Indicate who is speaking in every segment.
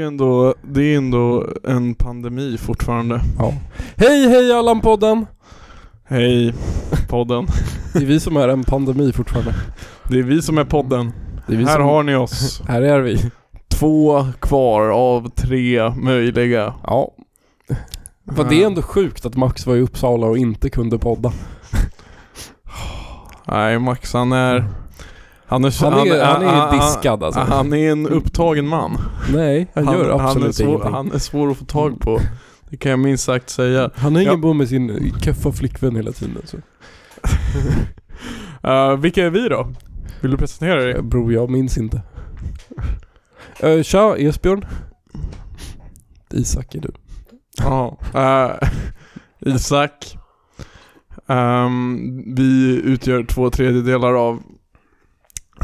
Speaker 1: är ändå, det är ändå en pandemi fortfarande.
Speaker 2: Ja. Hej hej Allan-podden!
Speaker 1: Hej podden.
Speaker 2: Det är vi som är en pandemi fortfarande.
Speaker 1: Det är vi som är podden.
Speaker 2: Det är vi
Speaker 1: Här
Speaker 2: som...
Speaker 1: har ni oss.
Speaker 2: Här är vi.
Speaker 1: Två kvar av tre möjliga.
Speaker 2: Ja. För det är ändå sjukt att Max var i Uppsala och inte kunde podda.
Speaker 1: Nej, Max han är... Han är,
Speaker 2: Han är, han är
Speaker 1: han-
Speaker 2: diskad alltså.
Speaker 1: Han är en upptagen man.
Speaker 2: Nej, han, gör
Speaker 1: han är
Speaker 2: absolut
Speaker 1: svår,
Speaker 2: ingenting. Mm. Han,
Speaker 1: Han är svår att få tag på. Det kan jag minst sagt säga.
Speaker 2: har ingen
Speaker 1: Ja.
Speaker 2: bo med sin köffa flickvän hela tiden. Så.
Speaker 1: Eh, vilka är vi då? Vill du presentera dig?
Speaker 2: Eh, Bror, jag minns inte. Uh, tja, Esbjörn. Isak är du.
Speaker 1: Ja. eh, Isak. Ehm, vi utgör två tredjedelar av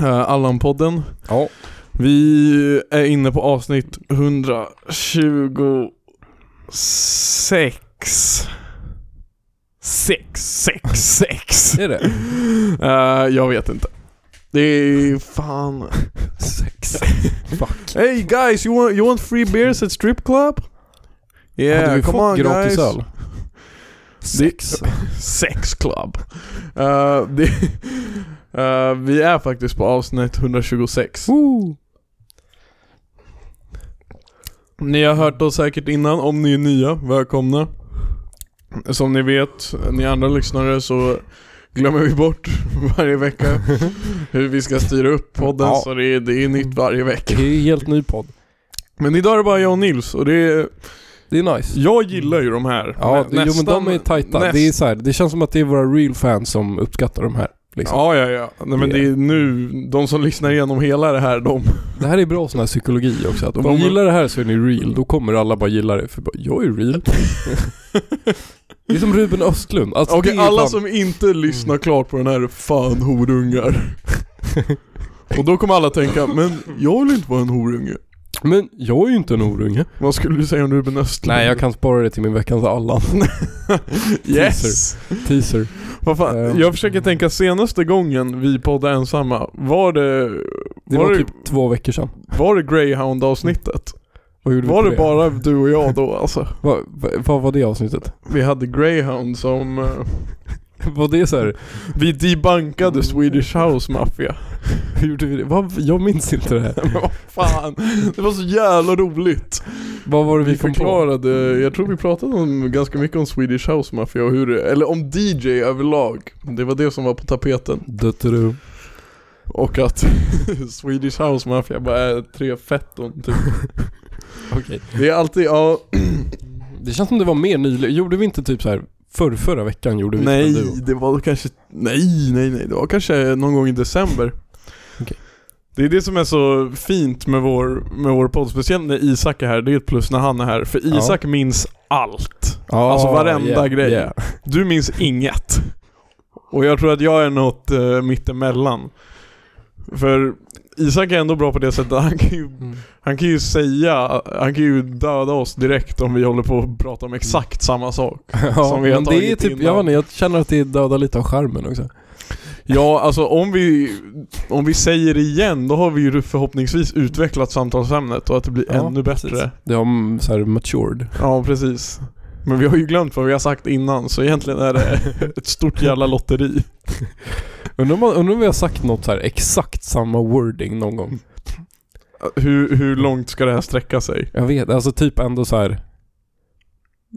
Speaker 1: eh, Allan-podden.
Speaker 2: Ja.
Speaker 1: Vi är inne på avsnitt 126. Sex, sex, sex.
Speaker 2: Är det?
Speaker 1: Eh, jag vet inte. Det är fan...
Speaker 2: Sex. Fuck.
Speaker 1: Hey guys, you want, you want free beers at strip club? Yeah,
Speaker 2: Hade vi
Speaker 1: Eh, come on
Speaker 2: fått gratis
Speaker 1: guys.
Speaker 2: öl? Sex.
Speaker 1: Sex club. Eh, det, eh, vi är faktiskt på avsnitt 126.
Speaker 2: Woo.
Speaker 1: Ni har hört oss säkert innan, om ni är nya, välkomna. Som ni vet, ni andra lyssnare, så glömmer vi bort varje vecka hur vi ska styra upp podden,
Speaker 2: Ja. Mm.
Speaker 1: så det är, det är nytt varje vecka.
Speaker 2: Det är en helt ny podd.
Speaker 1: Men idag är det bara jag och Nils, och det är,
Speaker 2: Det är nice.
Speaker 1: jag gillar ju de här.
Speaker 2: Ja,
Speaker 1: Nä-
Speaker 2: det, jo men de är tajta.
Speaker 1: näst-
Speaker 2: Det, är så här, det känns som att det är våra real fans som uppskattar de här. Liksom.
Speaker 1: Ja, ja, ja. Nej, men det är nu, de som lyssnar igenom hela det här, de...
Speaker 2: Det här är bra sån här psykologi också. Att om
Speaker 1: De-
Speaker 2: ni gillar det här så är ni real. Då kommer alla bara gilla det. För bara, jag är real. det är som Ruben Östlund. Alltså,
Speaker 1: Okej,
Speaker 2: det är
Speaker 1: alla
Speaker 2: fan-
Speaker 1: som inte lyssnar klart på den här är fan horungar. Och då kommer alla tänka, men jag vill inte vara en horunge.
Speaker 2: Men jag är ju inte en orunge.
Speaker 1: Vad skulle du säga om Ruben Östlund?
Speaker 2: Nej jag kan spara det till min veckans Allan.
Speaker 1: Yes! Eh.
Speaker 2: Teaser.
Speaker 1: Vad fan,
Speaker 2: Ehm.
Speaker 1: jag försöker tänka senaste gången vi poddade ensamma, var det...
Speaker 2: Det
Speaker 1: var,
Speaker 2: var
Speaker 1: det,
Speaker 2: typ två veckor sedan.
Speaker 1: var det Greyhound avsnittet?
Speaker 2: Vad gjorde
Speaker 1: Var
Speaker 2: vi på
Speaker 1: det bara du och jag då alltså?
Speaker 2: Vad va, vad var det avsnittet?
Speaker 1: Vi hade Greyhound som... eh,
Speaker 2: Var det så här,
Speaker 1: Vi debankade Swedish House Mafia.
Speaker 2: hur gjorde vi det? Vad- jag minns inte det här.
Speaker 1: Men vad fan, det var så jävla roligt.
Speaker 2: Vad var det vi,
Speaker 1: Vi
Speaker 2: kom på?
Speaker 1: förklarade, jag tror vi pratade om, ganska mycket om Swedish House Mafia och hur det, eller om DJ överlag. Det var det som var på tapeten.
Speaker 2: Dutturu.
Speaker 1: Och att Swedish House Mafia bara är tre fetton typ.
Speaker 2: Okej.
Speaker 1: Det är alltid, ja,
Speaker 2: Mm. Det känns som det var mer nyligen. Gjorde vi inte typ så här förr, förra veckan gjorde vi
Speaker 1: nej
Speaker 2: typ en duo?
Speaker 1: det var kanske, nej nej nej, det var kanske någon gång i december.
Speaker 2: Okej.
Speaker 1: Det är det som är så fint med vår, med vår podd, speciellt när Isak är här, det är ett plus när han är här. För
Speaker 2: Ja.
Speaker 1: Isak minns allt. Alltså varenda grej. Du minns inget. Och jag tror att jag är något uh, mittemellan. För Isak är ändå bra på det sättet att han kan, ju,
Speaker 2: Mm.
Speaker 1: han kan ju säga, han kan ju döda oss direkt om vi håller på att prata om exakt samma sak.
Speaker 2: Ja,
Speaker 1: Som vi har
Speaker 2: men det är
Speaker 1: tagit
Speaker 2: typ,
Speaker 1: innan.
Speaker 2: jag vet inte, jag känner att det dödar lite av skärmen också.
Speaker 1: Ja, alltså om vi, om vi säger det igen, då har vi ju förhoppningsvis utvecklat samtalsämnet och att det blir
Speaker 2: Ja,
Speaker 1: ännu bättre.
Speaker 2: precis. Det har mm, så här matured.
Speaker 1: Ja, precis. Men vi har ju glömt vad vi har sagt innan, så egentligen är det ett stort jävla lotteri.
Speaker 2: Undrar om, undrar om vi har sagt något så här exakt samma wording någon gång.
Speaker 1: Hur, hur långt ska det här sträcka sig?
Speaker 2: Jag vet, alltså typ ändå så här.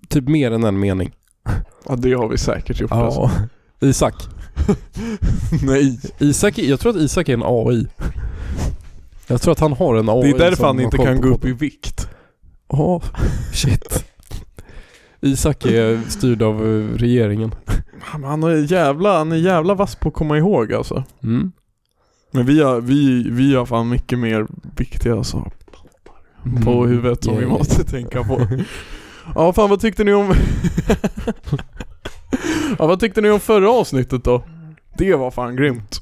Speaker 2: Typ mer än en mening.
Speaker 1: Ja det har vi säkert gjort alltså.
Speaker 2: Ja. Isak.
Speaker 1: Nej.
Speaker 2: Isak, är- jag tror att Isak är en AI. Jag tror att han har en AI
Speaker 1: Det är därför
Speaker 2: som
Speaker 1: han inte
Speaker 2: har koll
Speaker 1: kan
Speaker 2: på
Speaker 1: gå upp
Speaker 2: podden.
Speaker 1: i vikt.
Speaker 2: Ja, shit. Isak är styrd av eh, regeringen.
Speaker 1: Men Han är jävla, han är jävla vass på att komma ihåg alltså.
Speaker 2: Mm.
Speaker 1: Men vi har, vi, vi har fan mycket mer viktiga saker
Speaker 2: Mm.
Speaker 1: på huvudet som vi
Speaker 2: Yeah.
Speaker 1: måste tänka på. Ja fan vad tyckte ni om... ja vad tyckte ni om förra avsnittet då? Det var fan grymt.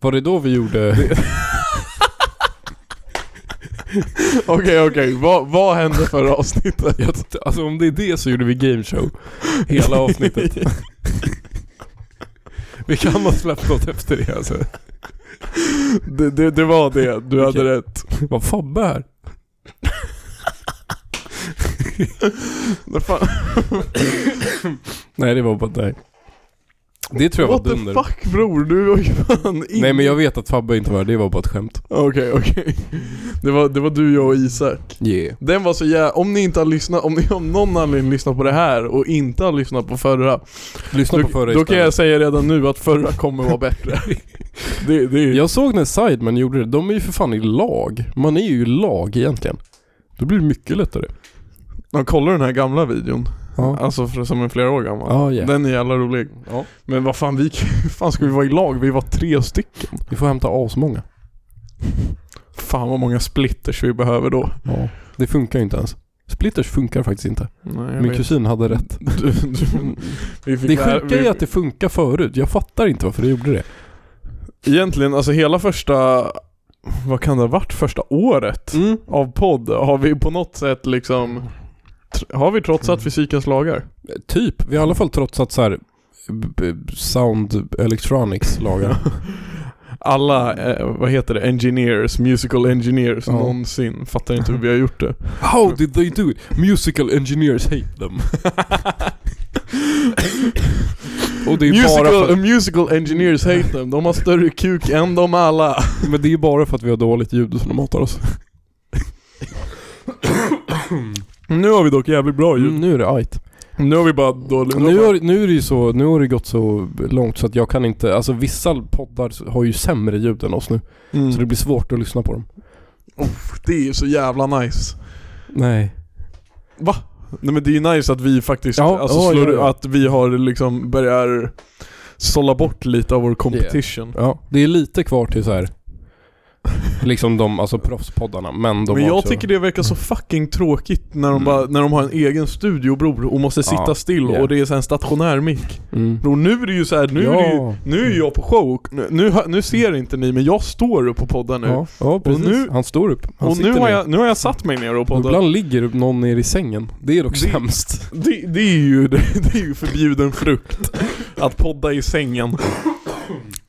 Speaker 2: Var det då vi gjorde...
Speaker 1: Okej okej, vad, vad hände förra avsnittet?
Speaker 2: Jag t- alltså om det är det så gjorde vi gameshow. Hela avsnittet. vi kan ha släppt något efter det alltså.
Speaker 1: Det, det, det var det, du hade
Speaker 2: Okej.
Speaker 1: rätt.
Speaker 2: Var Fabbe här?
Speaker 1: Vad fan?
Speaker 2: Nej, det var bara dig. Det tror jag
Speaker 1: What
Speaker 2: var
Speaker 1: the
Speaker 2: dunder.
Speaker 1: fuck bror? Du var ju fan in...
Speaker 2: Nej men jag vet att Fabbe inte var där, det var bara ett skämt.
Speaker 1: Okej, okej. Det var, det var du, jag och Isak.
Speaker 2: Yeah.
Speaker 1: Den var så jävla... Om ni inte har lyssnat, om ni av någon anledning lyssnat på det här och inte har lyssnat på förra.
Speaker 2: Lyssna
Speaker 1: Då,
Speaker 2: på förra
Speaker 1: då kan jag
Speaker 2: istället.
Speaker 1: säga redan nu att förra kommer vara bättre. det, det är...
Speaker 2: jag såg när Sidemen gjorde det, de är ju för fan i lag. Man är ju i lag egentligen. Då blir det mycket lättare.
Speaker 1: Ja, kolla den här gamla videon.
Speaker 2: Ja.
Speaker 1: Alltså för, som är flera år gammal.
Speaker 2: Ja, ja.
Speaker 1: Den är jävla rolig.
Speaker 2: Ja.
Speaker 1: Men vad fan, vi, hur fan ska vi vara i lag? Vi var tre stycken.
Speaker 2: Vi får hämta asmånga.
Speaker 1: Fan vad många splitters vi behöver då.
Speaker 2: Ja. Det funkar ju inte ens. Splitters funkar faktiskt inte.
Speaker 1: Nej, jag
Speaker 2: Min
Speaker 1: vet.
Speaker 2: kusin hade rätt.
Speaker 1: Du, du, vi fick
Speaker 2: Det
Speaker 1: lära-
Speaker 2: sjuka
Speaker 1: vi-
Speaker 2: är att det funkar förut. Jag fattar inte varför det gjorde det.
Speaker 1: Egentligen, alltså hela första, vad kan det ha varit, första året
Speaker 2: Mm.
Speaker 1: av podd har vi på något sätt liksom tr- har vi trotsat fysikens lagar?
Speaker 2: Typ. Vi har i alla fall trotsat så här b- b- sound electronics lagar.
Speaker 1: Alla, eh, vad heter det, engineers, musical engineers
Speaker 2: Ja.
Speaker 1: någonsin. Fattar inte hur vi har gjort det.
Speaker 2: How did they do it? Musical engineers hate them. Och det är
Speaker 1: musical, eh,
Speaker 2: bara för,
Speaker 1: musical engineers hate them, de har större kuk än de alla.
Speaker 2: men det är bara för att vi har dåligt ljud som de hatar oss.
Speaker 1: Nu har vi dock jävligt bra ljud.
Speaker 2: Mm, nu är det ajt.
Speaker 1: Nu har vi bara dåligt.
Speaker 2: Nu har, nu är det ju så, nu har det gått så långt så att jag kan inte, alltså vissa poddar har ju sämre ljud än oss nu.
Speaker 1: mm.
Speaker 2: Så det blir svårt att lyssna på dem.
Speaker 1: det är ju så jävla nice.
Speaker 2: Nej.
Speaker 1: Va? Nej men det är ju nice att vi faktiskt,
Speaker 2: Ja,
Speaker 1: alltså
Speaker 2: ja,
Speaker 1: slår,
Speaker 2: ja, ja.
Speaker 1: att vi har liksom börjar sålla bort lite av vår competition.
Speaker 2: Ja, det är lite kvar till så här. liksom de, alltså proffspoddarna, men de
Speaker 1: men
Speaker 2: har
Speaker 1: jag
Speaker 2: också,
Speaker 1: tycker det verkar så fucking tråkigt när de,
Speaker 2: Mm.
Speaker 1: bara, när de har en egen studio bror och måste sitta
Speaker 2: Ja,
Speaker 1: still
Speaker 2: ja.
Speaker 1: och det är så här en stationär mick.
Speaker 2: Mm.
Speaker 1: Bror nu är det ju så här, nu,
Speaker 2: ja.
Speaker 1: är, det ju, nu är jag på show, och nu, nu, hör- nu ser inte ni men jag står upp och poddar nu.
Speaker 2: Ja, ja precis.
Speaker 1: nu-
Speaker 2: han står upp. Han
Speaker 1: och nu har,
Speaker 2: sitter ner.
Speaker 1: jag, nu har jag satt mig ner och
Speaker 2: Och
Speaker 1: poddat.
Speaker 2: Ibland ligger någon ner i sängen. Det är dock
Speaker 1: Det-
Speaker 2: sämst.
Speaker 1: Det, det, är ju, det är ju förbjuden frukt. Att podda i sängen.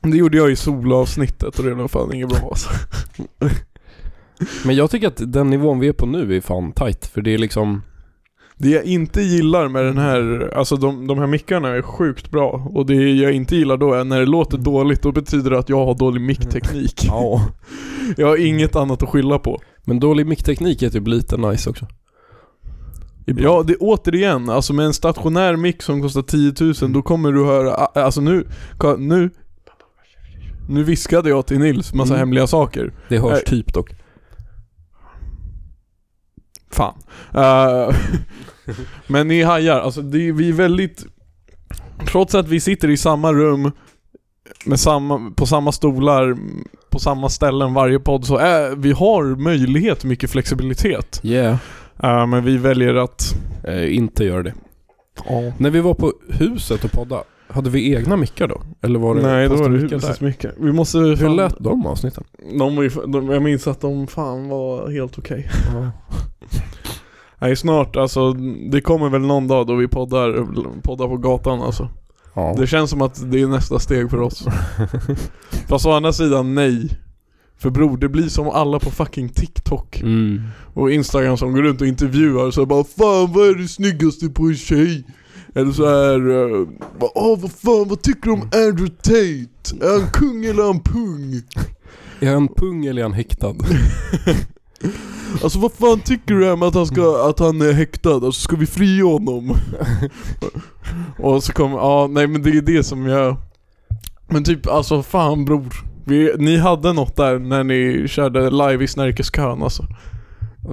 Speaker 1: Det gjorde jag i solavsnittet och det var fan inget bra alltså.
Speaker 2: Men jag tycker att den nivån vi är på nu är fan tight. För det är liksom...
Speaker 1: Det jag inte gillar med den här, alltså de, de här mickarna är sjukt bra. Och det jag inte gillar då är när det låter dåligt, då betyder det att jag har dålig mickteknik.
Speaker 2: Mm. Ja.
Speaker 1: Jag har inget annat att skylla på.
Speaker 2: Men dålig mickteknik är typ lite nice också. Ibland.
Speaker 1: Ja, det återigen, alltså med en stationär mick som kostar 10 000, då kommer du höra, a- alltså nu, ka- nu nu viskade jag till Nils massa
Speaker 2: Mm.
Speaker 1: hemliga saker.
Speaker 2: Det hörs
Speaker 1: Nej.
Speaker 2: typ dock.
Speaker 1: Fan. Eh, men ni hajar, alltså det, är- vi är väldigt... Trots att vi sitter i samma rum, med samma, på samma stolar, på samma ställen varje podd, så är, vi har möjlighet till mycket flexibilitet.
Speaker 2: Yeah.
Speaker 1: Eh, men vi väljer att...
Speaker 2: Eh, inte gör det. När vi var på huset och podda, hade vi egna mickar då? Eller var det
Speaker 1: Nej, då
Speaker 2: fasta
Speaker 1: var det
Speaker 2: mickar där?
Speaker 1: husesmycket. Vi måste...
Speaker 2: Hur
Speaker 1: fan-
Speaker 2: lät de avsnitten?
Speaker 1: De var ju, de, jag minns att de fan var helt okej. Nej, snart alltså. Det kommer väl någon dag då vi poddar, poddar på gatan alltså.
Speaker 2: Ja.
Speaker 1: Det känns som att det är nästa steg för oss. Fast å andra sidan, nej. För bror, det blir som alla på fucking TikTok
Speaker 2: Mm.
Speaker 1: och Instagram som går runt och intervjuar så bara 'Fan vad är det snyggaste på en tjej?' Eller så här, eh, bara, åh vad fan vad tycker du om Andrew Tate? Är han kung eller är han pung?
Speaker 2: Är han pung eller är han häktad?
Speaker 1: Alltså vad fan tycker du om att han, ska, att han är häktad? Alltså ska vi fria honom? och så kommer, ja nej men det är det som jag Men typ alltså fan bror vi, Ni hade något där när ni körde live i Snärkeskön alltså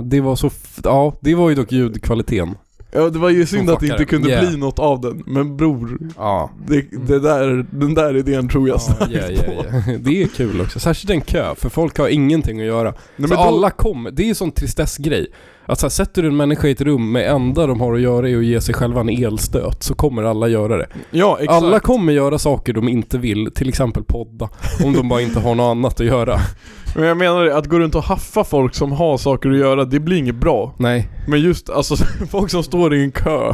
Speaker 2: Det var så... F- ja, det var ju dock ljudkvaliteten.
Speaker 1: Ja det var ju synd
Speaker 2: Som
Speaker 1: att det inte
Speaker 2: fuckade.
Speaker 1: kunde
Speaker 2: Yeah.
Speaker 1: bli något av den, men bror
Speaker 2: Ja.
Speaker 1: det, det där, den där idén tror jag starkt
Speaker 2: ja, ja,
Speaker 1: på
Speaker 2: ja. Det är kul också. Särskilt en kö, för folk har ingenting att göra.
Speaker 1: Nej,
Speaker 2: så
Speaker 1: men då,
Speaker 2: alla kommer. Det är ju sån tristessgrej. Att så här, sätter du en människa i ett rum med enda de har att göra är att ge sig själva en elstöt så kommer alla göra det.
Speaker 1: Ja exakt
Speaker 2: Alla kommer göra saker de inte vill, till exempel podda. Om de bara inte har något annat att göra.
Speaker 1: Men jag menar det, att gå runt och haffa folk som har saker att göra, det blir inget bra
Speaker 2: Nej.
Speaker 1: Men just alltså folk som står i en kö,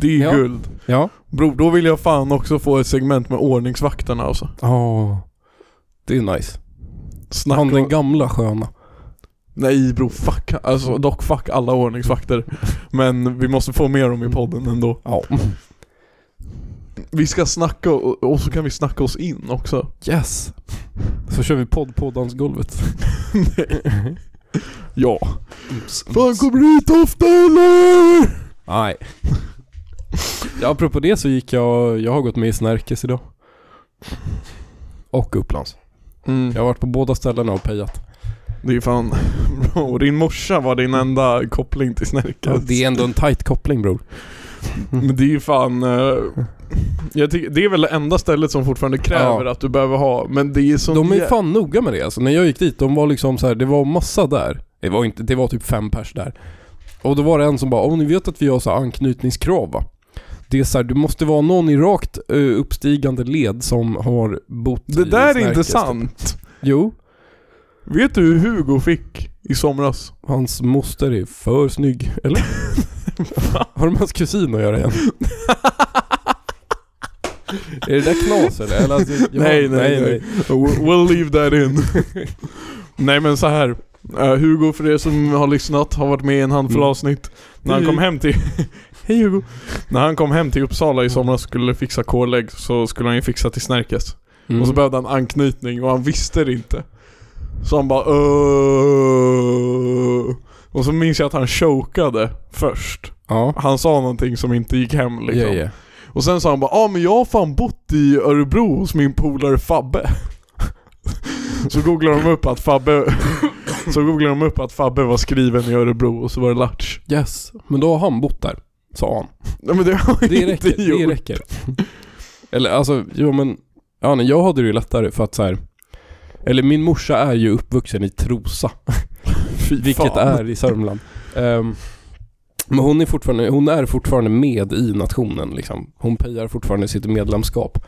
Speaker 1: det är
Speaker 2: Ja.
Speaker 1: guld.
Speaker 2: Ja.
Speaker 1: Bror, då vill jag fan också få ett segment med ordningsvakterna alltså.
Speaker 2: Ja. Det är nice.
Speaker 1: Snacka
Speaker 2: Han den
Speaker 1: om,
Speaker 2: gamla sköna.
Speaker 1: Nej bro, fuck. Alltså dock fuck alla ordningsvakter. Men vi måste få med dem i podden ändå.
Speaker 2: Ja.
Speaker 1: Vi ska snacka och, och så kan vi snacka oss in också.
Speaker 2: Yes! Så kör vi podd på dansgolvet.
Speaker 1: Ja. Fan kommer du hit ofta eller?
Speaker 2: Nej. Ja, apropå det så gick jag, jag har gått med i Snärkes idag. Och Upplands. Jag har varit på båda ställena och pejat.
Speaker 1: Det är fan... Och din morsa var din enda koppling till Snärkes.
Speaker 2: Det är ändå en tight koppling bror.
Speaker 1: Men det är ju fan... eh, Jag tycker, det är väl det enda stället som fortfarande kräver att du behöver ha, men det är som...
Speaker 2: De är
Speaker 1: jä-
Speaker 2: fan noga med det alltså. När jag gick dit, de var liksom så här, det var massa där. Det var, inte, det var typ fem pers där. Och då var det en som bara, om ni vet att vi har så här anknytningskrav va? Det är så här, du måste vara någon i rakt eh, uppstigande led som har bott
Speaker 1: Det
Speaker 2: i
Speaker 1: där är inte
Speaker 2: Snärkes.
Speaker 1: sant.
Speaker 2: Jo,
Speaker 1: Vet du hur Hugo fick i somras?
Speaker 2: hans moster är för snygg. Eller? har de hans kusin att göra igen? är det där knas eller? eller alltså, jag-
Speaker 1: Nej, nej, nej. We'll we'll leave that in. Nej men så här. Eh, Hugo för er som har lyssnat har varit med i en handfull
Speaker 2: Mm.
Speaker 1: avsnitt. När han
Speaker 2: Hej.
Speaker 1: kom hem till... Hej Hugo! När han kom hem till Uppsala
Speaker 2: Mm.
Speaker 1: i somras skulle fixa kårlägg så skulle han ju fixa till Snärkes.
Speaker 2: Mm.
Speaker 1: Och så behövde han anknytning och han visste det inte. Så han bara "Öh." Och så minns jag att han chokade först.
Speaker 2: Ja.
Speaker 1: Han sa någonting som inte gick hem liksom.
Speaker 2: Ja, ja.
Speaker 1: Och sen sa han bara ah, men jag har fan bott i Örebro hos min polare Fabbe. så googlar de upp att Fabbe Så googlar de upp att Fabbe var skriven i Örebro och så var det Latch.
Speaker 2: Yes, men då har han bott där, sa han.
Speaker 1: Nej men det har jag
Speaker 2: Det
Speaker 1: inte
Speaker 2: räcker,
Speaker 1: gjort.
Speaker 2: det räcker. Eller alltså, jo men, ja, nej, jag hade det ju lättare för att så här. eller min morsa är ju uppvuxen i Trosa. vilket
Speaker 1: fan.
Speaker 2: är i Sörmland. Ehm, men hon är, fortfarande, hon är fortfarande med i nationen liksom. Hon pejar fortfarande sitt medlemskap.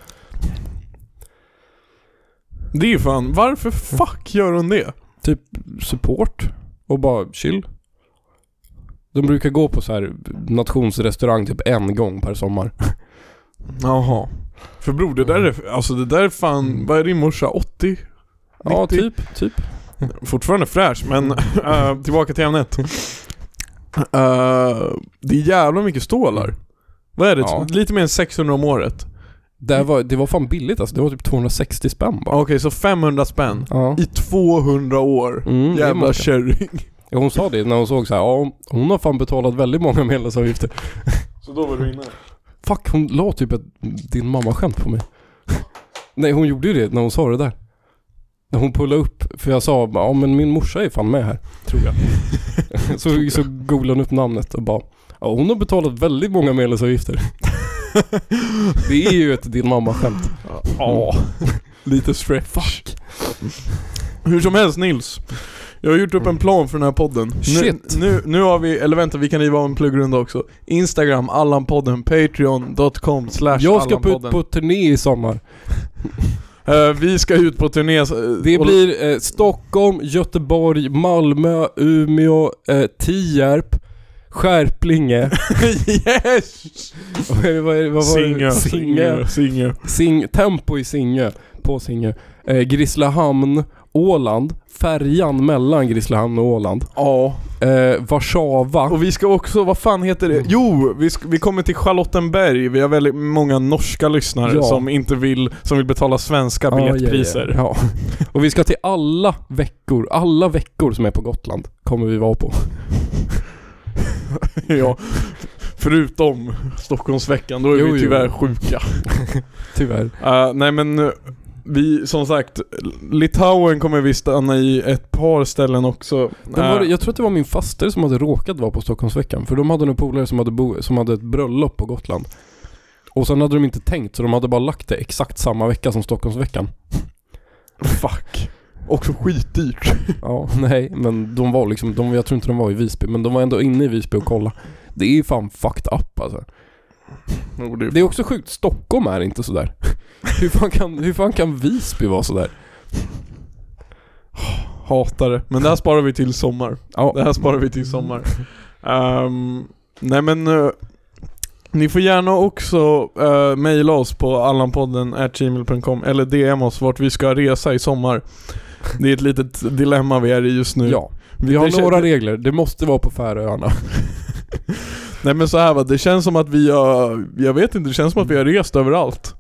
Speaker 1: Det är ju fan, varför fuck gör hon det?
Speaker 2: Typ support och bara chill. De brukar gå på så här nationsrestaurang typ en gång per sommar.
Speaker 1: Jaha. För bror, det där är, alltså det där är fan, vad är din morsa? 80?
Speaker 2: Ja,
Speaker 1: 90?
Speaker 2: typ, typ.
Speaker 1: Fortfarande fräsch men eh, tillbaka till ämnet. Eh, det är jävla mycket stålar. Vad är det?
Speaker 2: Ja.
Speaker 1: Lite mer än 600 om året.
Speaker 2: Det var, det var fan billigt alltså. Det var typ 260 spänn bara.
Speaker 1: Okej, så 500 spänn.
Speaker 2: Ja.
Speaker 1: I 200 år.
Speaker 2: Mm, det är
Speaker 1: Jävla
Speaker 2: många.
Speaker 1: kärring.
Speaker 2: Ja, Hon sa det när hon såg så här, ja hon har fan betalat väldigt många medlemsavgifter.
Speaker 1: Så då var du inne.
Speaker 2: Fuck, hon la typ ett din mamma-skämt på mig. Nej, hon gjorde ju det när hon sa det där. När hon pullade upp, för jag sa ja men min morsa är fan med här, tror jag. så, så googlade hon upp namnet och bara, ja hon har betalat väldigt många medlemsavgifter. det är ju ett din mamma-skämt.
Speaker 1: Ja. Mm. Lite stretch. Hur som helst Nils. Jag har gjort upp en plan för den här podden.
Speaker 2: Mm. Shit.
Speaker 1: Nu, nu, nu har vi, eller vänta vi kan riva av en pluggrunda också. Instagram, Allanpodden, Patreon.com slash
Speaker 2: Jag ska på,
Speaker 1: Allanpodden.
Speaker 2: ut på turné i sommar.
Speaker 1: Eh, vi ska ut på turné. eh,
Speaker 2: Det
Speaker 1: och-
Speaker 2: blir eh, Stockholm, Göteborg, Malmö, Umeå, eh, Tierp, Skärplinge.
Speaker 1: yes!
Speaker 2: Vad är det- vad är det- vad var
Speaker 1: Singö.
Speaker 2: det? Singö.
Speaker 1: Singö. Singö.
Speaker 2: Sing, tempo i Singö. På Singö. Eh, Grisslehamn, Åland. Färjan mellan Grisslehamn och Åland.
Speaker 1: Ja.
Speaker 2: Eh, Warszawa.
Speaker 1: Och vi ska också, vad fan heter
Speaker 2: Mm.
Speaker 1: det? Jo, vi, sk- vi kommer till Charlottenberg. Vi har väldigt många norska lyssnare
Speaker 2: Ja.
Speaker 1: som inte vill, som vill betala svenska
Speaker 2: Ja, ja, ja.
Speaker 1: biljettpriser.
Speaker 2: Ja. Och vi ska till alla veckor, alla veckor som är på Gotland kommer vi vara på.
Speaker 1: Ja, förutom Stockholmsveckan, då är
Speaker 2: Jo,
Speaker 1: vi
Speaker 2: jo.
Speaker 1: tyvärr sjuka.
Speaker 2: Tyvärr.
Speaker 1: Eh, nej men, eh, vi som sagt, Litauen kommer vi stanna i ett par ställen också.
Speaker 2: Den var,
Speaker 1: Eh,
Speaker 2: jag tror att det var min faster som hade råkat vara på Stockholmsveckan. För de hade nog polare som hade, bo, som hade ett bröllop på Gotland. Och sen hade de inte tänkt så de hade bara lagt det exakt samma vecka som Stockholmsveckan.
Speaker 1: Fuck. Också skitdyrt.
Speaker 2: Ja, nej, men de var liksom, de, jag tror inte de var i Visby, men de var ändå inne i Visby och kolla. Det är ju fan fucked up alltså.
Speaker 1: Jo, det är
Speaker 2: Det är också sjukt, Stockholm är inte sådär. Hur fan kan, hur fan kan Visby vara sådär?
Speaker 1: Hatare. Men det här sparar vi till sommar.
Speaker 2: Ja,
Speaker 1: Det här sparar vi till sommar. Ehm, nej men, eh, ni får gärna också uh, mejla oss på allanpodden gmail.com eller DM oss vart vi ska resa i sommar. Det är ett litet dilemma vi är i just nu.
Speaker 2: ja. Vi har
Speaker 1: det-
Speaker 2: några regler. Det måste vara på Färöarna.
Speaker 1: Nej men så här va, det känns som att vi har, jag vet inte, det känns som att vi har rest överallt.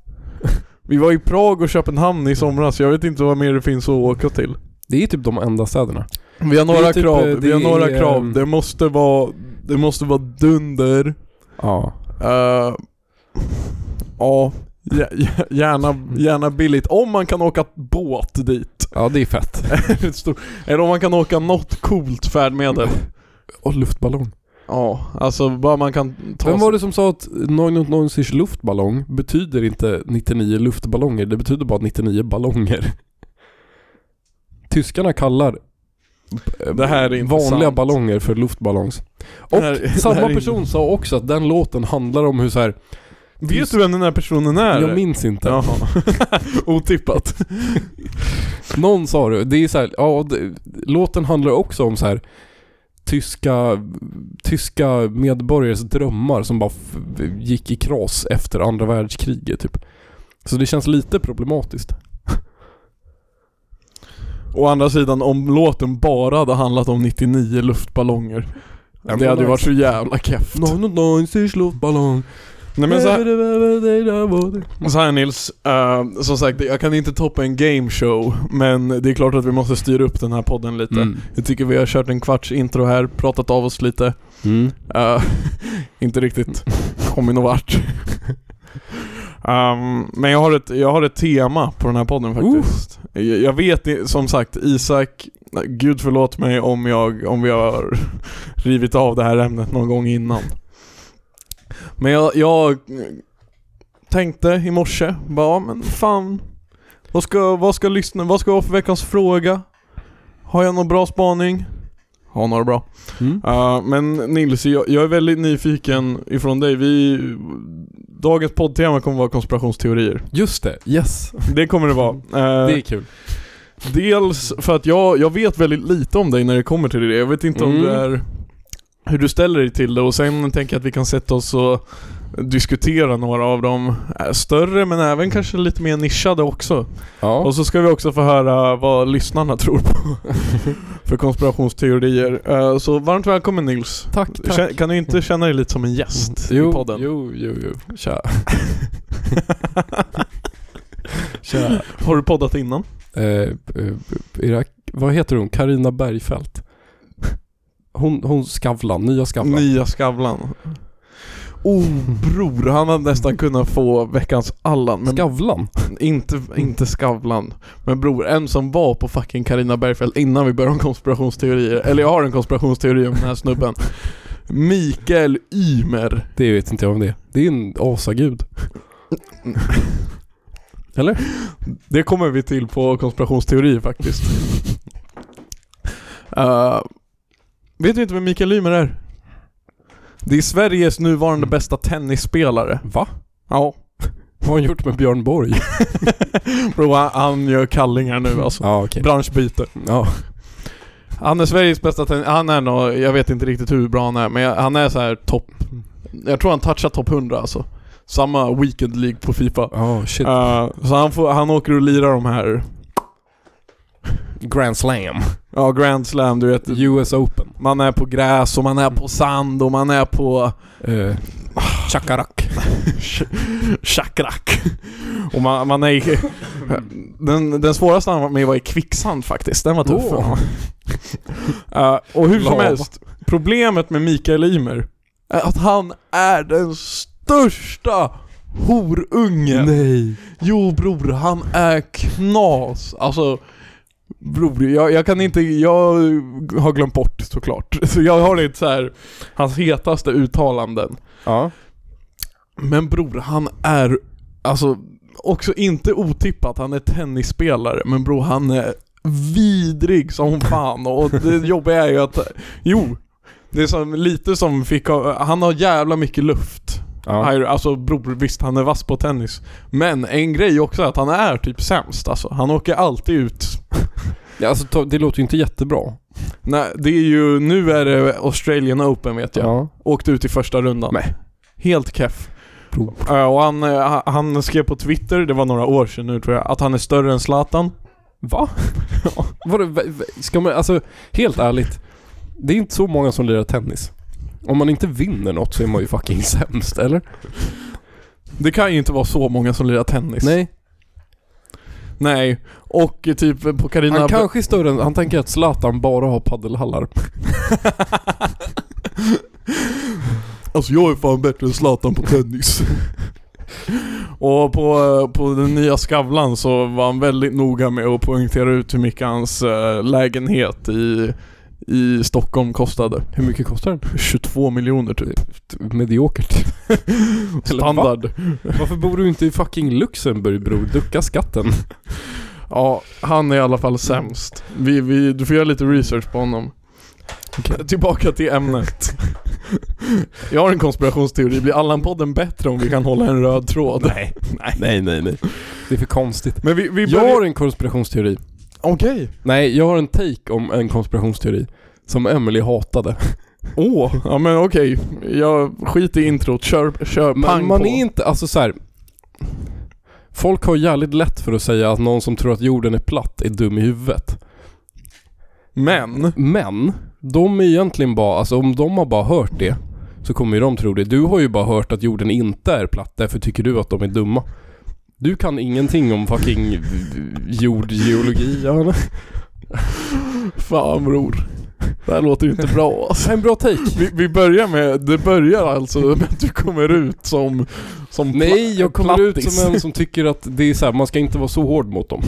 Speaker 1: Vi var i Prag och Köpenhamn i somras, jag vet inte vad mer det finns att åka till.
Speaker 2: Det är typ de enda städerna.
Speaker 1: Vi har
Speaker 2: Det
Speaker 1: några
Speaker 2: är typ,
Speaker 1: krav,
Speaker 2: eh,
Speaker 1: vi har
Speaker 2: det
Speaker 1: några
Speaker 2: är,
Speaker 1: krav.
Speaker 2: ehm,
Speaker 1: Det måste vara, det måste vara dunder.
Speaker 2: Ja.
Speaker 1: Eh, ja, gär- gär- gärna, gärna billigt. Om man kan åka båt dit.
Speaker 2: Ja, det är fett.
Speaker 1: Ett stort- Eller om man kan åka något coolt färdmedel.
Speaker 2: Och luftballong.
Speaker 1: Ja, alltså bara man kan ta
Speaker 2: Vem var det som sa att 999 luftballong betyder inte 99 luftballonger, det betyder bara 99 ballonger. Tyskarna kallar eh,
Speaker 1: Det här är intressant.
Speaker 2: vanliga ballonger för luftballongs. Och
Speaker 1: Det här- det här
Speaker 2: samma
Speaker 1: är-
Speaker 2: person sa också att den låten handlar om hur så här.
Speaker 1: Vet du vem den här personen är?
Speaker 2: jag minns inte.
Speaker 1: Jaha. Otippat.
Speaker 2: Någon sa det, det är så här, ja, det, låten handlar också om så här tyska, tyska medborgares drömmar som bara f- gick i kras efter andra världskriget typ. Så det känns lite problematiskt.
Speaker 1: Å andra sidan, om låten bara hade handlat om 99 luftballonger.
Speaker 2: men
Speaker 1: det hade ju
Speaker 2: nice.
Speaker 1: varit så jävla keft.
Speaker 2: No, no, no, en luftballong.
Speaker 1: Nej men så här, så här Nils, eh, som sagt jag kan inte toppa en game show men det är klart att vi måste styra upp den här podden lite.
Speaker 2: Mm.
Speaker 1: Jag tycker vi har kört en kvarts intro här, pratat av oss lite.
Speaker 2: Mm.
Speaker 1: Eh, inte riktigt kommit någon vart. Ehm, men jag har, ett, jag har ett tema på den här podden faktiskt. Jag, jag vet i- som sagt, Isak, gud förlåt mig om, jag, om vi har rivit av det här ämnet någon gång innan. Men jag, jag tänkte i morse, bara "Ja, men fan. Vad ska, vad ska lyssna, vad ska jag ha för veckans fråga? Har jag någon bra spaning? Har några bra.
Speaker 2: Mm.
Speaker 1: Ja, men Nils, jag, jag är väldigt nyfiken ifrån dig. Vi, dagens poddtema kommer vara konspirationsteorier.
Speaker 2: Just det, yes.
Speaker 1: Det kommer det vara. Eh,
Speaker 2: Det är kul.
Speaker 1: Dels för att jag, jag vet väldigt lite om dig när det kommer till det. Jag vet inte om
Speaker 2: Mm.
Speaker 1: det är hur du ställer dig till det och sen tänker jag att vi kan sätta oss och diskutera några av de eh, större men även kanske lite mer nischade också.
Speaker 2: Ja.
Speaker 1: Och så ska vi också få höra vad lyssnarna tror på för konspirationsteorier. Eh, Så varmt välkommen Nils.
Speaker 2: Tack, tack. Mm.
Speaker 1: Kä- Kan du inte känna dig lite som en gäst i
Speaker 2: Jo,
Speaker 1: podden?
Speaker 2: jo, jo, jo. Tja. Tja.
Speaker 1: Har du poddat innan?
Speaker 2: Eh, eh, Irak, vad heter hon? Karina Bergfeldt. Hon, hon Skavlan, nya Skavlan.
Speaker 1: Nya Skavlan. Oh bror, han hade nästan kunnat få veckans Allan. Men
Speaker 2: Skavlan?
Speaker 1: inte, inte Skavlan. Men bror, en som var på fucking Karina Bergfeldt innan vi började om konspirationsteorier. Eller jag har en konspirationsteori om den här snubben. Mikael Ymer.
Speaker 2: Det vet inte jag om det är. Det är en asagud.
Speaker 1: Det kommer vi till på konspirationsteorier faktiskt. Eh, vet du inte vem Mikael Ymer är? Det är Sveriges nuvarande
Speaker 2: Mm.
Speaker 1: bästa tennisspelare.
Speaker 2: Va?
Speaker 1: Ja.
Speaker 2: Vad har hon gjort med Björn Borg?
Speaker 1: Bro, han, han gör kallingar nu alltså.
Speaker 2: Ja, okej.
Speaker 1: Branschbyte.
Speaker 2: Ja.
Speaker 1: Han är Sveriges bästa tennis... Han är nog, jag vet inte riktigt hur bra han är, men jag, han är så här topp... Jag tror han touchar topp 100 alltså. Samma Weekend League på Fifa.
Speaker 2: Ja, oh, shit.
Speaker 1: Eh, så han, får, han åker och lirar de här...
Speaker 2: Grand Slam.
Speaker 1: Ja, Grand Slam, du vet.
Speaker 2: US Open.
Speaker 1: Man är på gräs och man är på sand och man är på
Speaker 2: Eh, Chakarak.
Speaker 1: chakrak. Och man, man är i... Den, den svåraste han var med var i kvicksand faktiskt, den var tuff.
Speaker 2: Åh.
Speaker 1: Eh, och hur som
Speaker 2: Lava.
Speaker 1: helst, problemet med Mikael Ymer är att han är den största horungen.
Speaker 2: Nej.
Speaker 1: Jo bror, han är knas. Alltså, bror, jag, jag kan inte, jag har glömt bort såklart. Så jag har inte så här hans hetaste uttalanden.
Speaker 2: Ja.
Speaker 1: Men bror, han är alltså också inte otippat, han är tennisspelare, men bror han är vidrig som fan och det jobbiga är ju att, jo, det är som, lite som fick, han har jävla mycket luft.
Speaker 2: Ja.
Speaker 1: Här, Alltså bror, visst han är vass på tennis. Men en grej också är att han är typ sämst alltså. Han åker alltid ut.
Speaker 2: Ja, Alltså, ta- det låter ju inte jättebra.
Speaker 1: Nej, det är ju, nu är det Australian Open vet jag.
Speaker 2: Ja.
Speaker 1: Åkte ut i första rundan.
Speaker 2: Nej.
Speaker 1: Helt keff.
Speaker 2: Prov.
Speaker 1: Ja, Och han, eh, ha- han skrev på Twitter, det var några år sedan nu tror jag, att han är större än Zlatan.
Speaker 2: Va? Vadå, va- va- ska man, alltså helt ärligt. Det är inte så många som lirar tennis. Om man inte vinner något så är man ju fucking sämst, eller?
Speaker 1: Det kan ju inte vara så många som lirar tennis.
Speaker 2: Nej.
Speaker 1: Nej. Och eh, typ på Carina...
Speaker 2: Han kanske är större än... Han tänker att Zlatan bara har paddelhallar.
Speaker 1: Alltså jag är fan bättre än Zlatan på tennis. Och på, eh, på den nya Skavlan så var han väldigt noga med att poängtera ut hur mycket hans eh, lägenhet i, i Stockholm kostade.
Speaker 2: Hur mycket kostar den?
Speaker 1: 22 miljoner typ.
Speaker 2: Mediokert. Eller va?
Speaker 1: Standard.
Speaker 2: Varför bor du inte i fucking Luxemburg bror? Ducka skatten.
Speaker 1: Ja, han är i alla fall sämst. Vi, vi, du får göra lite research på honom.
Speaker 2: Okej.
Speaker 1: Tillbaka till ämnet. Jag har en konspirationsteori. Blir Allan-podden bättre om vi kan hålla en röd tråd?
Speaker 2: Nej. Nej, nej, nej. Det är för konstigt.
Speaker 1: Men vi, vi
Speaker 2: Jag
Speaker 1: börjar...
Speaker 2: har en konspirationsteori.
Speaker 1: Okej.
Speaker 2: Nej, jag har en take om en konspirationsteori. Som Emily hatade.
Speaker 1: Åh, ja men okej. Jag skiter i introt. Kör, kör
Speaker 2: Men
Speaker 1: pang
Speaker 2: man
Speaker 1: på.
Speaker 2: är inte, alltså så här. Folk har jävligt lätt för att säga att någon som tror att jorden är platt är dum i huvudet.
Speaker 1: Men,
Speaker 2: Men, de är egentligen bara, alltså om de har bara hört det så kommer ju de tro det. Du har ju bara hört att jorden inte är platt, därför tycker du att de är dumma. Du kan ingenting om fucking jordgeologi. ja.
Speaker 1: fan bror. Det här låter ju inte bra alltså.
Speaker 2: En bra take.
Speaker 1: Vi, vi börjar med, det börjar alltså med att du kommer ut som... som pla-
Speaker 2: Nej, jag kommer ut
Speaker 1: plattis.
Speaker 2: som en som tycker att det är så här, man ska inte vara så hård mot dem.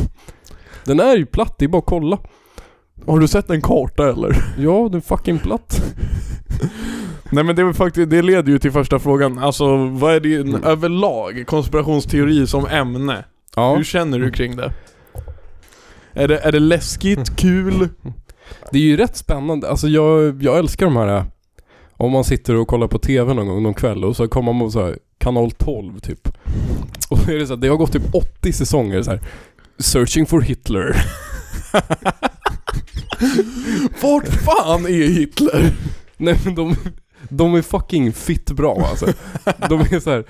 Speaker 2: Den är ju platt, det är bara att kolla.
Speaker 1: Har du sett en karta eller?
Speaker 2: Ja, den är fucking platt.
Speaker 1: Nej men det, är väl faktiskt, det leder ju till första frågan, alltså vad är din
Speaker 2: Mm.
Speaker 1: överlag konspirationsteori som ämne?
Speaker 2: Ja,
Speaker 1: Hur känner du kring det? Är det, är det läskigt, kul?
Speaker 2: det är ju rätt spännande. Alltså jag, jag älskar de här, äh, om man sitter och kollar på TV någon gång någon kväll och så kommer man på så här, kanal 12 typ. Och då är det så här, det har gått typ 80 säsonger så här. Searching for Hitler.
Speaker 1: Vart fan är Hitler?
Speaker 2: Nej men de, de är fucking fitt bra alltså. De är så här.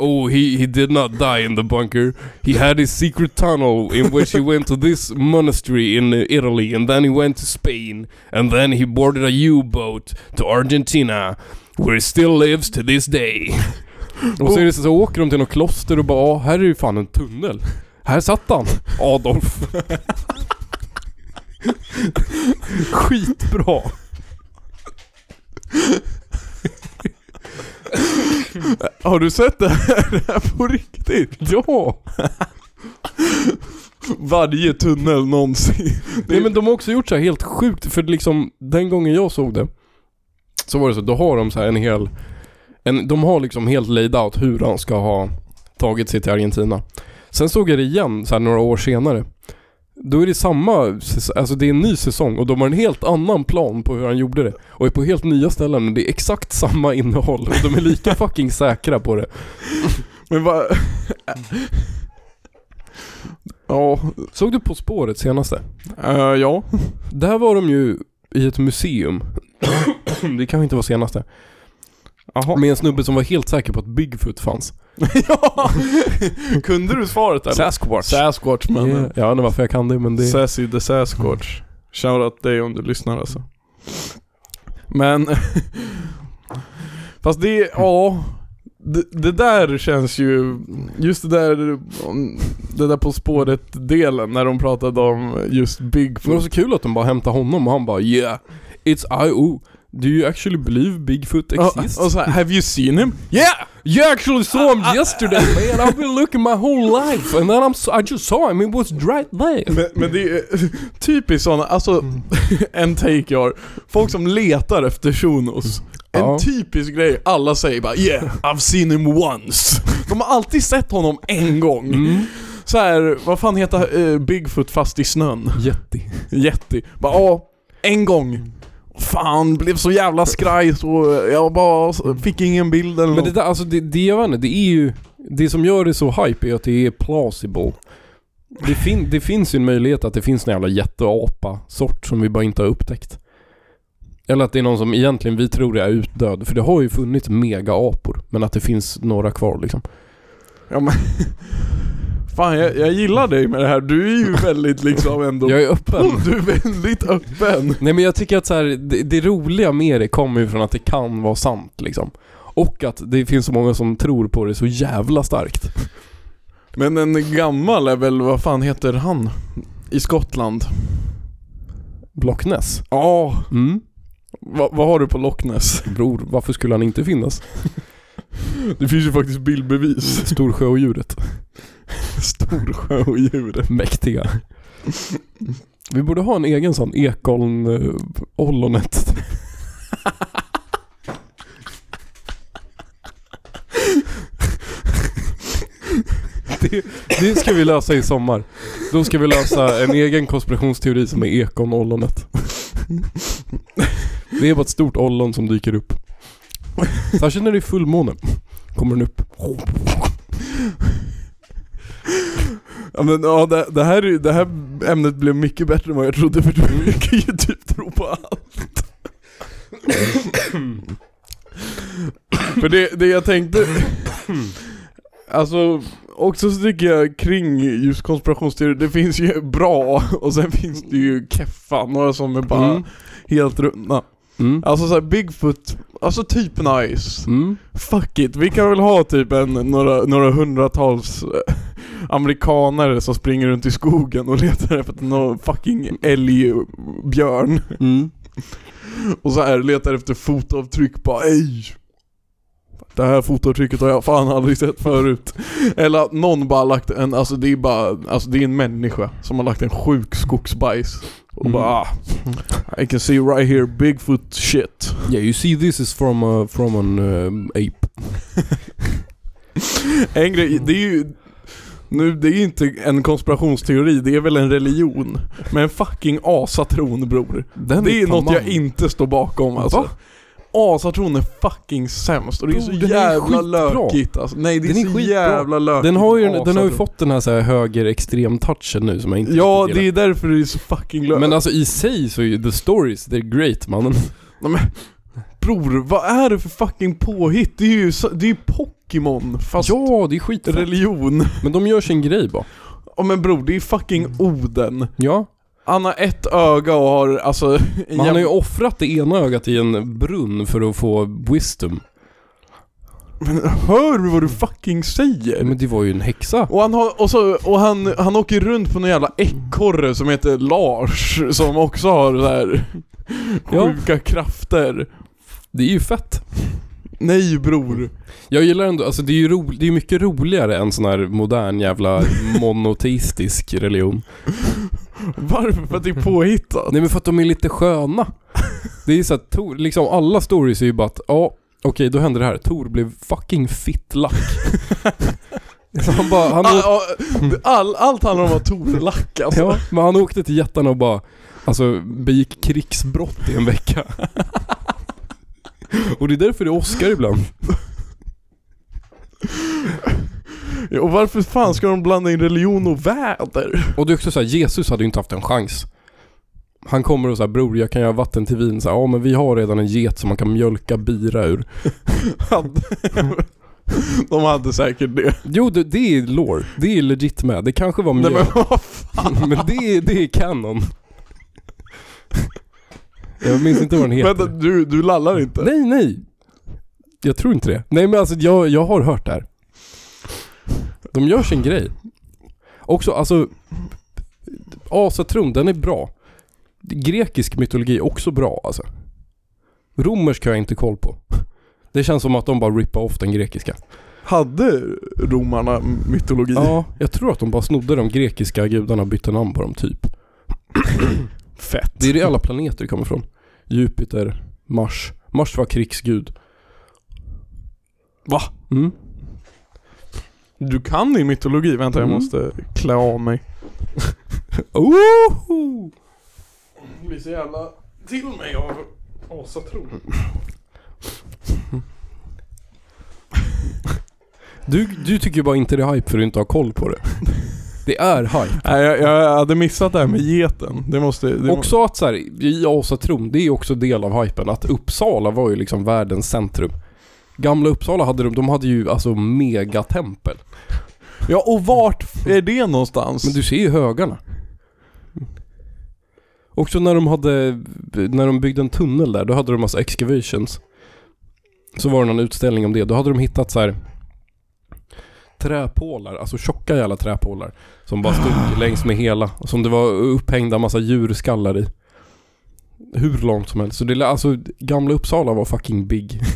Speaker 2: Oh, he, he did not die in the bunker. He had his secret tunnel in which he went to this monastery in uh, Italy and then he went to Spain and then he boarded a U-boat to Argentina where he still lives to this day. Och så, är det så, så åker de till något kloster och bara ah, här är ju fan en tunnel. Här satt han, Adolf. Skitbra.
Speaker 1: Har du sett det här, det här på riktigt?
Speaker 2: Ja!
Speaker 1: Varje tunnel någonsin.
Speaker 2: Nej men de har också gjort så här helt sjukt, för liksom den gången jag såg det Så var det så, då har de så här en hel en, De har liksom helt laid out hur han ska ha tagit sig till Argentina Sen såg jag det igen så här några år senare Då är det samma, säs- alltså det är en ny säsong och de har en helt annan plan på hur han gjorde det Och är på helt nya ställen och det är exakt samma innehåll och de är lika fucking säkra på det
Speaker 1: Men vad... ja,
Speaker 2: Såg du På spåret senaste?
Speaker 1: eh, ja.
Speaker 2: Där var de ju i ett museum. det kanske inte var senaste.
Speaker 1: Jaha.
Speaker 2: Med en snubbe som var helt säker på att Bigfoot fanns.
Speaker 1: ja. Kunde du svaret eller?
Speaker 2: Sasquatch.
Speaker 1: Sasquatch men...
Speaker 2: yeah. Jag vet inte varför jag kan det men det...
Speaker 1: Sassy the Sasquatch. Shoutout dig om du lyssnar alltså. Men... Fast det, ja. Det, det där känns ju, just det där, om- det där På spåret-delen när de pratade om just
Speaker 2: Men det var
Speaker 1: Bigfoot.
Speaker 2: så kul att de bara hämtade honom och han bara yeah, it's I.O. Do you actually believe Bigfoot exists?
Speaker 1: Och, och så Ah, här, have you seen him? Yeah!
Speaker 2: you actually saw him yesterday man, I've been looking my whole life and then I'm so, I just saw him, it was right there.
Speaker 1: Men, men det är typiskt sådana, alltså
Speaker 2: Mm.
Speaker 1: en take jag har. Folk som letar efter shunos. En
Speaker 2: Ja.
Speaker 1: typisk grej, alla säger bara 'Yeah, I've seen him once' De har alltid sett honom en gång.
Speaker 2: Mm.
Speaker 1: Så här, vad fan heter eh, Bigfoot fast i snön?
Speaker 2: Jätte.
Speaker 1: Jätte. Bara ja, en gång. Fan, blev så jävla skraj så jag bara fick ingen bild eller
Speaker 2: Men
Speaker 1: något.
Speaker 2: det där, alltså det, det jag vet inte, det är ju... Det som gör det så hype är att det är plausible. Det, fin, det finns ju en möjlighet att det finns en jävla jätteapa-sort som vi bara inte har upptäckt. Eller att det är någon som egentligen vi tror är utdöd. För det har ju funnits mega-apor. Men att det finns några kvar liksom.
Speaker 1: Ja, men, Fan jag, jag gillar dig med det här, du är ju väldigt liksom ändå...
Speaker 2: Jag är öppen.
Speaker 1: Du är väldigt öppen.
Speaker 2: Nej men jag tycker att så här, det, det roliga med det kommer ju från att det kan vara sant liksom. Och att det finns så många som tror på det så jävla starkt.
Speaker 1: Men en gammal är väl, vad fan heter han? I Skottland?
Speaker 2: Block Ness.
Speaker 1: Ja,
Speaker 2: Mm.
Speaker 1: va, vad har du på Loch Ness?
Speaker 2: Bror, varför skulle han inte finnas?
Speaker 1: Det finns ju faktiskt bildbevis.
Speaker 2: Storsjö och djuret.
Speaker 1: Storsjö och djuret.
Speaker 2: Mäktiga. Vi borde ha en egen sån ekoln eh, ollonet. Det, det ska vi lösa i sommar. Då ska vi lösa en egen konspirationsteori som är ekonollonet. Det är bara ett stort ollon som dyker upp. Särskilt när det är fullmåne. Kommer den upp.
Speaker 1: Ja, men, ja, det, det, här, är- det här ämnet blev mycket bättre än vad jag trodde för du kan ju typ tro på allt. för det, det jag tänkte... Alltså, också så tycker jag kring just konspirationsteorier, det finns ju bra och sen finns det ju keffa, några som är bara
Speaker 2: Mm.
Speaker 1: helt runda.
Speaker 2: Mm.
Speaker 1: Alltså såhär Bigfoot, alltså typ nice.
Speaker 2: Mm.
Speaker 1: Fuck it, vi kan väl ha typ en, några, några hundratals eh, amerikanare som springer runt i skogen och letar efter någon fucking älgbjörn
Speaker 2: Mm.
Speaker 1: och så här letar efter fotavtryck bara ej det här fotavtrycket har jag fan aldrig sett förut. Eller att någon bara lagt en, alltså det är bara, alltså det är en människa som har lagt en sjuk skogsbajs. Och
Speaker 2: Mm.
Speaker 1: bara ah, I can see right here Bigfoot shit.
Speaker 2: Yeah, you see this is from a, from an um, ape.
Speaker 1: En grej, det är ju... Nu, det är ju inte en konspirationsteori, det är väl en religion. Men en fucking asatron bror.
Speaker 2: Den
Speaker 1: Det är
Speaker 2: fan
Speaker 1: något jag
Speaker 2: man.
Speaker 1: inte står bakom alltså.
Speaker 2: Va?
Speaker 1: Asatron är fucking sämst och det är
Speaker 2: Bror,
Speaker 1: så
Speaker 2: den är
Speaker 1: jävla
Speaker 2: skitbra.
Speaker 1: lökigt alltså. Nej det är,
Speaker 2: Den är
Speaker 1: så
Speaker 2: skitbra.
Speaker 1: jävla lökigt.
Speaker 2: Den har ju, den har ju
Speaker 1: asatron.
Speaker 2: fått den här, så här höger-extrem-touchen nu som jag inte
Speaker 1: Ja,
Speaker 2: riktigt
Speaker 1: det
Speaker 2: gillar.
Speaker 1: är därför det är så fucking lökigt.
Speaker 2: Men alltså i sig så är ju the stories, they're great mannen.
Speaker 1: bror, vad är det för fucking påhitt? Det är ju, så- det är ju Pokémon fast
Speaker 2: Ja, det är skit.
Speaker 1: religion.
Speaker 2: Men de gör sin grej bara.
Speaker 1: Ja men bror, det är
Speaker 2: Mm.
Speaker 1: fucking Oden.
Speaker 2: Ja.
Speaker 1: Han har ett öga och har alltså... en
Speaker 2: Men han har ju
Speaker 1: jävla-
Speaker 2: offrat det ena ögat i en brunn för att få wisdom.
Speaker 1: Men hör du vad du fucking säger?
Speaker 2: Men det var ju en häxa.
Speaker 1: Och han, har, och så, och han, han åker runt på någon jävla ekorre som heter Lars, som också har så här
Speaker 2: Ja.
Speaker 1: sjuka krafter.
Speaker 2: Det är ju fett.
Speaker 1: Nej bror.
Speaker 2: Jag gillar ändå, alltså det är ju ro, det är ju mycket roligare än sån här modern jävla monoteistisk religion.
Speaker 1: Varför? För att det är påhittat?
Speaker 2: Nej men för att de är lite sköna. Det är ju så att Tor, liksom alla stories är ju bara att, ja, okej då hände det här. Tor blev fucking fittlack. han bara, han
Speaker 1: All,
Speaker 2: åkte,
Speaker 1: all, Ah, all, allt handlar om att Tor är lack alltså.
Speaker 2: ja, men han åkte till jättarna och bara, alltså begick krigsbrott i en vecka. och det är därför det är Oscar ibland.
Speaker 1: Och varför fan ska de blanda in religion och väder?
Speaker 2: Och det är också så här, Jesus hade ju inte haft en chans. Han kommer och säger bror jag kan göra vatten till vin. Så här, ja men vi har redan en get som man kan mjölka bira ur.
Speaker 1: De hade säkert det.
Speaker 2: Jo det, det är lore, det är legit med. Det kanske var
Speaker 1: Nej
Speaker 2: mjölk.
Speaker 1: men vad fan?
Speaker 2: Men det, är- det är kanon. Jag minns inte vad den heter.
Speaker 1: Vänta, du, du lallar inte?
Speaker 2: Nej, nej. Jag tror inte det. Nej men alltså jag, jag har hört det här. De gör sin grej. Också alltså, asatron den är bra. Grekisk mytologi också bra alltså. Romersk har jag inte koll på. Det känns som att de bara rippar off den grekiska.
Speaker 1: Hade romarna mytologi?
Speaker 2: Ja, jag tror att de bara snodde de grekiska gudarna och bytte namn på dem typ.
Speaker 1: Fett.
Speaker 2: Det är det alla planeter kommer ifrån. Jupiter, Mars. Mars var krigsgud.
Speaker 1: Va?
Speaker 2: Mm.
Speaker 1: Du kan din mytologi, vänta jag
Speaker 2: Mm.
Speaker 1: måste klä av mig.
Speaker 2: Oho!
Speaker 1: Det blir så jävla till mig av asatron.
Speaker 2: Du, du tycker ju bara inte det är hype för du inte har koll på det. Det är hype.
Speaker 1: Nej jag, jag hade missat det här med geten. Det måste... Det må-
Speaker 2: Också att så här, i asatron, det är också del av hypen. Att Uppsala var ju liksom världens centrum. Gamla Uppsala hade de, de hade ju alltså megatempel.
Speaker 1: Ja, och vart är det någonstans?
Speaker 2: Men du ser ju högarna. Också när de hade, när de byggde en tunnel där, då hade de massa excavations. Så var det någon utställning om det. Då hade de hittat så här träpålar, alltså tjocka jävla träpålar. Som bara stod längs med hela. och Som det var upphängda massa djurskallar i. Hur långt som helst. Så det, lä- alltså Gamla Uppsala var fucking big.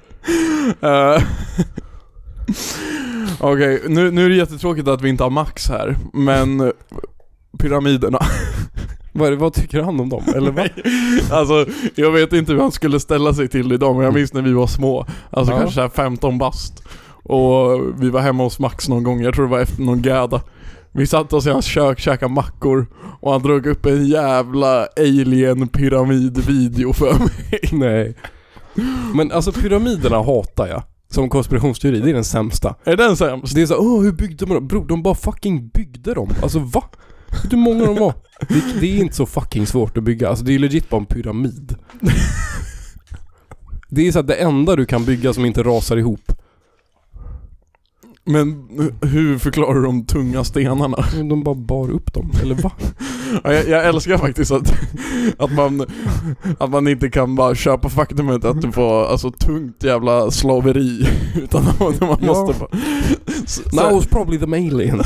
Speaker 1: Eh, Okej, nu, nu är det jättetråkigt att vi inte har Max här, men eh, pyramiderna.
Speaker 2: Vad, är det- vad tycker han om dem? Eller vad?
Speaker 1: Alltså, jag vet inte hur han skulle ställa sig till idag, men jag minns när vi var små. Alltså
Speaker 2: Ja.
Speaker 1: kanske så här 15 bast. Och vi var hemma hos Max någon gång, jag tror det var efter någon gädda. Vi satte oss i hans kök, käkade mackor och han drog upp en jävla alien pyramidvideo för mig.
Speaker 2: Nej. Men alltså pyramiderna hatar jag. Som konspirationsteori, det är den sämsta.
Speaker 1: Är den sämst?
Speaker 2: Så det är såhär, åh hur byggde man dem? Bror, de bara fucking byggde dem. Alltså va? Vet du hur många de var? Det, det är inte så fucking svårt att bygga. Alltså det är legit bara en pyramid. Det är såhär det enda du kan bygga som inte rasar ihop.
Speaker 1: Men hur förklarar du de tunga stenarna?
Speaker 2: De bara bar upp dem, eller va?
Speaker 1: Ja, Jag, jag älskar faktiskt att, att, man, att man inte kan bara köpa faktumet att det var alltså, tungt jävla slaveri. Utan att man man
Speaker 2: Ja.
Speaker 1: måste bara, så,
Speaker 2: That was probably the alien.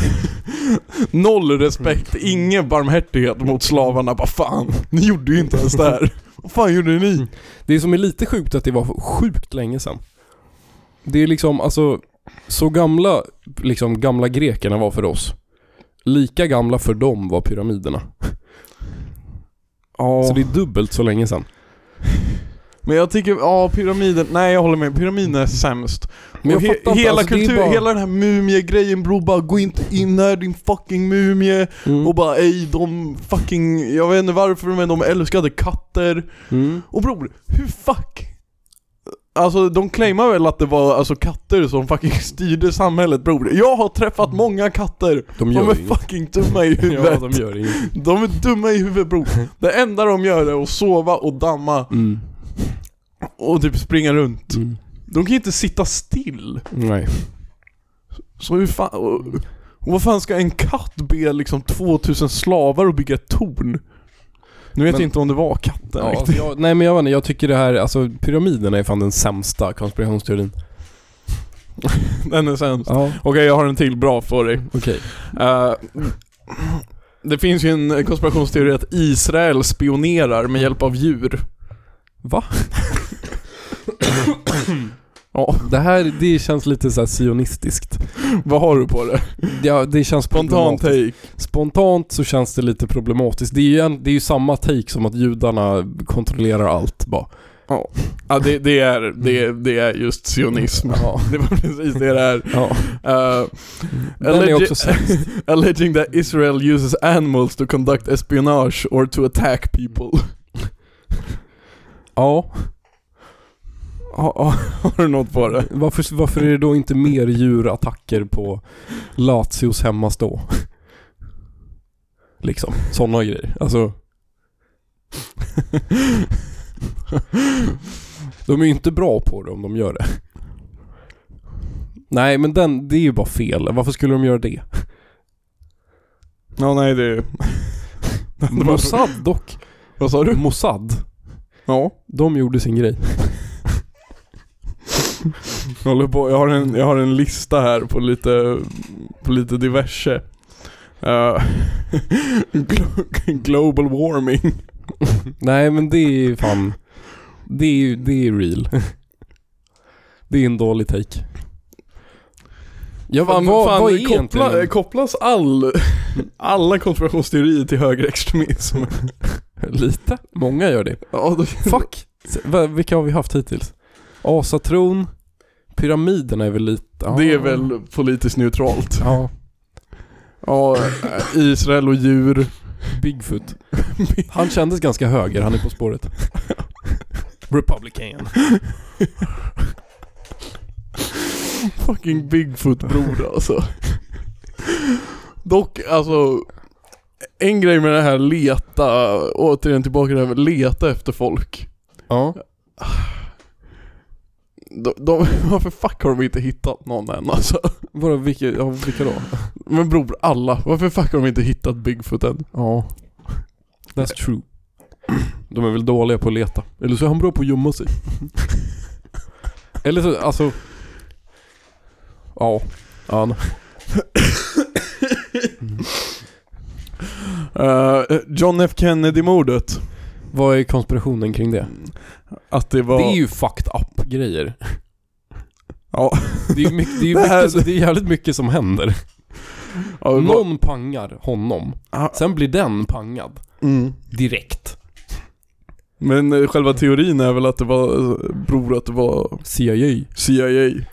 Speaker 1: Noll respekt,
Speaker 2: Mm.
Speaker 1: ingen barmhärtighet mot slavarna. Bara fan, ni gjorde ju inte ens det här. Vad fan gjorde
Speaker 2: Mm.
Speaker 1: ni?
Speaker 2: Det som är lite sjukt är att det var sjukt länge sedan. Det är liksom, alltså, så gamla, liksom gamla grekerna var för oss. Lika gamla för dem var pyramiderna.
Speaker 1: Ja.
Speaker 2: Så det är dubbelt så länge sedan.
Speaker 1: Men jag tycker, ja pyramiden, nej jag håller med, pyramiden är sämst.
Speaker 2: Men jag
Speaker 1: Och he-
Speaker 2: fattar inte,
Speaker 1: hela,
Speaker 2: alltså, det är
Speaker 1: kultur,
Speaker 2: bara-
Speaker 1: hela den här mumiegrejen bror, bara gå inte in här din fucking mumie.
Speaker 2: Mm.
Speaker 1: Och bara ej, de fucking, jag vet inte varför men de älskade katter.
Speaker 2: Mm.
Speaker 1: Och bror, hur fuck? Alltså de claimar väl att det var alltså, katter som fucking styrde samhället bror. Jag har
Speaker 2: Mm.
Speaker 1: träffat många katter.
Speaker 2: De
Speaker 1: De
Speaker 2: gör
Speaker 1: är
Speaker 2: inget.
Speaker 1: fucking dumma i
Speaker 2: Ja,
Speaker 1: huvudet.
Speaker 2: de gör inget.
Speaker 1: De är dumma i huvudet bror. Det enda de gör är att sova och damma
Speaker 2: Mm.
Speaker 1: och typ springa runt.
Speaker 2: Mm.
Speaker 1: De kan ju inte sitta still.
Speaker 2: Nej.
Speaker 1: Så hur fan... Och, och vad fan ska en katt be liksom 2000 slavar att bygga ett torn? Nu vet
Speaker 2: Men-
Speaker 1: jag inte om det var katten
Speaker 2: Ja,
Speaker 1: riktigt.
Speaker 2: jag, nej men jag vet inte, jag tycker det här, alltså pyramiderna är fan den sämsta konspirationsteorin.
Speaker 1: Den är sämst.
Speaker 2: Ja.
Speaker 1: Okej, jag har en till bra för dig.
Speaker 2: Okej.
Speaker 1: Eh, det finns ju en konspirationsteori att Israel spionerar med hjälp av djur.
Speaker 2: Va?
Speaker 1: Ja,
Speaker 2: Det här, det känns lite såhär sionistiskt.
Speaker 1: vad har du på det?
Speaker 2: Ja, det känns
Speaker 1: Spontan
Speaker 2: problematiskt.
Speaker 1: take.
Speaker 2: Spontant så känns det lite problematiskt. Det är ju, en, det är ju samma take som att judarna kontrollerar allt bara.
Speaker 1: Ja, det, det, är, det, det är just sionism.
Speaker 2: Ja.
Speaker 1: Det var precis det det är.
Speaker 2: ja.
Speaker 1: Uh,
Speaker 2: Den är också sämst.
Speaker 1: alleging that Israel uses animals to conduct espionage or to attack people.
Speaker 2: Ja.
Speaker 1: Har, har- har du något på det?
Speaker 2: Varför, varför är det då inte mer djurattacker på Latios hemma då? Liksom, sådana grejer. Alltså... De är ju inte bra på det om de gör det. Nej, men den, det är ju bara fel. Varför skulle de göra det?
Speaker 1: Ja, nej det är... Det var-
Speaker 2: Mossad dock.
Speaker 1: Vad sa du?
Speaker 2: Mossad.
Speaker 1: Ja.
Speaker 2: De gjorde sin grej.
Speaker 1: Jag, håller på. Jag, har en, jag har en lista här på lite, på lite diverse. Eh, glo- global warming.
Speaker 2: Nej men det är fan... Det är ju, det är real. Det är en dålig take. Ja, vad, vad,
Speaker 1: Fan,
Speaker 2: vad är
Speaker 1: koppla-
Speaker 2: egentligen...
Speaker 1: Kopplas all, alla konspirationsteorier till högerextremism? eh,
Speaker 2: Lite? Många gör det.
Speaker 1: Ja, då-
Speaker 2: Fuck! S- va- Vilka har vi haft hittills? Asatron, pyramiderna är väl lite... Ah, ja.
Speaker 1: Det är väl politiskt neutralt.
Speaker 2: Ja,
Speaker 1: Ja, Israel och djur.
Speaker 2: Bigfoot. Han kändes ganska höger, han är på spåret. Republican.
Speaker 1: Fucking Bigfoot bror alltså. Dock alltså, en grej med det här leta, återigen tillbaka till det här med leta efter folk.
Speaker 2: Ja.
Speaker 1: de, de, varför fuck har de inte hittat någon än alltså?
Speaker 2: Vadå, vilka, ja, vilka då?
Speaker 1: Men bror, alla. Varför fuck har de inte hittat Bigfoot än?
Speaker 2: Ja. That's true. De är väl dåliga på att leta. Eller så är han bra på att gömma sig. Eller så, alltså... Ja.
Speaker 1: Ja. no. Eh, John F Kennedy-mordet.
Speaker 2: Vad är konspirationen kring det?
Speaker 1: Att det var...
Speaker 2: Det är ju fucked up grejer.
Speaker 1: Ja.
Speaker 2: Det är, ju mycket, det, är ju
Speaker 1: Det här-
Speaker 2: mycket, det är jävligt mycket som händer.
Speaker 1: ja, det var-
Speaker 2: Någon pangar honom.
Speaker 1: Ah,
Speaker 2: Sen blir den pangad.
Speaker 1: mm.
Speaker 2: Direkt.
Speaker 1: Men eh, själva
Speaker 2: Mm.
Speaker 1: teorin är väl att det var, eh, bror att det var
Speaker 2: CIA.
Speaker 1: CIA.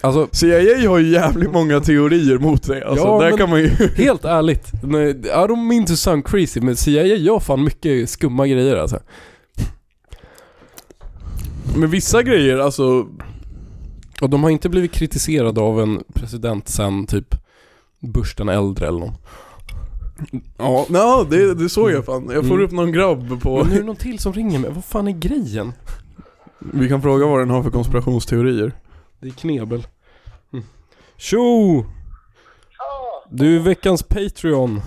Speaker 2: Alltså,
Speaker 1: CIA har ju jävligt många teorier mot sig. Alltså,
Speaker 2: Ja,
Speaker 1: där
Speaker 2: men-
Speaker 1: kan man ju...
Speaker 2: helt ärligt. Nej, ja, de är inte sound crazy, men CIA gör fan mycket skumma grejer alltså.
Speaker 1: Men vissa grejer, alltså...
Speaker 2: Och de har inte blivit kritiserade av en president sen typ Bush den äldre eller någon.
Speaker 1: Ja, no, det, det såg jag fan. Jag får
Speaker 2: Mm.
Speaker 1: upp någon grabb på...
Speaker 2: Men nu är det någon till som ringer mig. Vad fan är grejen?
Speaker 1: Vi kan fråga vad den har för konspirationsteorier.
Speaker 2: Det är knebel. Mm. Tjo! Du är veckans Patreon.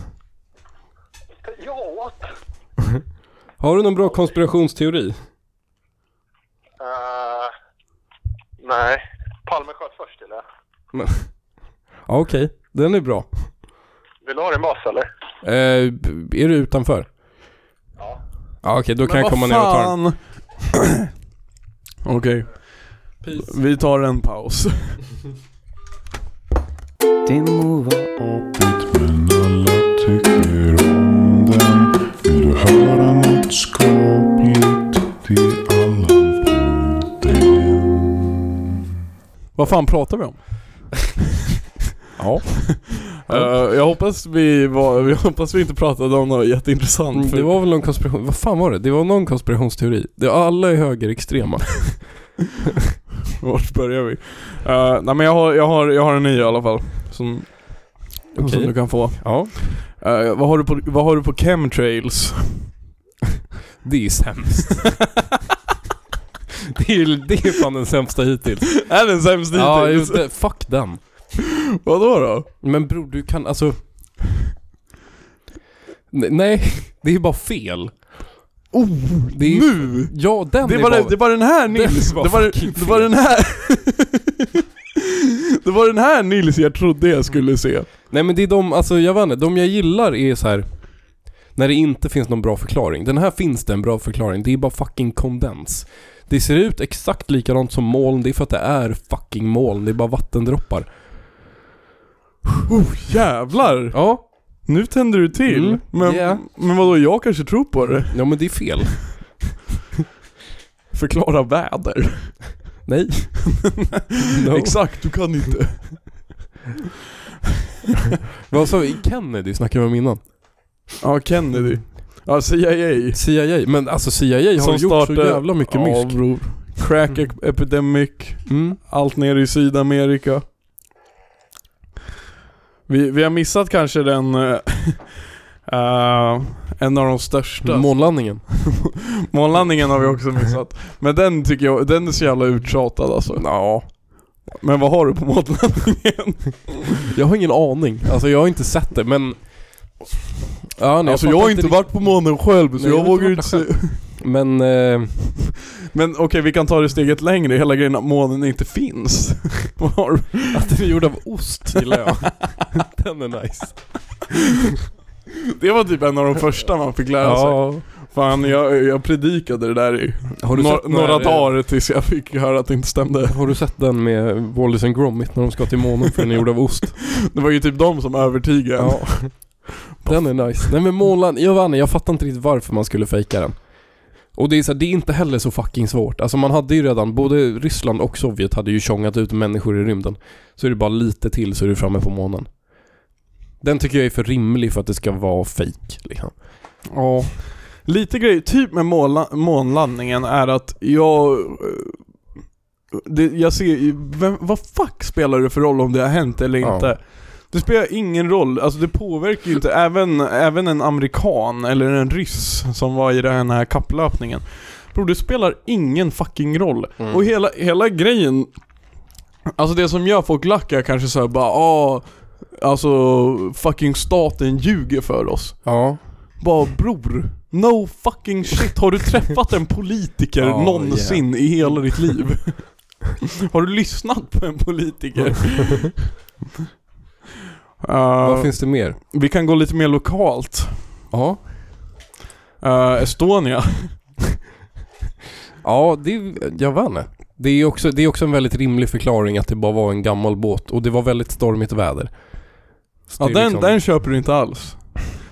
Speaker 3: Ja.
Speaker 2: Har du någon bra konspirationsteori?
Speaker 3: Uh, nej. Palme sköt först eller?
Speaker 2: Men- Ja okej, den är bra.
Speaker 3: Vill du ha din bas eller?
Speaker 2: Eh, b- är du utanför?
Speaker 3: Ja.
Speaker 2: Ja okej, då kan jag komma ner och ta den.
Speaker 1: den. Okej, vi tar en paus.
Speaker 4: Det må vara
Speaker 5: Men alla tycker om den Vill du höra något skapligt? Det är Allan Podden
Speaker 1: Vad fan pratar vi om?
Speaker 2: Ja.
Speaker 1: Eh, jag, hoppas vi var, jag hoppas vi inte pratade om något jätteintressant.
Speaker 2: Mm,
Speaker 1: för-
Speaker 2: Det var väl någon konspiration... Vad fan var det? Det var någon konspirationsteori. Det alla är högerextrema.
Speaker 1: Vart börjar vi? Eh, nej men jag har, jag, har, jag har en ny i alla fall. Som, som
Speaker 2: Okej.
Speaker 1: du kan få.
Speaker 2: Ja.
Speaker 1: Eh, vad, har du på, vad har du på chemtrails?
Speaker 2: Det är sämst. det, är, det är fan den sämsta hittills.
Speaker 1: är den sämst
Speaker 2: Ja,
Speaker 1: hittills?
Speaker 2: just det. Fuck den.
Speaker 1: Vadå då?
Speaker 2: Men bror, du kan alltså... N- Nej, det är bara fel.
Speaker 1: Oh,
Speaker 2: Det är-
Speaker 1: nu!
Speaker 2: Ja, den
Speaker 1: Det
Speaker 2: är
Speaker 1: var,
Speaker 2: bara...
Speaker 1: den- det var den här Nils,
Speaker 2: var
Speaker 1: det, var,
Speaker 2: fucking
Speaker 1: det var den här Det var den här Nils jag trodde jag skulle se
Speaker 2: Nej men det är de, alltså jag vet inte, de jag gillar är så här. När det inte finns någon bra förklaring. Den här finns det en bra förklaring, det är bara fucking kondens. Det ser ut exakt likadant som moln, det är för att det är fucking moln, det är bara vattendroppar.
Speaker 1: oh, Jävlar!
Speaker 2: Ja,
Speaker 1: Nu tänder du till
Speaker 2: Mm,
Speaker 1: men,
Speaker 2: yeah.
Speaker 1: men vadå, jag kanske tror på det?
Speaker 2: ja men det är fel.
Speaker 1: Förklara väder
Speaker 2: Nej. no.
Speaker 1: Exakt, du kan inte
Speaker 2: Vad sa vi? Kennedy snackade vi om innan.
Speaker 1: Ja, Kennedy Ja, CIA
Speaker 2: CIA, men alltså CIA har
Speaker 1: Som
Speaker 2: gjort så
Speaker 1: startade-
Speaker 2: jävla mycket
Speaker 1: Ja,
Speaker 2: mysk.
Speaker 1: bror Crack epidemic
Speaker 2: Mm.
Speaker 1: Allt nere i Sydamerika. Vi, vi har missat kanske den... eh, eh, en av de största.
Speaker 2: Månlandningen.
Speaker 1: Månlandningen har vi också missat. Men den tycker jag, den är så jävla uttjatad alltså.
Speaker 2: Ja.
Speaker 1: Men vad har du på månlandningen?
Speaker 2: Jag har ingen aning, alltså jag har inte sett det men... Ja, nej,
Speaker 1: alltså
Speaker 2: fattar
Speaker 1: jag har inte varit på månen själv så
Speaker 2: Nej, jag
Speaker 1: jag
Speaker 2: har
Speaker 1: vågar
Speaker 2: inte
Speaker 1: inte säga.
Speaker 2: varit Men... Eh,
Speaker 1: Men okej, vi kan ta det steget längre. Hela grejen att månen inte finns. Vad har du?
Speaker 2: Att den är gjord av ost gillar jag. Den är nice.
Speaker 1: det var typ en av de första man fick lära sig.
Speaker 2: Alltså,
Speaker 1: Fan, jag, jag predikade det där i
Speaker 2: Har du
Speaker 1: Nå-
Speaker 2: sett
Speaker 1: några
Speaker 2: när, eh,
Speaker 1: dagar tills jag fick höra att det inte stämde.
Speaker 2: Har du sett den med Wallis and Gromit när de ska till månen för den är gjord av ost?
Speaker 1: Det var ju typ de som övertygade en.
Speaker 2: Den är nice. Nej men målan, jag vann, jag fattar inte riktigt varför man skulle fejka den. Och det är så här, det är inte heller så fucking svårt. Alltså man hade ju redan, både Ryssland och Sovjet hade ju tjongat ut människor i rymden. Så är det bara lite till så är du framme på månen. Den tycker jag är för rimlig för att det ska vara fake liksom.
Speaker 1: Ja. Lite grej, typ med måla, månlandningen är att jag... eh, Det, jag ser vem, vad fuck spelar det för roll om det har hänt eller
Speaker 2: Ja.
Speaker 1: inte? Det spelar ingen roll, alltså det påverkar ju inte, även, även en amerikan eller en ryss som var i den här kapplöpningen Bror det spelar ingen fucking roll. Och hela, hela grejen, alltså det som gör folk lacka är kanske såhär bara ah, alltså fucking staten ljuger för oss.
Speaker 2: Ja.
Speaker 1: Bara bror, no fucking shit. Har du träffat en politiker
Speaker 2: Ja,
Speaker 1: någonsin i hela ditt liv? Har du lyssnat på en politiker? Eh,
Speaker 2: Vad
Speaker 1: Eh,
Speaker 2: finns det mer?
Speaker 1: vi kan gå lite mer lokalt.
Speaker 2: Ja.
Speaker 1: Eh, Estonia.
Speaker 2: Ja, det, jag vann. Det är, också, det är också en väldigt rimlig förklaring att det bara var en gammal båt och det var väldigt stormigt väder. Så
Speaker 1: Ja
Speaker 2: det är
Speaker 1: den,
Speaker 2: liksom-
Speaker 1: den köper du inte alls.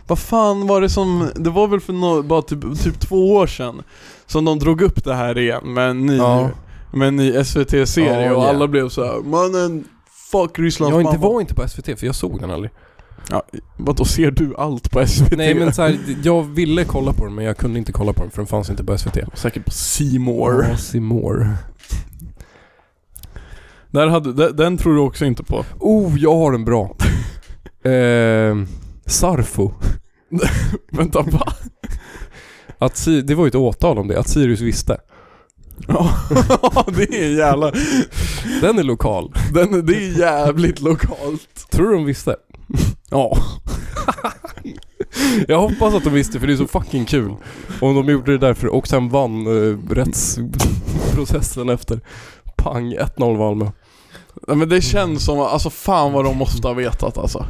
Speaker 1: Vad fan var det som, det var väl för nå bara typ, typ två år sedan som de drog upp det här igen med en ny,
Speaker 2: Ja.
Speaker 1: med en ny SVT-serie
Speaker 2: Ja,
Speaker 1: och
Speaker 2: ja.
Speaker 1: alla blev så här: mannen fuck Rysslands
Speaker 2: Jag inte,
Speaker 1: mamma."
Speaker 2: var inte på SVT för jag såg den aldrig.
Speaker 1: Ja, vadå ser du allt på SVT?
Speaker 2: Nej men så här, jag ville kolla på den men jag kunde inte kolla på den för den fanns inte på SVT.
Speaker 1: Säkert på C More.
Speaker 2: Ja, C More.
Speaker 1: Där hade, den, den tror du också inte på.
Speaker 2: Oh, jag har en bra. eh, Sarfo.
Speaker 1: Vänta va?
Speaker 2: Att, Si- det var ju ett åtal om det, att Sirius visste.
Speaker 1: Ja det är jävla,
Speaker 2: Den är lokal.
Speaker 1: den, det är jävligt lokalt.
Speaker 2: Tror du de visste?
Speaker 1: Ja.
Speaker 2: Jag hoppas att de visste för det är så fucking kul. Om de gjorde det därför och sen vann eh, rättsprocessen efter. Pang, 1-0 Malmö.
Speaker 1: Nej, men det känns som, alltså fan vad de måste ha vetat alltså.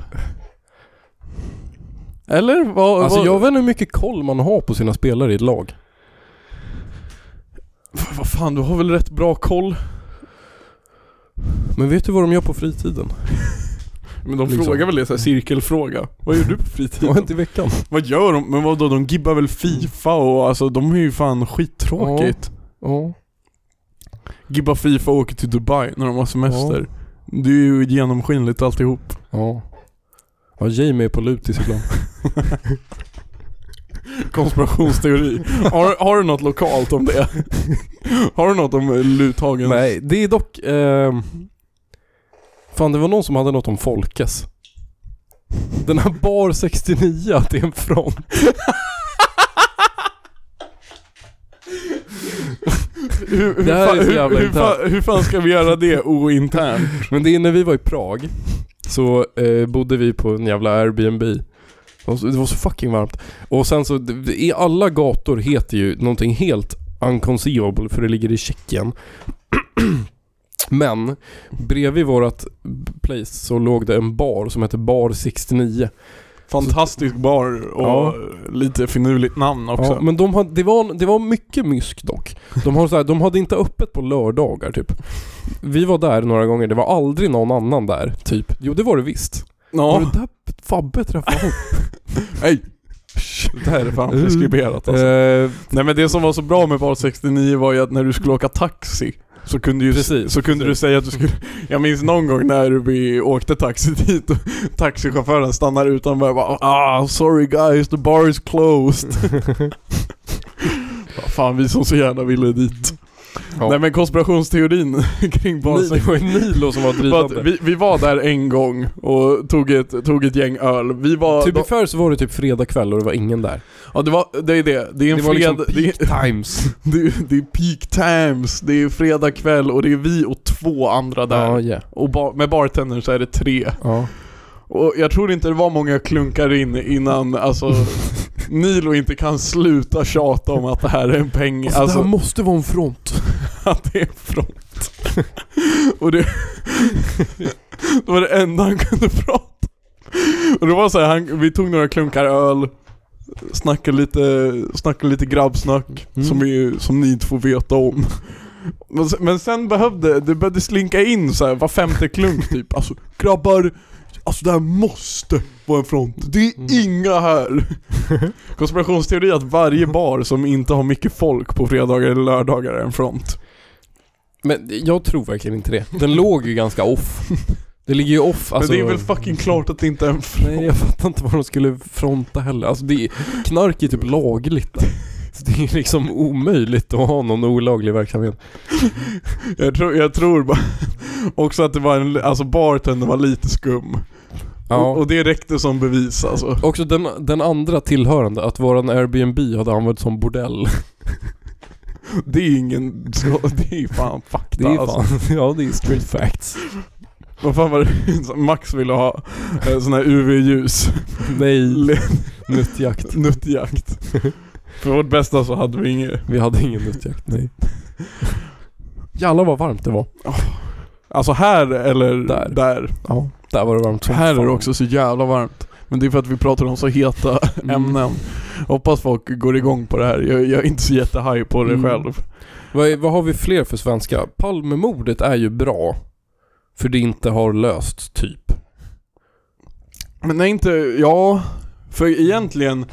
Speaker 1: Eller vad...
Speaker 2: Alltså
Speaker 1: vad,
Speaker 2: jag vet inte hur mycket koll man har på sina spelare i ett lag.
Speaker 1: F- vad fan, du har väl rätt bra koll?
Speaker 2: Men vet du vad de gör på fritiden?
Speaker 1: Men de
Speaker 2: Liksom.
Speaker 1: frågar väl det såhär, cirkelfråga. Vad gör du på fritiden?
Speaker 2: Ja, inte i veckan.
Speaker 1: vad gör de? Men vadå, de gibbar väl Fifa och alltså de är ju fan skittråkigt.
Speaker 2: Ja.
Speaker 1: Gibbar Fifa och åker till Dubai när de har semester. Det är ju genomskinligt alltihop.
Speaker 2: Ja. Ja, Jamie är på lutis ibland.
Speaker 1: Konspirationsteori. har, har du något lokalt om det? har du något om eh, Luthagen?
Speaker 2: Nej, det är dock... ehm, fan, det var någon som hade något om Folkes. Den här bar 69, att det är en front.
Speaker 1: Hur, hur,
Speaker 2: Det här
Speaker 1: fan,
Speaker 2: är så
Speaker 1: hur,
Speaker 2: jävla
Speaker 1: hur, fan, hur fan ska vi göra det ointernt?
Speaker 2: Men det är när vi var i Prag så eh, bodde vi på en jävla Airbnb. Och så- Det var så fucking varmt. Och sen så, i alla gator heter ju någonting helt unconceivable för det ligger i Tjeckien. Men bredvid vårat place så låg det en bar som hette Bar 69.
Speaker 1: Fantastisk bar och
Speaker 2: Ja.
Speaker 1: lite finurligt namn också.
Speaker 2: Ja, men de hade, det, var, det var mycket mysk dock. De, har så här, de hade inte öppet på lördagar typ. Vi var där några gånger, det var aldrig någon annan där typ. Jo det var det visst. Var
Speaker 1: ja.
Speaker 2: det där Fabbe träffade honom?
Speaker 1: Nej. Det här är fan
Speaker 2: Mm.
Speaker 1: preskriberat alltså.
Speaker 2: Eh,
Speaker 1: Nej men det som var så bra med Bar 69 var ju att när du skulle åka taxi så kunde, ju,
Speaker 2: Precis.
Speaker 1: så kunde du säga att du skulle... Jag minns någon gång när vi åkte taxi dit och taxichauffören stannar utanför och bara ah, sorry guys, the bar is closed. Vad Fan vi som så gärna ville dit.
Speaker 2: Ja.
Speaker 1: Nej men konspirationsteorin kring Bar
Speaker 2: Ni- det
Speaker 1: 69
Speaker 2: var ju Nilo som var
Speaker 1: För att
Speaker 2: drivande.
Speaker 1: vi, vi var där en gång och tog ett, tog ett gäng öl. Vi var...
Speaker 2: typ
Speaker 1: de,
Speaker 2: i förr så var det typ fredag kväll och det var ingen där.
Speaker 1: ja, det, var, det är det. Det är en
Speaker 2: Det var liksom
Speaker 1: fredag... det, är,
Speaker 2: Times.
Speaker 1: det, är, det är peak times, det är fredag kväll och det är vi och två andra där.
Speaker 2: Ja, Alltså, yeah.
Speaker 1: Och ba, med bartendern så är det tre.
Speaker 2: ja.
Speaker 1: Och jag tror inte det var många klunkar in innan alltså Nilo inte kan sluta tjata om att det här är en peng.
Speaker 2: Alltså, det här
Speaker 1: Alltså
Speaker 2: måste vara en front.
Speaker 1: att det är en front. Och det, det var det enda han kunde prata Och det var så här, han, vi tog några klunkar öl, snackade lite, snackade lite grabbsnack
Speaker 2: Mm.
Speaker 1: som, vi, som ni inte får veta om. Men, se- men sen behövde, det började slinka in så här, var femte klunk typ. Alltså grabbar, alltså det här måste vara en front. Det är
Speaker 2: Mm.
Speaker 1: inga här. Konspirationsteori är att varje bar som inte har mycket folk på fredagar eller lördagar är en front.
Speaker 2: Men jag tror verkligen inte det. Den låg ju ganska off. Det ligger ju off alltså.
Speaker 1: men det är väl fucking klart att det inte är en front.
Speaker 2: Nej jag fattar inte vad de skulle fronta heller. Alltså det är, knark är typ lagligt där. Så det är liksom omöjligt att ha någon olaglig verksamhet.
Speaker 1: Jag tror, jag tror bara också att det var en, alltså bartendern var lite skum. Och,
Speaker 2: Ja.
Speaker 1: och det räckte som bevis alltså.
Speaker 2: Också den, den andra tillhörande, att våran Airbnb hade använts som bordell.
Speaker 1: Det är ingen... Det är fan fakta
Speaker 2: Det är
Speaker 1: alltså.
Speaker 2: fan, ja det är street facts.
Speaker 1: Vad fan var det som Max ville ha? Eh, Sån här UV-ljus.
Speaker 2: Nej,
Speaker 1: Le-
Speaker 2: nuttjakt.
Speaker 1: Nuttjakt. För vårt bästa så hade vi inget.
Speaker 2: Vi hade ingen nuttjakt, nej. Jävlar vad varmt det var.
Speaker 1: Alltså här eller
Speaker 2: Där.
Speaker 1: där.
Speaker 2: Ja, där var det varmt som
Speaker 1: Här
Speaker 2: fan.
Speaker 1: är det också så jävla varmt. Men det är för att vi pratar om så heta
Speaker 2: Mm.
Speaker 1: ämnen. Hoppas folk går igång på det här. Jag, jag är inte så jättehaj på det
Speaker 2: Mm.
Speaker 1: själv.
Speaker 2: Vad, är, vad har vi fler för svenska? Palmemordet är ju bra. För det inte har lösts, typ.
Speaker 1: Men nej inte, ja. För egentligen,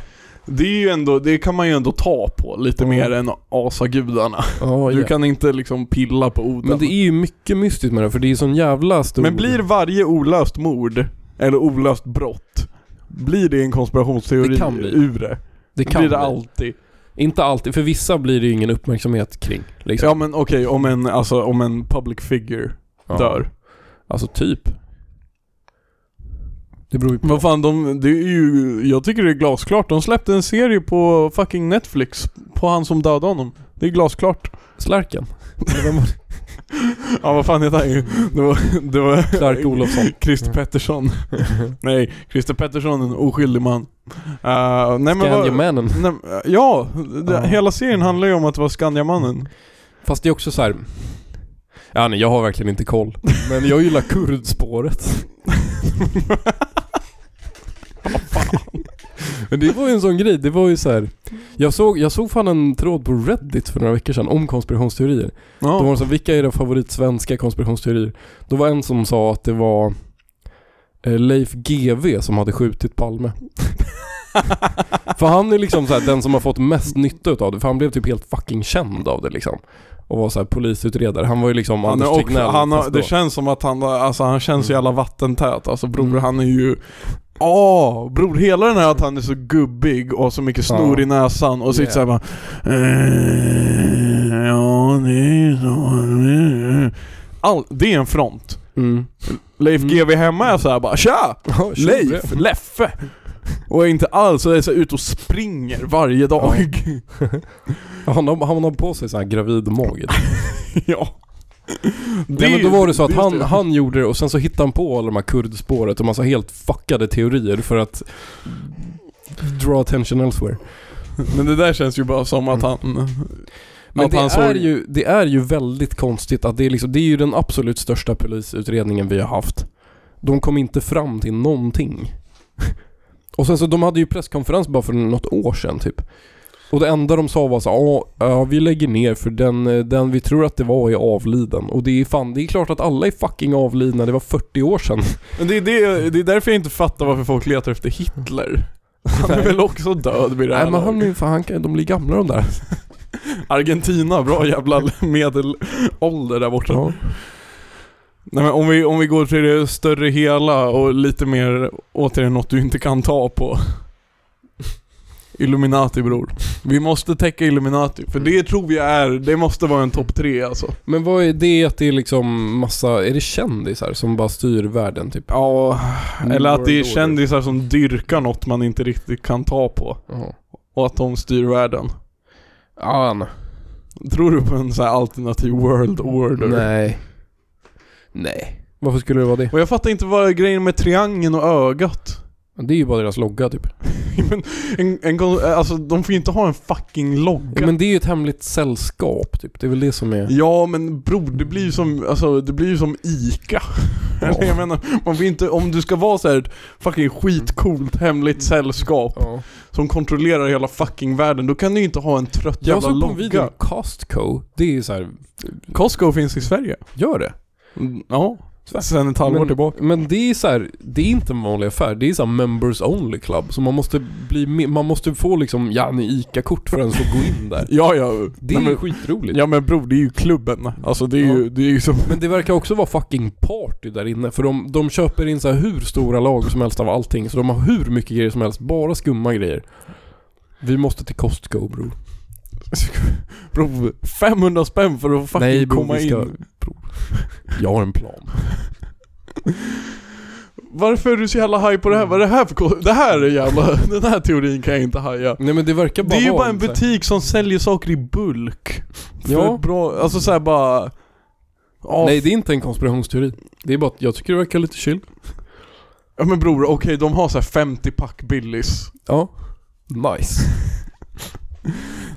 Speaker 1: det är ju ändå, det kan man ju ändå ta på lite
Speaker 2: Mm.
Speaker 1: mer än asagudarna.
Speaker 2: Ja,
Speaker 1: Du kan inte liksom pilla på orden.
Speaker 2: Men det är ju mycket mystiskt med det, för det är sån jävla stor...
Speaker 1: Men blir varje olöst mord, eller olöst brott, blir det en konspirationsteori
Speaker 2: Det kan bli.
Speaker 1: ur det?
Speaker 2: det kan
Speaker 1: blir det
Speaker 2: bli.
Speaker 1: alltid.
Speaker 2: Inte alltid, för vissa blir det ju ingen uppmärksamhet kring. Liksom.
Speaker 1: Ja men okej, om, en, alltså, om en public figure dör.
Speaker 2: Alltså typ. Det beror ju på.
Speaker 1: Vad fan, de, det är ju, jag tycker det är glasklart. De släppte en serie på fucking Netflix, på han som dödade honom. Det är glasklart.
Speaker 2: Slarken. Eller vem var det?
Speaker 1: Ja vad fan heter han? Det var... Det var Mm.
Speaker 2: Clark Olofsson.
Speaker 1: Christer Pettersson. nej, Christer Pettersson, en oskyldig man. Uh, nej, men vad,
Speaker 2: Scandiamannen.
Speaker 1: nej, ja, det,
Speaker 2: Ja.
Speaker 1: hela serien handlar ju om att det var Skandiamannen.
Speaker 2: Fast det är också så här. Ja, nej, jag har verkligen inte koll. Men jag gillar kurdspåret. Men det var ju en sån grej, det var ju så här. Jag såg, jag såg fan en tråd på Reddit för några veckor sedan om konspirationsteorier.
Speaker 1: Ja.
Speaker 2: Då var det så här, vilka är era favoritsvenska konspirationsteorier? Då var en som sa att det var eh, Leif GV som hade skjutit Palme. för han är liksom så här, den som har fått mest nytta av det, för han blev typ helt fucking känd av det liksom. Och var så här, polisutredare. Han var ju liksom
Speaker 1: han
Speaker 2: Anders
Speaker 1: är också,
Speaker 2: Tegnell.
Speaker 1: han har,
Speaker 2: fast då.
Speaker 1: det känns som att han, alltså, han känns så
Speaker 2: Mm.
Speaker 1: jävla vattentät. Alltså bror,
Speaker 2: Mm.
Speaker 1: han är ju... Ja, bror. Hela den här att han är så gubbig och har så mycket snor
Speaker 2: Ja.
Speaker 1: i näsan och sitter såhär
Speaker 2: Yeah.
Speaker 1: bara... "Eh, Ja, det är så. eh." All, det är en front.
Speaker 2: Mm.
Speaker 1: Leif
Speaker 2: Mm.
Speaker 1: GW hemma är såhär bara Tja!
Speaker 2: Ja, tjur,
Speaker 1: Leif!
Speaker 2: det.
Speaker 1: Leffe! Och är inte alls, och är så här ute och springer varje dag.
Speaker 2: Han har, han har på sig sån här gravid mage.
Speaker 1: Ja.
Speaker 2: Nej, men då var det så att
Speaker 1: är
Speaker 2: han,
Speaker 1: det.
Speaker 2: han gjorde det och sen så hittade han på alla de här kurdspåret och massa helt fuckade teorier för att draw attention elsewhere.
Speaker 1: Men det där känns ju bara som att han...
Speaker 2: Men
Speaker 1: Att
Speaker 2: det
Speaker 1: han såg-
Speaker 2: är, ju, det är ju väldigt konstigt att det är liksom, det är ju den absolut största polisutredningen vi har haft. De kom inte fram till någonting. Och sen så, de hade ju presskonferens bara för något år sedan typ. Och det enda de sa var så "Ja, ja vi lägger ner för den, eh, den vi tror att det var är avliden. Och det är fan, det är klart att alla är fucking avlidna, det var 40 år sedan.
Speaker 1: Men det är, det, det är därför jag inte fattar varför folk letar efter Hitler. Han är väl också död vid det här
Speaker 2: Nej men han
Speaker 1: laget.
Speaker 2: är ju fan, han kan, de blir gamla de där.
Speaker 1: Argentina, bra jävla medelålder där borta. Nej, men om, vi, om vi går till det större hela och lite mer, återigen något du inte kan ta på. Illuminati bror. Vi måste täcka Illuminati, för det tror vi är, det måste vara en topp tre alltså.
Speaker 2: Men vad är det att det är liksom massa, är det kändisar som bara styr världen typ?
Speaker 1: Ja, eller att det Mm. är
Speaker 2: World order.
Speaker 1: kändisar som dyrkar något man inte riktigt kan ta på.
Speaker 2: Ja.
Speaker 1: Och att de styr världen.
Speaker 2: Ja, nej.
Speaker 1: Tror du på en sån här alternativ world order?
Speaker 2: Nej. Nej. Varför skulle det vara det?
Speaker 1: Och jag fattar inte vad är grejen med triangeln och ögat.
Speaker 2: Det är ju bara deras logga typ.
Speaker 1: Men en, en, kon- alltså de får ju inte ha en fucking logga.
Speaker 2: Ja, men det är ju ett hemligt sällskap typ. Det är väl det som är...
Speaker 1: Ja men bror, det blir ju som, alltså, det blir ju som ICA. Eller jag menar, man vill inte, om du ska vara så här ett fucking skitcoolt hemligt sällskap
Speaker 2: Ja.
Speaker 1: som kontrollerar hela fucking världen, då kan du ju inte ha en trött
Speaker 2: Jag
Speaker 1: jävla
Speaker 2: såg på en video
Speaker 1: logga.
Speaker 2: om Costco. Det är ju så här,
Speaker 1: Costco finns i Sverige.
Speaker 2: gör det?
Speaker 1: Mm, Ja. Sen ett halvår
Speaker 2: men,
Speaker 1: tillbaka.
Speaker 2: Men det är så här, det är inte en vanlig affär. Det är så här members only club. Så man måste bli med, man måste få liksom, ja ni ICA-kort för att ens få gå in där.
Speaker 1: Ja ja.
Speaker 2: Det är
Speaker 1: Nej,
Speaker 2: ju
Speaker 1: men,
Speaker 2: skitroligt.
Speaker 1: ja men bror, det är ju klubben. Alltså det är ju, det är ju som
Speaker 2: Men det verkar också vara fucking party där inne för de, de köper in så här hur stora lager som helst av allting så de har hur mycket grejer som helst, bara skumma grejer. Vi måste till Costco bror.
Speaker 1: Bro, 500 spänn för att fucking
Speaker 2: Nej, bror,
Speaker 1: komma
Speaker 2: vi ska-
Speaker 1: in.
Speaker 2: Jag har en plan.
Speaker 1: varför är du så jävla haj på det här? Vad är det här för ko- Det här är jävla... Den här teorin kan jag inte haja.
Speaker 2: Nej men det verkar bara
Speaker 1: Det är ju
Speaker 2: vara
Speaker 1: bara en
Speaker 2: så här-
Speaker 1: butik som säljer saker i bulk. För
Speaker 2: Ja.
Speaker 1: ett bra, alltså såhär bara... Ja,
Speaker 2: Nej det är inte en konspirationsteori. Det är bara att jag tycker det verkar lite chill.
Speaker 1: ja men bror, okej de har såhär 50 pack Billys.
Speaker 2: Ja. Nice.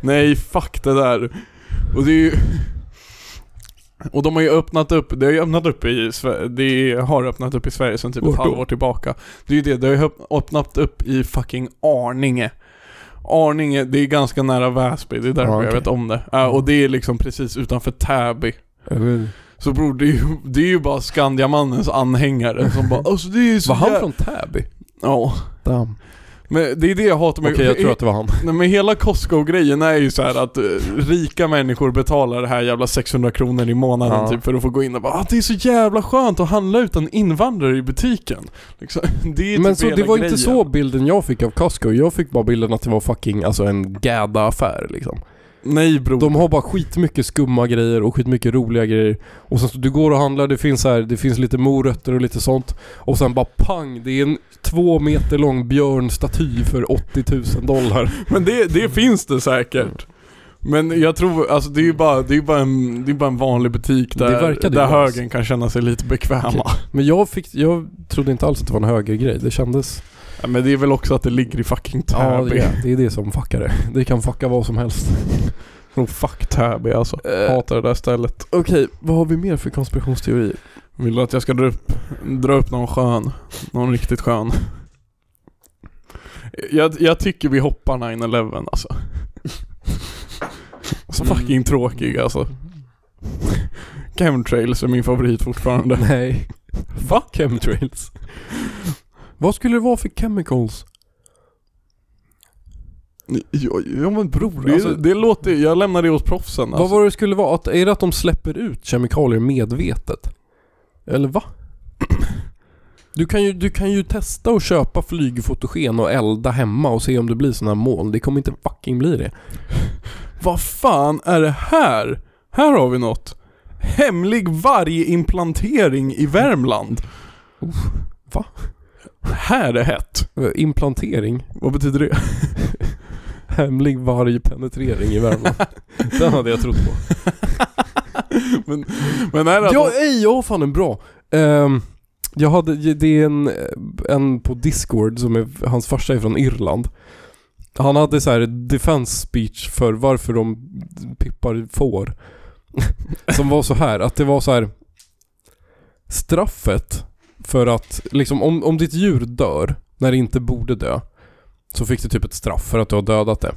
Speaker 1: Nej, fuck det där. Och det är ju... Och de har ju öppnat upp, det har ju öppnat upp i Sve- det har öppnat upp i Sverige sedan typ
Speaker 2: Vart
Speaker 1: ett
Speaker 2: då?
Speaker 1: halvår tillbaka. Det är ju det, det har ju öpp- öppnat upp i fucking Arninge. Arninge, det är ganska nära Väsby, det är därför
Speaker 2: Ja,
Speaker 1: jag
Speaker 2: okej.
Speaker 1: vet om det. Ja, och det är liksom precis utanför Täby. Så bror, det är ju, det är ju bara Skandiamannens anhängare som bara alltså det är ju så
Speaker 2: Var han
Speaker 1: jä-
Speaker 2: från Täby?
Speaker 1: Ja.
Speaker 2: Damn.
Speaker 1: Men det är det jag hatar med...
Speaker 2: Okej jag tror att det var han.
Speaker 1: Nej men hela Costco-grejen är ju så här att eh, rika människor betalar det här jävla 600 kronor i månaden
Speaker 2: Ja.
Speaker 1: typ för att få gå in och bara ah, det är så jävla skönt att handla utan invandrare i butiken. Liksom, det är
Speaker 2: Men
Speaker 1: typ
Speaker 2: så
Speaker 1: hela
Speaker 2: det var
Speaker 1: grejen.
Speaker 2: inte så bilden jag fick av Costco. Jag fick bara bilden att det var fucking alltså en gäda affär liksom.
Speaker 1: Nej bror.
Speaker 2: De har bara skitmycket skumma grejer och skitmycket roliga grejer. Och sen så du går och handlar, det finns, så här, det finns lite morötter och lite sånt. Och sen bara pang, det är en två meter lång björnstaty för 80 000 dollar.
Speaker 1: Men det, det finns det säkert. Men jag tror, alltså det är ju bara, det är ju bara, en, det är bara en vanlig butik
Speaker 2: Det
Speaker 1: där,
Speaker 2: verkade ju
Speaker 1: där
Speaker 2: vara så.
Speaker 1: högern kan känna sig lite bekväma.
Speaker 2: Okej. Men jag, fick, jag trodde inte alls att det var en högre grej. Det kändes...
Speaker 1: Ja, men det är väl också att det ligger i fucking
Speaker 2: Ja,
Speaker 1: Täby.
Speaker 2: det är, det är det som fuckar det. Det kan fucka vad som helst.
Speaker 1: Oh, fuck Täby alltså.
Speaker 2: Eh.
Speaker 1: Hatar det där stället.
Speaker 2: Okej, vad har vi mer för konspirationsteorier?
Speaker 1: Vill du att jag ska dra upp, dra upp någon skön? Någon riktigt skön? Jag, jag tycker vi hoppar 9-11 alltså. Så fucking tråkig alltså. Chemtrails är min favorit fortfarande.
Speaker 2: Nej.
Speaker 1: Va?
Speaker 2: Chemtrails. vad skulle det vara för chemicals?
Speaker 1: Ja, ja men bror, det,
Speaker 2: alltså-
Speaker 1: det låter Jag lämnar det hos proffsen
Speaker 2: Vad
Speaker 1: alltså.
Speaker 2: var det det skulle vara? Att, är det att de släpper ut kemikalier medvetet? Eller va? Du kan, ju, du kan ju testa att köpa flygfotogen och elda hemma och se om det blir sådana här moln. Det kommer inte fucking bli det.
Speaker 1: Vad fan är det här? Här har vi något. Hemlig varginplantering i Värmland.
Speaker 2: va?
Speaker 1: Här är hett.
Speaker 2: Eh, Implantering.
Speaker 1: Vad betyder det?
Speaker 2: Hemlig vargpenetrering i Värmland. Den hade jag trott på.
Speaker 1: men, men är det att
Speaker 2: Ja, ej, jag har fan en bra. Ehm, jag hade, det är en, en på Discord som är, hans farsa är från Irland. Han hade så här defense speech för varför de pippar får. som var så här, att det var så här straffet för att liksom om, om ditt djur dör när det inte borde dö så fick du typ ett straff för att du har dödat det.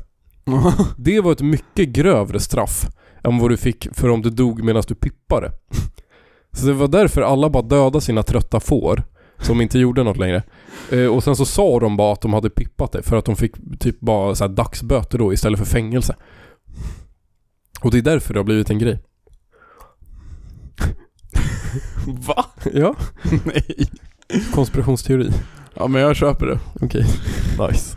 Speaker 2: Det var ett mycket grövre straff än vad du fick för om du dog medan du pippade. Så det var därför alla bara dödade sina trötta får som inte gjorde något längre. Eh, och sen så sa de bara att de hade pippat det för att de fick typ bara så här dagsböter då istället för fängelse. Och det är därför det har blivit en grej.
Speaker 1: Va?
Speaker 2: Ja.
Speaker 1: Nej.
Speaker 2: Konspirationsteori.
Speaker 1: Ja men jag köper det.
Speaker 2: Okej. Nice.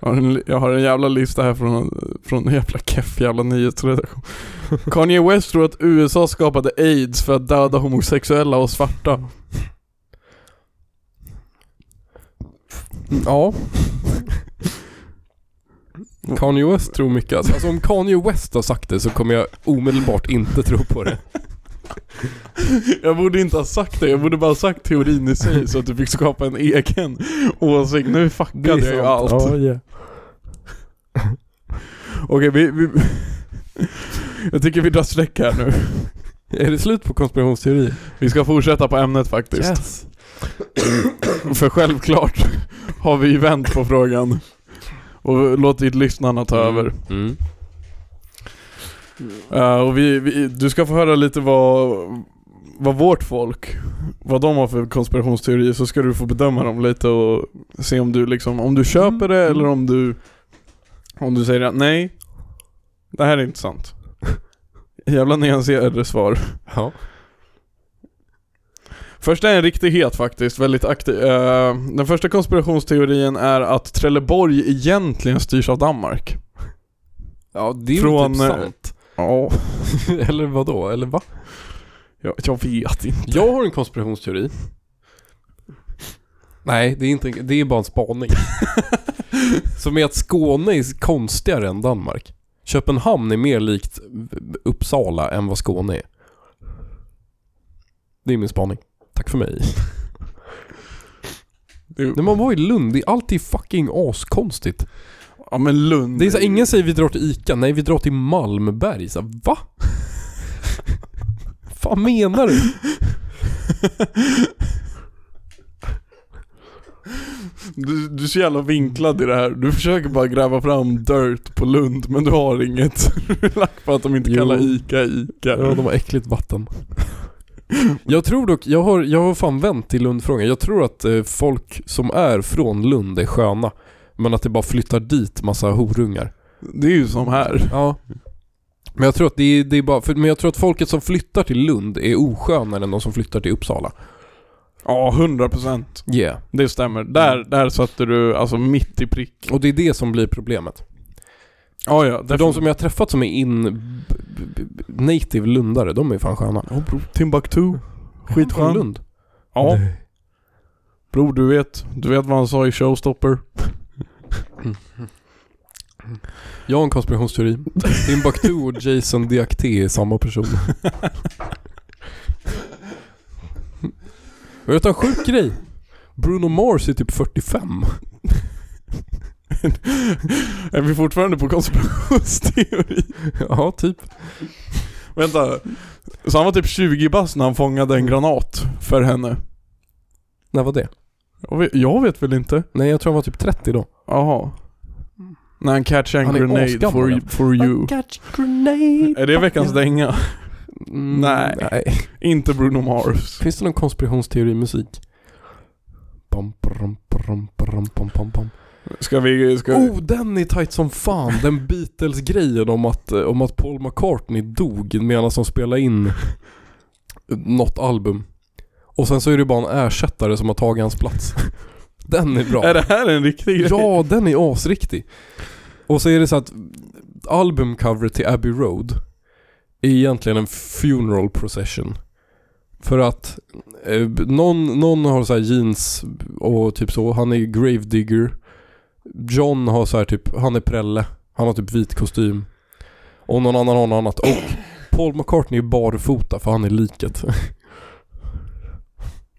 Speaker 1: Jag har en, li- jag har en jävla lista här från, från en jävla keff jävla nyhetsredaktion. Kanye West tror att USA skapade AIDS för att döda homosexuella och svarta.
Speaker 2: Ja. Kanye West tror mycket. Alltså Alltså, om Kanye West har sagt det så kommer jag omedelbart inte tro på det.
Speaker 1: Jag borde inte ha sagt det, jag borde bara ha sagt teorin i sig så att du fick skapa en egen åsikt. Nu fuckade jag ju allt.
Speaker 2: Ja, yeah.
Speaker 1: Okej, vi, vi... Jag tycker vi drar streck här nu.
Speaker 2: Är det slut på konspirationsteorier?
Speaker 1: Vi ska fortsätta på ämnet faktiskt. För självklart har vi vänt på frågan. Och låtit lyssnarna ta över.
Speaker 2: Mm.
Speaker 1: Eh, och vi, vi, du ska få höra lite vad, vad vårt folk, vad de har för konspirationsteorier så ska du få bedöma dem lite och se om du liksom, om du köper det eller om du, om du säger att nej, det här är inte sant. Jävla nyanserade svar.
Speaker 2: Ja.
Speaker 1: Första är en riktighet faktiskt, väldigt aktiv. Eh, den första konspirationsteorin är att Trelleborg egentligen styrs av Danmark.
Speaker 2: ja, det är
Speaker 1: Från,
Speaker 2: Från, typ
Speaker 1: eh,
Speaker 2: sant.
Speaker 1: Ja,
Speaker 2: Eller vad då? Eller va?
Speaker 1: jag, jag vet inte.
Speaker 2: Jag har en konspirationsteori. Nej, det är, inte, det är bara en spaning. Som är att Skåne är konstigare än Danmark. Köpenhamn är mer likt Uppsala än vad Skåne är. Det är min spaning. Tack för mig.
Speaker 1: Det-
Speaker 2: När man var i Lund, det är alltid fucking askonstigt.
Speaker 1: Ja men Lund.
Speaker 2: Det är så här, ingen säger vi drar till ICA, nej vi drar till Malmberg. Så här, va? Vad menar du?
Speaker 1: Du, du är så jävla vinklad i det här. Du försöker bara gräva fram dirt på Lund men du har inget. Du är lack på att de inte
Speaker 2: Jo.
Speaker 1: kallar ICA ICA.
Speaker 2: Ja, de har äckligt vatten. Jag tror dock, jag har, jag har fan vänt till Lundfrågan. Jag tror att eh, folk som är från Lund är sköna. Men att det bara flyttar dit massa horungar.
Speaker 1: Det är ju som här.
Speaker 2: Ja. Men jag tror att det är, det är bara, för, men jag tror att folket som flyttar till Lund är oskönare än de som flyttar till Uppsala.
Speaker 1: Ja, 100%.
Speaker 2: Yeah.
Speaker 1: Det stämmer. Där,
Speaker 2: Mm.
Speaker 1: där satte du alltså mitt i prick.
Speaker 2: Och det är det som blir problemet.
Speaker 1: Ja, ja.
Speaker 2: För de som jag har träffat som är in... b- b- b- native lundare, de är fan sköna.
Speaker 1: Ja, bro. Timbuktu.
Speaker 2: Från
Speaker 1: Skitskön.
Speaker 2: Lund.
Speaker 1: Ja. Bror, du vet. Du vet vad han sa i Showstopper.
Speaker 2: Jag har en konspirationsteori. Timbuktu och Jason Diakité är samma person. Vet du en sjuk grej? Bruno Mars är typ 45.
Speaker 1: Är vi fortfarande på konspirationsteori?
Speaker 2: Ja, typ.
Speaker 1: Vänta. Så han var typ 20 bast när han fångade en granat för henne?
Speaker 2: När var det?
Speaker 1: Jag vet, jag vet väl inte.
Speaker 2: Nej, jag tror han var typ 30 då.
Speaker 1: Jaha. När han catch and
Speaker 2: Mm. Han är
Speaker 1: grenade
Speaker 2: asgammal,
Speaker 1: for,
Speaker 2: ja.
Speaker 1: for you.
Speaker 2: grenade.
Speaker 1: Är det veckans dänga?
Speaker 2: Mm,
Speaker 1: Nej. Inte Bruno Mars.
Speaker 2: Finns det någon konspirationsteori i musik? Bam, bram, bram, bram, bam, bam, bam.
Speaker 1: Ska vi... Ska vi?
Speaker 2: Oh, den är tight som fan. Den Beatles-grejen om att, eh, om att Paul McCartney dog medan de spelade in något album. Och sen så är det bara en ersättare som har tagit hans plats. Den är bra.
Speaker 1: Är det här en riktig grej?
Speaker 2: Ja, den är asriktig. Och så är det så att albumcoveret till Abbey Road är egentligen en funeral procession. För att eh, någon, någon har så här jeans och typ så, han är gravedigger. John har så här typ, han är prälle. Han har typ vit kostym. Och någon annan har något annat. Och Paul McCartney är barfota för han är liket.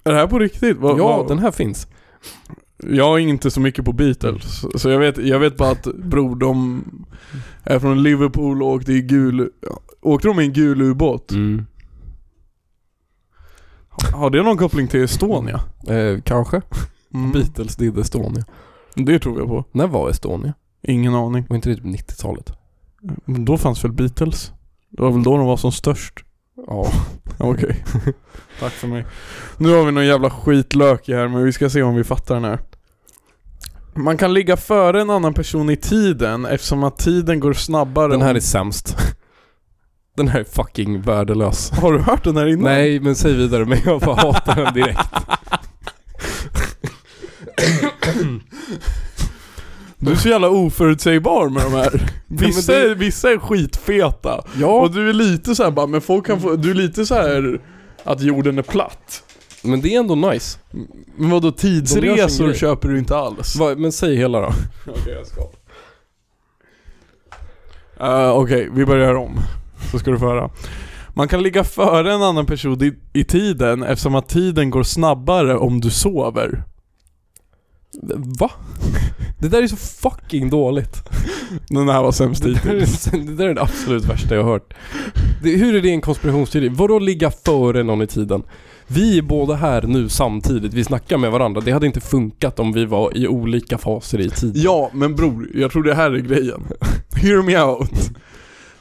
Speaker 1: Är det här på riktigt? Vad-
Speaker 2: ja,
Speaker 1: vad-
Speaker 2: den här finns.
Speaker 1: Jag är inte så mycket på Beatles, så jag vet, jag vet bara att bror de är från Liverpool och åkte i gul... Åkte de i en gul ubåt?
Speaker 2: Mm.
Speaker 1: Har det någon koppling till Estonia?
Speaker 2: Eh, kanske.
Speaker 1: Mm.
Speaker 2: Beatles did Estonia.
Speaker 1: Det tror jag på.
Speaker 2: När var Estonia?
Speaker 1: Ingen aning.
Speaker 2: Var inte det typ 90-talet?
Speaker 1: Men då fanns väl Beatles? Det var väl då de var som störst?
Speaker 2: Ja.
Speaker 1: Okej. Tack för mig. Nu har vi någon jävla skitlök i här, men vi ska se om vi fattar den här. Man kan ligga före en annan person i tiden eftersom att tiden går snabbare
Speaker 2: Den här
Speaker 1: om-
Speaker 2: är sämst. Den här är fucking värdelös.
Speaker 1: Har du hört den här innan?
Speaker 2: Nej, men säg vidare. Men jag bara hatar den direkt.
Speaker 1: Du är så jävla oförutsägbar med de här. Vissa,
Speaker 2: men det-
Speaker 1: är, vissa är skitfeta.
Speaker 2: Ja,
Speaker 1: Och du är lite så här bara, men folk kan få, du är lite så här att jorden är platt.
Speaker 2: men det är ändå nice.
Speaker 1: Men vadå
Speaker 2: De gör sin
Speaker 1: tidsresor
Speaker 2: grej.
Speaker 1: köper du inte alls?
Speaker 2: Va, men säg hela då.
Speaker 1: Okej, jag ska. Eh, Okej, vi börjar om. Så ska du få höra. Man kan ligga före en annan person i, i tiden eftersom att tiden går snabbare om du sover.
Speaker 2: Va? Det där är så fucking dåligt.
Speaker 1: Den här var sämst
Speaker 2: Det där
Speaker 1: hittills.
Speaker 2: är, det där är det absolut värsta jag har hört. Det, hur är det en konspirationsteori? Vadå ligga före någon i tiden? Vi är båda här nu samtidigt. Vi snackar med varandra. Det hade inte funkat om vi var i olika faser i tiden.
Speaker 1: Ja, men bror, jag tror det här är grejen. Hear me out.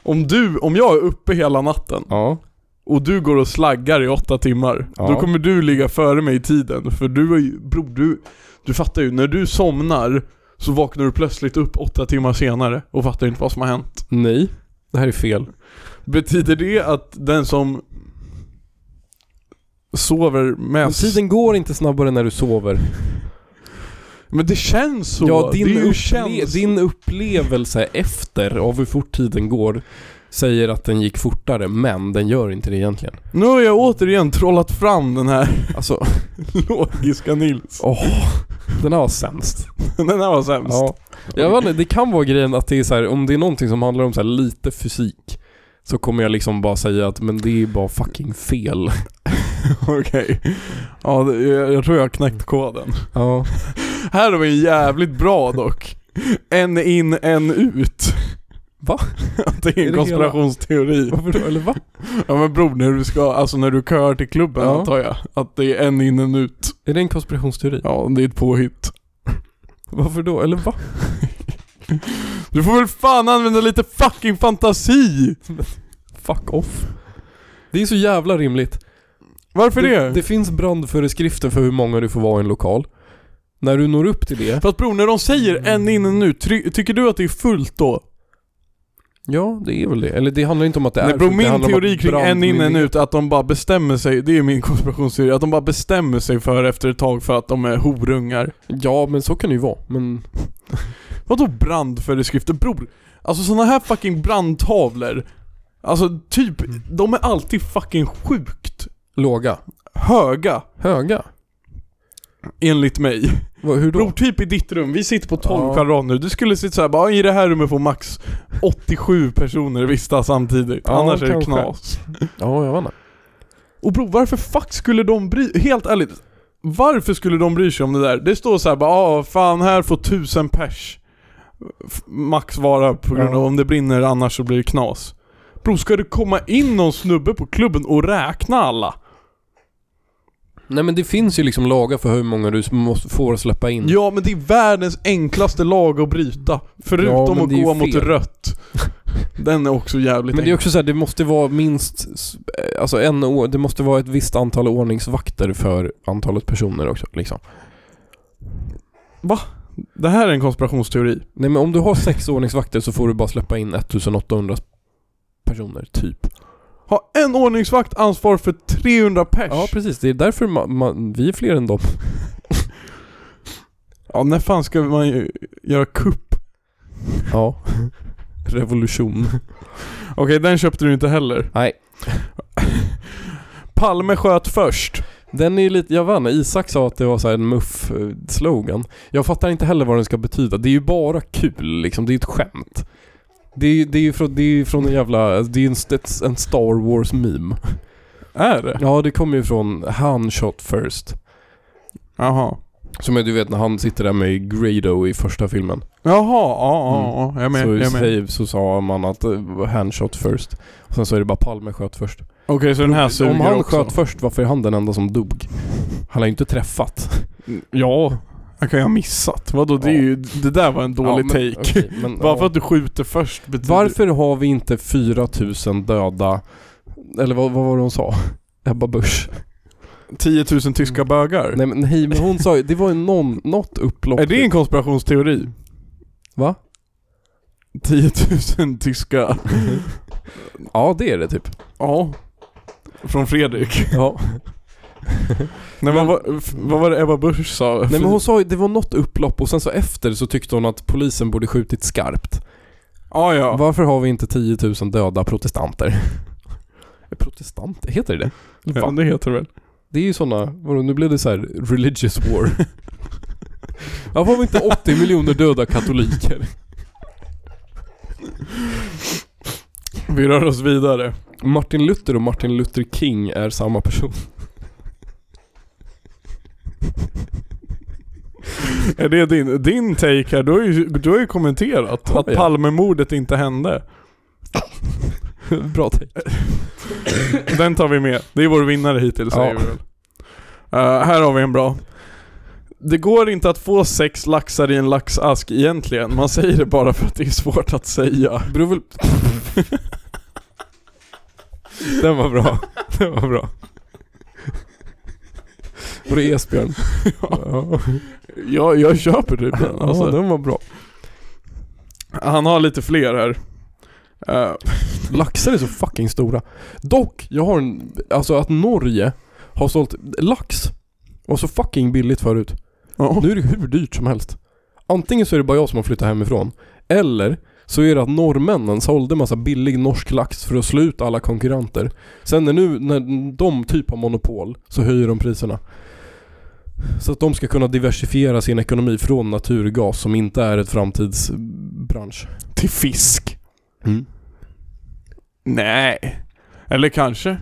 Speaker 1: Om, du, om jag är uppe hela natten
Speaker 2: Ja.
Speaker 1: och du går och slaggar i åtta timmar,
Speaker 2: Ja.
Speaker 1: då kommer du ligga före mig i tiden. För du är ju, bror, du, du fattar ju, när du somnar så vaknar du plötsligt upp åtta timmar senare och fattar inte vad som har hänt.
Speaker 2: Nej. Det här är fel.
Speaker 1: Betyder det att den som sover
Speaker 2: Men
Speaker 1: mest...
Speaker 2: tiden går inte snabbare när du sover.
Speaker 1: Men det känns så!
Speaker 2: ja,
Speaker 1: det
Speaker 2: din,
Speaker 1: är ju
Speaker 2: upple-
Speaker 1: känns...
Speaker 2: din upplevelse efter av hur fort tiden går säger att den gick fortare, men den gör inte det egentligen.
Speaker 1: Nu har jag återigen trollat fram den här alltså, logiska Nils.
Speaker 2: Åh, den här var sämst.
Speaker 1: Den här var sämst.
Speaker 2: Ja. Jag vet inte, det kan vara grejen att det är så här, om det är någonting som handlar om så här lite fysik så kommer jag liksom bara säga att men det är bara fucking fel.
Speaker 1: Okej. Ja, det- jag, jag tror jag har knäckt koden.
Speaker 2: Ja.
Speaker 1: Här har vi en jävligt bra dock. En in, en ut.
Speaker 2: Va?
Speaker 1: Att det är
Speaker 2: Är
Speaker 1: en
Speaker 2: det
Speaker 1: konspirationsteori.
Speaker 2: Varför då? Eller va?
Speaker 1: Ja men bror, när du ska, alltså när du kör till klubben
Speaker 2: Ja.
Speaker 1: antar jag. Att det är en in, en ut.
Speaker 2: Är det en konspirationsteori?
Speaker 1: Ja, det är ett påhitt.
Speaker 2: Varför då? Eller va?
Speaker 1: Du får väl fan använda lite fucking fantasi!
Speaker 2: Fuck off. Det är så jävla rimligt.
Speaker 1: Varför det?
Speaker 2: Det, det finns brandföreskrifter för hur många du får vara i en lokal. När du når upp till det,
Speaker 1: Fast bror, när de säger
Speaker 2: Mm.
Speaker 1: en in, en ut, try- tycker du att det är fullt då?
Speaker 2: ja det är väl det. Eller det handlar inte om att det är
Speaker 1: Nej bror,
Speaker 2: fullt, det
Speaker 1: min
Speaker 2: handlar om
Speaker 1: teori
Speaker 2: att
Speaker 1: kring en in, en
Speaker 2: brandmyndighet-
Speaker 1: ut, att de bara bestämmer sig, det är min konspirationsteori, att de bara bestämmer sig för efter ett tag för att de är horungar.
Speaker 2: Ja men så kan det ju vara. Men
Speaker 1: Vadå brandföreskrifter? Bror, alltså såna här fucking brandtavlor, alltså typ, de är alltid fucking sjukt
Speaker 2: låga.
Speaker 1: höga,
Speaker 2: Höga?
Speaker 1: enligt mig.
Speaker 2: Va, hur då?
Speaker 1: Bror, typ i ditt rum, vi sitter på 12
Speaker 2: Ja.
Speaker 1: kvadrat nu, du skulle sitta såhär bara, i det här rummet får max 87 personer vistas samtidigt,
Speaker 2: Ja,
Speaker 1: annars är det
Speaker 2: kanske.
Speaker 1: knas.
Speaker 2: Ja, jag vet inte.
Speaker 1: Och bror, varför fuck skulle de bry Helt ärligt, varför skulle de bry sig om det där? Det står så här bara, ah, fan här får tusen pers f- max vara på grund av
Speaker 2: Ja.
Speaker 1: om det brinner annars så blir det knas. Bror, ska det komma in någon snubbe på klubben och räkna alla?
Speaker 2: Nej men det finns ju liksom lagar för hur många du måste, får släppa in.
Speaker 1: Ja, men det är världens enklaste lag att bryta.
Speaker 2: Ja,
Speaker 1: Förutom
Speaker 2: men
Speaker 1: att
Speaker 2: det är ju
Speaker 1: gå mot
Speaker 2: fel.
Speaker 1: rött. Den är också jävligt
Speaker 2: men det
Speaker 1: enkel.
Speaker 2: är också så här, det måste vara minst, s- eh, alltså en år, det måste vara ett visst antal ordningsvakter för antalet personer också liksom.
Speaker 1: Det här är en konspirationsteori.
Speaker 2: Nej men om du har sex ordningsvakter så får du bara släppa in 1800 personer, typ.
Speaker 1: Ha en ordningsvakt ansvar för 300 pers.
Speaker 2: Ja precis, det är därför ma- ma- vi är fler än dem.
Speaker 1: ja när fan ska man ju göra kupp
Speaker 2: Ja. Revolution.
Speaker 1: Okej, den köpte du inte heller.
Speaker 2: Nej.
Speaker 1: Palme sköt först.
Speaker 2: Den är ju lite, jag vet inte, Isak sa att det var så här en muff-slogan. Jag fattar inte heller vad den ska betyda. Det är ju bara kul liksom, det är ju ett skämt. Det är, ju- det är ju från, det är ju från en jävla, det är ju en, st- en Star Wars-meme.
Speaker 1: Är det?
Speaker 2: Ja, det kommer ju från Han shot first.
Speaker 1: Jaha.
Speaker 2: Som är, du vet när han sitter där med Grado i första filmen.
Speaker 1: Jaha, ja, ja, ja. Jag med,
Speaker 2: Mm. så,
Speaker 1: jag med. Okej,
Speaker 2: säger- så sa man att eh, Han shot first. Och sen så är det bara Palme sköt först.
Speaker 1: så den här suger
Speaker 2: Om han
Speaker 1: också.
Speaker 2: sköt först, varför är han den enda som dog? Han har ju inte träffat.
Speaker 1: Ja. Han kan ju ha missat. Vadå, det, är
Speaker 2: Ja.
Speaker 1: ju, det där var en dålig
Speaker 2: Ja, men-
Speaker 1: take.
Speaker 2: okej, men,
Speaker 1: Bara
Speaker 2: ja.
Speaker 1: för att du skjuter först betyder...
Speaker 2: Varför har vi inte 4000 döda, eller vad, vad var det hon sa? Ebba Busch.
Speaker 1: 10 000 tyska bögar?
Speaker 2: Mm. Nej men, nej, men hon sa ju, det var ju någon, något upplopp.
Speaker 1: Är det en konspirationsteori?
Speaker 2: Va?
Speaker 1: 10 000 tyska...
Speaker 2: Ja det är det typ.
Speaker 1: Ja. Från Fredrik.
Speaker 2: Ja.
Speaker 1: Nej, men, vad, vad var det Ebba Busch sa?
Speaker 2: Nej men hon sa ju, det var något upplopp och sen så efter så tyckte hon att polisen borde skjutit skarpt.
Speaker 1: Ja, ja.
Speaker 2: Varför har vi inte 10 000 döda protestanter? Protestanter, heter det det?
Speaker 1: Ja, det heter det väl.
Speaker 2: Det är ju sådana, vadå nu blev det så här religious war. Varför har vi inte 80 miljoner döda katoliker?
Speaker 1: Vi rör oss vidare.
Speaker 2: Martin Luther och Martin Luther King är samma person.
Speaker 1: Är det din, din take här? Du har ju, du har ju kommenterat
Speaker 2: Har
Speaker 1: att
Speaker 2: jag?
Speaker 1: Palmemordet inte hände.
Speaker 2: Bra take.
Speaker 1: Den tar vi med. Det är vår vinnare hittills
Speaker 2: Ja.
Speaker 1: säger vi väl. Eh, här har vi en bra. Det går inte att få sex laxar i en laxask egentligen. Man säger det bara för att det är svårt att säga.
Speaker 2: Beror väl... Den var bra. Den var bra. Var det Esbjörn? Ja.
Speaker 1: Jag, jag köper typ den
Speaker 2: Alltså,
Speaker 1: alltså.
Speaker 2: den var bra.
Speaker 1: Han har lite fler här. Eh,
Speaker 2: Laxar är så fucking stora. Dock, jag har en... Alltså att Norge har sålt lax. Var så fucking billigt förut.
Speaker 1: ja.
Speaker 2: Nu är det hur dyrt som helst. Antingen så är det bara jag som har flyttat hemifrån. Eller så är det att norrmännen sålde massa billig norsk lax för att slå ut alla konkurrenter. Sen när nu när de typ har monopol så höjer de priserna. Så att de ska kunna diversifiera sin ekonomi från naturgas som inte är ett framtidsbransch.
Speaker 1: Till fisk?
Speaker 2: Mm.
Speaker 1: Nej. Eller kanske.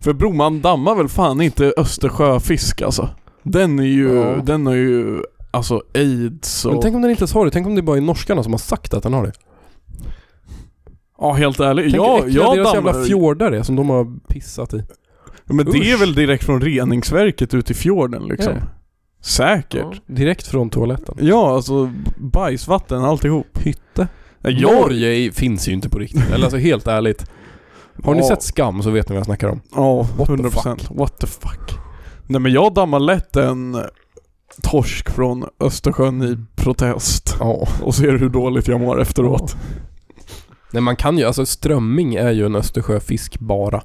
Speaker 1: För Broman dammar väl fan inte Östersjöfisk alltså. Den är ju,
Speaker 2: Ja.
Speaker 1: den har ju alltså aids
Speaker 2: Men
Speaker 1: och...
Speaker 2: tänk om den inte ens har det? Tänk om det bara är norskarna som har sagt att den har det?
Speaker 1: Ja helt ärligt,
Speaker 2: Tänk hur
Speaker 1: jag,
Speaker 2: äckliga
Speaker 1: jag
Speaker 2: deras
Speaker 1: dammar...
Speaker 2: jävla fjordar är som de har pissat i.
Speaker 1: Men det är
Speaker 2: Usch.
Speaker 1: väl direkt från reningsverket ut i fjorden liksom.
Speaker 2: Är det?
Speaker 1: Säkert.
Speaker 2: Direkt från toaletten.
Speaker 1: Ja. alltså bajsvatten alltihop.
Speaker 2: Hytte.
Speaker 1: Nej, Jag...
Speaker 2: Norge är- finns ju inte på riktigt. Eller alltså helt ärligt. Har ni
Speaker 1: Ja.
Speaker 2: sett Skam så vet ni vad jag snackar om.
Speaker 1: Ja,
Speaker 2: What the
Speaker 1: 100%. procent. What the fuck. Nej men jag dammar lätt en torsk från Östersjön i protest.
Speaker 2: Ja.
Speaker 1: Och ser hur dåligt jag mår efteråt.
Speaker 2: Nej man kan ju, alltså strömming är ju en Östersjöfisk bara.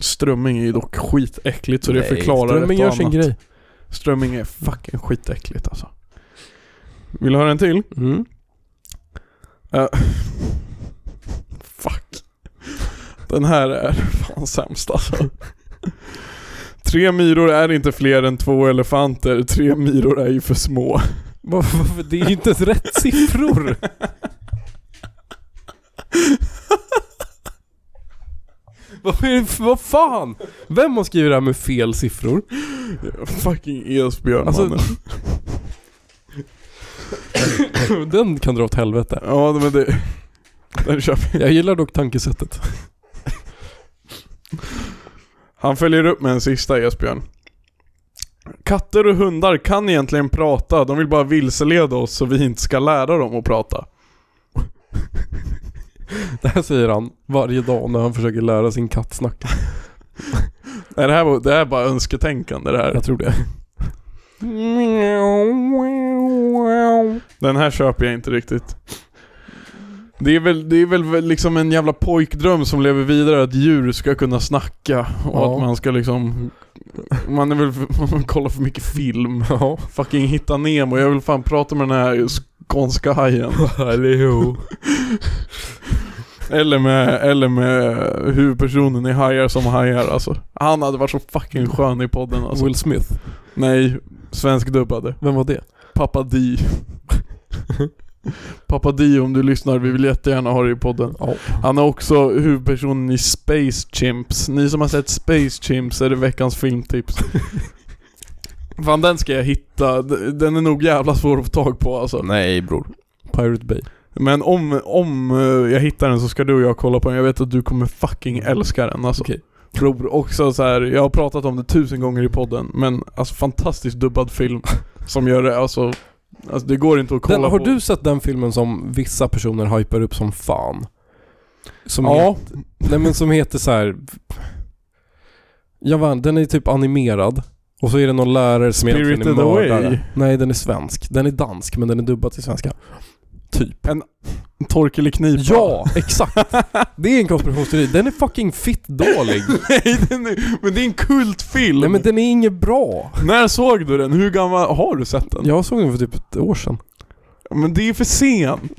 Speaker 1: Strömming är ju dock skitäckligt så det
Speaker 2: Nej,
Speaker 1: förklarar
Speaker 2: Strömming
Speaker 1: ett och
Speaker 2: gör sin
Speaker 1: annat.
Speaker 2: grej.
Speaker 1: Strömming är fucking skitäckligt alltså. Vill du höra en till?
Speaker 2: Mm.
Speaker 1: Eh, fuck. Den här är fan sämst alltså. Tre myror är inte fler än två elefanter, tre myror är ju för små.
Speaker 2: Varför, varför? Det är ju inte ens rätt siffror. Varför är det, för- vad fan? Vem har skrivit det här med fel siffror?
Speaker 1: Fucking E Esbjörn
Speaker 2: Alltså-
Speaker 1: mannen.
Speaker 2: Den kan dra åt helvete.
Speaker 1: Ja men det... Den kör vi.
Speaker 2: Jag gillar dock tankesättet.
Speaker 1: Han följer upp med en sista Esbjörn. Katter och hundar kan egentligen prata, de vill bara vilseleda oss så vi inte ska lära dem att prata.
Speaker 2: Det här säger han varje dag när han försöker lära sin katt snacka.
Speaker 1: Nej, det, här, var- det här är bara önsketänkande det här.
Speaker 2: Jag tror det.
Speaker 1: Den här köper jag inte riktigt. Det är, väl, det är väl liksom en jävla pojkdröm som lever vidare att djur ska kunna snacka och
Speaker 2: Ja.
Speaker 1: att man ska liksom... Man är väl... Man kollar för mycket film.
Speaker 2: Ja.
Speaker 1: Fucking Hitta Nemo, jag vill fan prata med den här skånska hajen.
Speaker 2: Allihop.
Speaker 1: Eller med, eller med huvudpersonen i Hajar som hajar alltså. Han hade varit så fucking skön i podden alltså.
Speaker 2: Will Smith.
Speaker 1: Nej, svenskdubbade.
Speaker 2: Vem var det?
Speaker 1: Pappa Di. Pappa Di om du lyssnar, vi vill jättegärna ha dig i podden.
Speaker 2: Ja.
Speaker 1: Han är också huvudpersonen i Space Chimps. Ni som har sett Space Chimps är det veckans filmtips. Fan den ska jag hitta, D- den är nog jävla svår att få tag på alltså.
Speaker 2: Nej bror. Pirate Bay.
Speaker 1: Men om, om eh, jag hittar den så ska du och jag kolla på den, jag vet att du kommer fucking älska den alltså.
Speaker 2: Mm. Okej.
Speaker 1: Bror, också så här, jag har pratat om det tusen gånger i podden, men alltså fantastiskt dubbad film som gör det, alltså, alltså det går inte att kolla
Speaker 2: Den, har
Speaker 1: på.
Speaker 2: du sett den filmen som vissa personer hypar upp som fan? Som
Speaker 1: Ja.
Speaker 2: het- nej men som heter så här. Jag vann, den är typ animerad. Och så är det någon lärare som egentligen är
Speaker 1: Spirited Away.
Speaker 2: mördare. Nej den är svensk. Den är dansk men den är dubbad till svenska. Typ.
Speaker 1: Torkel knipa?
Speaker 2: Ja, exakt. Det är en konspirationsteori. Den är fucking fitt dålig.
Speaker 1: Nej, den är, men det är en kultfilm!
Speaker 2: Nej men den är inget bra.
Speaker 1: När såg du den? Hur gammal har du sett den?
Speaker 2: Jag såg den för typ ett år sedan.
Speaker 1: Men det är för sent!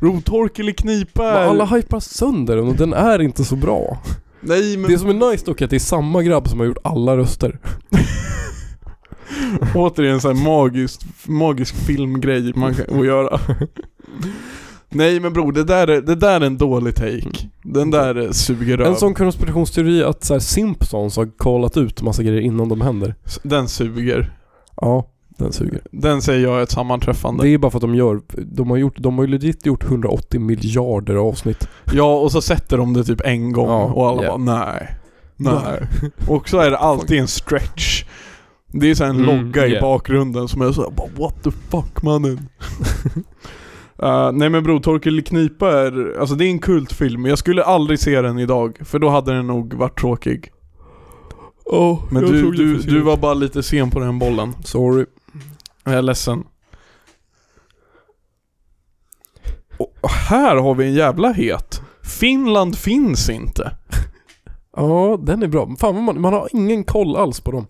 Speaker 1: Bror, Torkel knipa
Speaker 2: Men
Speaker 1: är...
Speaker 2: alla hypar sönder den och den är inte så bra.
Speaker 1: Nej men
Speaker 2: Det som är nice dock är att det är samma grabb som har gjort alla röster.
Speaker 1: återigen sån här magisk, magisk filmgrej man kan att göra. Nej men bror, det där är, det där är en dålig take. Den där eh, suger röv.
Speaker 2: En sån konspirationsteori att så här, Simpsons har kollat ut massa grejer innan de händer.
Speaker 1: Den suger.
Speaker 2: Ja, den suger.
Speaker 1: Den säger jag är ett sammanträffande.
Speaker 2: Det är bara för att de gör, de har gjort, de har ju legit gjort 180 miljarder avsnitt.
Speaker 1: Ja, och så sätter de det typ en gång
Speaker 2: Ja,
Speaker 1: och alla
Speaker 2: ja.
Speaker 1: bara nej. Nej. och så är det alltid en stretch. Det är så här en
Speaker 2: Mm,
Speaker 1: logga i
Speaker 2: yeah.
Speaker 1: bakgrunden som är så här, bara what the fuck mannen. Eh, nej men bror, Torkel Knipa är, alltså det är en kultfilm. Jag skulle aldrig se den idag, för då hade den nog varit tråkig. Men du, du, du var bara lite sen på den bollen.
Speaker 2: Sorry.
Speaker 1: Jag är ledsen. Och här har vi en jävla het. Finland finns inte.
Speaker 2: Ja, den är bra. Fan vad man, man har ingen koll alls på dem.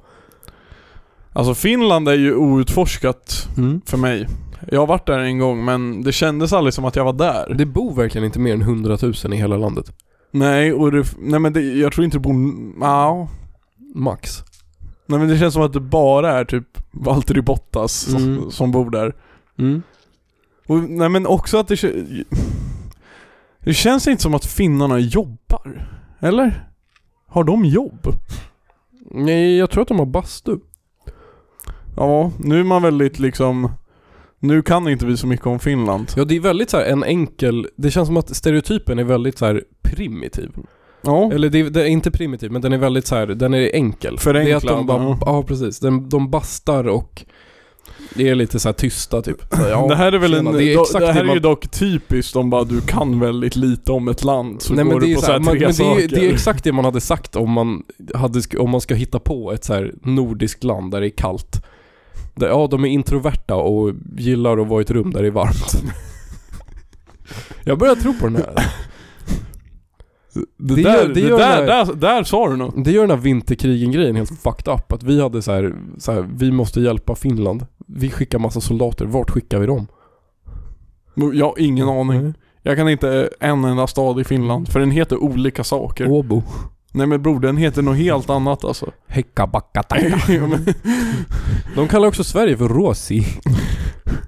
Speaker 1: Alltså Finland är ju outforskat för mig. Jag har varit där en gång men det kändes aldrig som att jag var där.
Speaker 2: Det bor verkligen inte mer än 100 000 i hela landet.
Speaker 1: Nej, och det, nej men det, jag tror inte det bor... Nja.
Speaker 2: Max.
Speaker 1: Nej men det känns som att det bara är typ Valtteri Bottas
Speaker 2: Mm.
Speaker 1: som, som bor där. Och, nej men också att det... kä- Det känns inte som att finnarna jobbar. Eller? Har de jobb?
Speaker 2: Nej, jag tror att de har bastu.
Speaker 1: Ja, nu är man väldigt liksom... Nu kan inte vi så mycket om Finland.
Speaker 2: Ja, det är väldigt så här en enkel... Det känns som att stereotypen är väldigt så här primitiv.
Speaker 1: Ja.
Speaker 2: Eller det, är- det är inte primitiv, men den är väldigt så här, den är enkel. Det är att de
Speaker 1: Förenklad,
Speaker 2: bara,
Speaker 1: ja.
Speaker 2: ja, precis. De, de bastar och det är lite så här tysta typ. Så, ja,
Speaker 1: det här är väl en,
Speaker 2: tjena,
Speaker 1: det,
Speaker 2: exakt
Speaker 1: det här är
Speaker 2: man-
Speaker 1: ju dock typiskt om bara du kan väldigt lite om ett land så
Speaker 2: Nej,
Speaker 1: går
Speaker 2: men det
Speaker 1: du
Speaker 2: är
Speaker 1: på
Speaker 2: så
Speaker 1: så
Speaker 2: här,
Speaker 1: här,
Speaker 2: man,
Speaker 1: tre
Speaker 2: men det
Speaker 1: saker.
Speaker 2: är, det är exakt det man hade sagt om man, hade, sk- om man ska hitta på ett så här nordiskt land där det är kallt. Där, ja, de är introverta och gillar att vara i ett rum där det är varmt. Jag börjar tro på den här.
Speaker 1: Det där,
Speaker 2: det gör- det
Speaker 1: det
Speaker 2: gör
Speaker 1: där,
Speaker 2: det här-
Speaker 1: där, där sa du något.
Speaker 2: Det gör den här vinterkrigen-grejen helt fucked up. Att vi hade så här, så här, vi måste hjälpa Finland. Vi skickar massa soldater. Vart skickar vi dem? Mm.
Speaker 1: Jag har ingen aning. Jag kan inte eh, en enda stad i Finland, för den heter olika saker.
Speaker 2: Åbo.
Speaker 1: Nej men bror, den heter något helt annat alltså.
Speaker 2: Häckabackatakka.
Speaker 1: Ja, men-
Speaker 2: De kallar också Sverige för Rosi.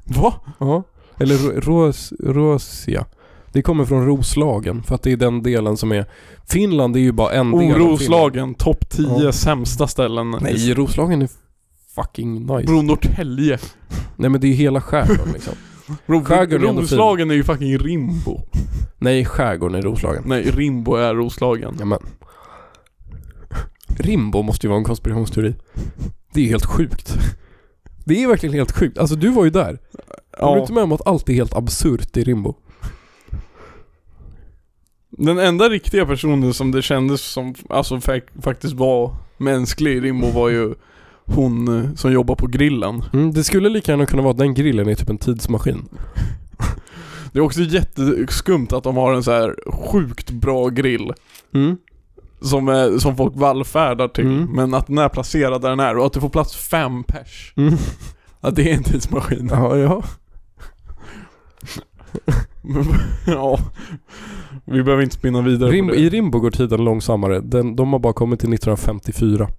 Speaker 1: Va?
Speaker 2: Ja. Eller ro- ros, Rosia. Det kommer från Roslagen för att det är den delen som är... Finland är ju bara
Speaker 1: Oh,
Speaker 2: en del av Finland.
Speaker 1: Oroslagen, topp 10
Speaker 2: Ja.
Speaker 1: sämsta ställen.
Speaker 2: Nej, Roslagen är fucking nice.
Speaker 1: Bror, Norrtälje.
Speaker 2: Nej men det är ju hela skärgården liksom.
Speaker 1: Bro,
Speaker 2: Skärgården är ändå fin.
Speaker 1: Roslagen är ju fucking Rimbo.
Speaker 2: Nej, skärgården är Roslagen.
Speaker 1: Nej, Rimbo är Roslagen.
Speaker 2: Jamen. Rimbo måste ju vara en konspirationsteori. Det är ju helt sjukt. Det är verkligen helt sjukt. Alltså du var ju där. Håller du
Speaker 1: Ja.
Speaker 2: inte med om att allt är helt absurt i Rimbo?
Speaker 1: Den enda riktiga personen som det kändes som, alltså fa- faktiskt var mänsklig i Rimbo var ju hon eh, som jobbar på grillen.
Speaker 2: Mm, det skulle lika gärna kunna vara att den grillen är typ en tidsmaskin.
Speaker 1: Det är också jätteskumt att de har en så här sjukt bra grill.
Speaker 2: Mm.
Speaker 1: Som, är, som folk vallfärdar till,
Speaker 2: Mm.
Speaker 1: men att den är placerad där den är och att det får plats fem pers.
Speaker 2: Mm.
Speaker 1: Att det är en tidsmaskin.
Speaker 2: Ja, ja.
Speaker 1: Men, ja. Vi behöver inte spinna vidare
Speaker 2: Rim,
Speaker 1: på det.
Speaker 2: I Rimbo går tiden långsammare. Den, de har bara kommit till 1954. Mm.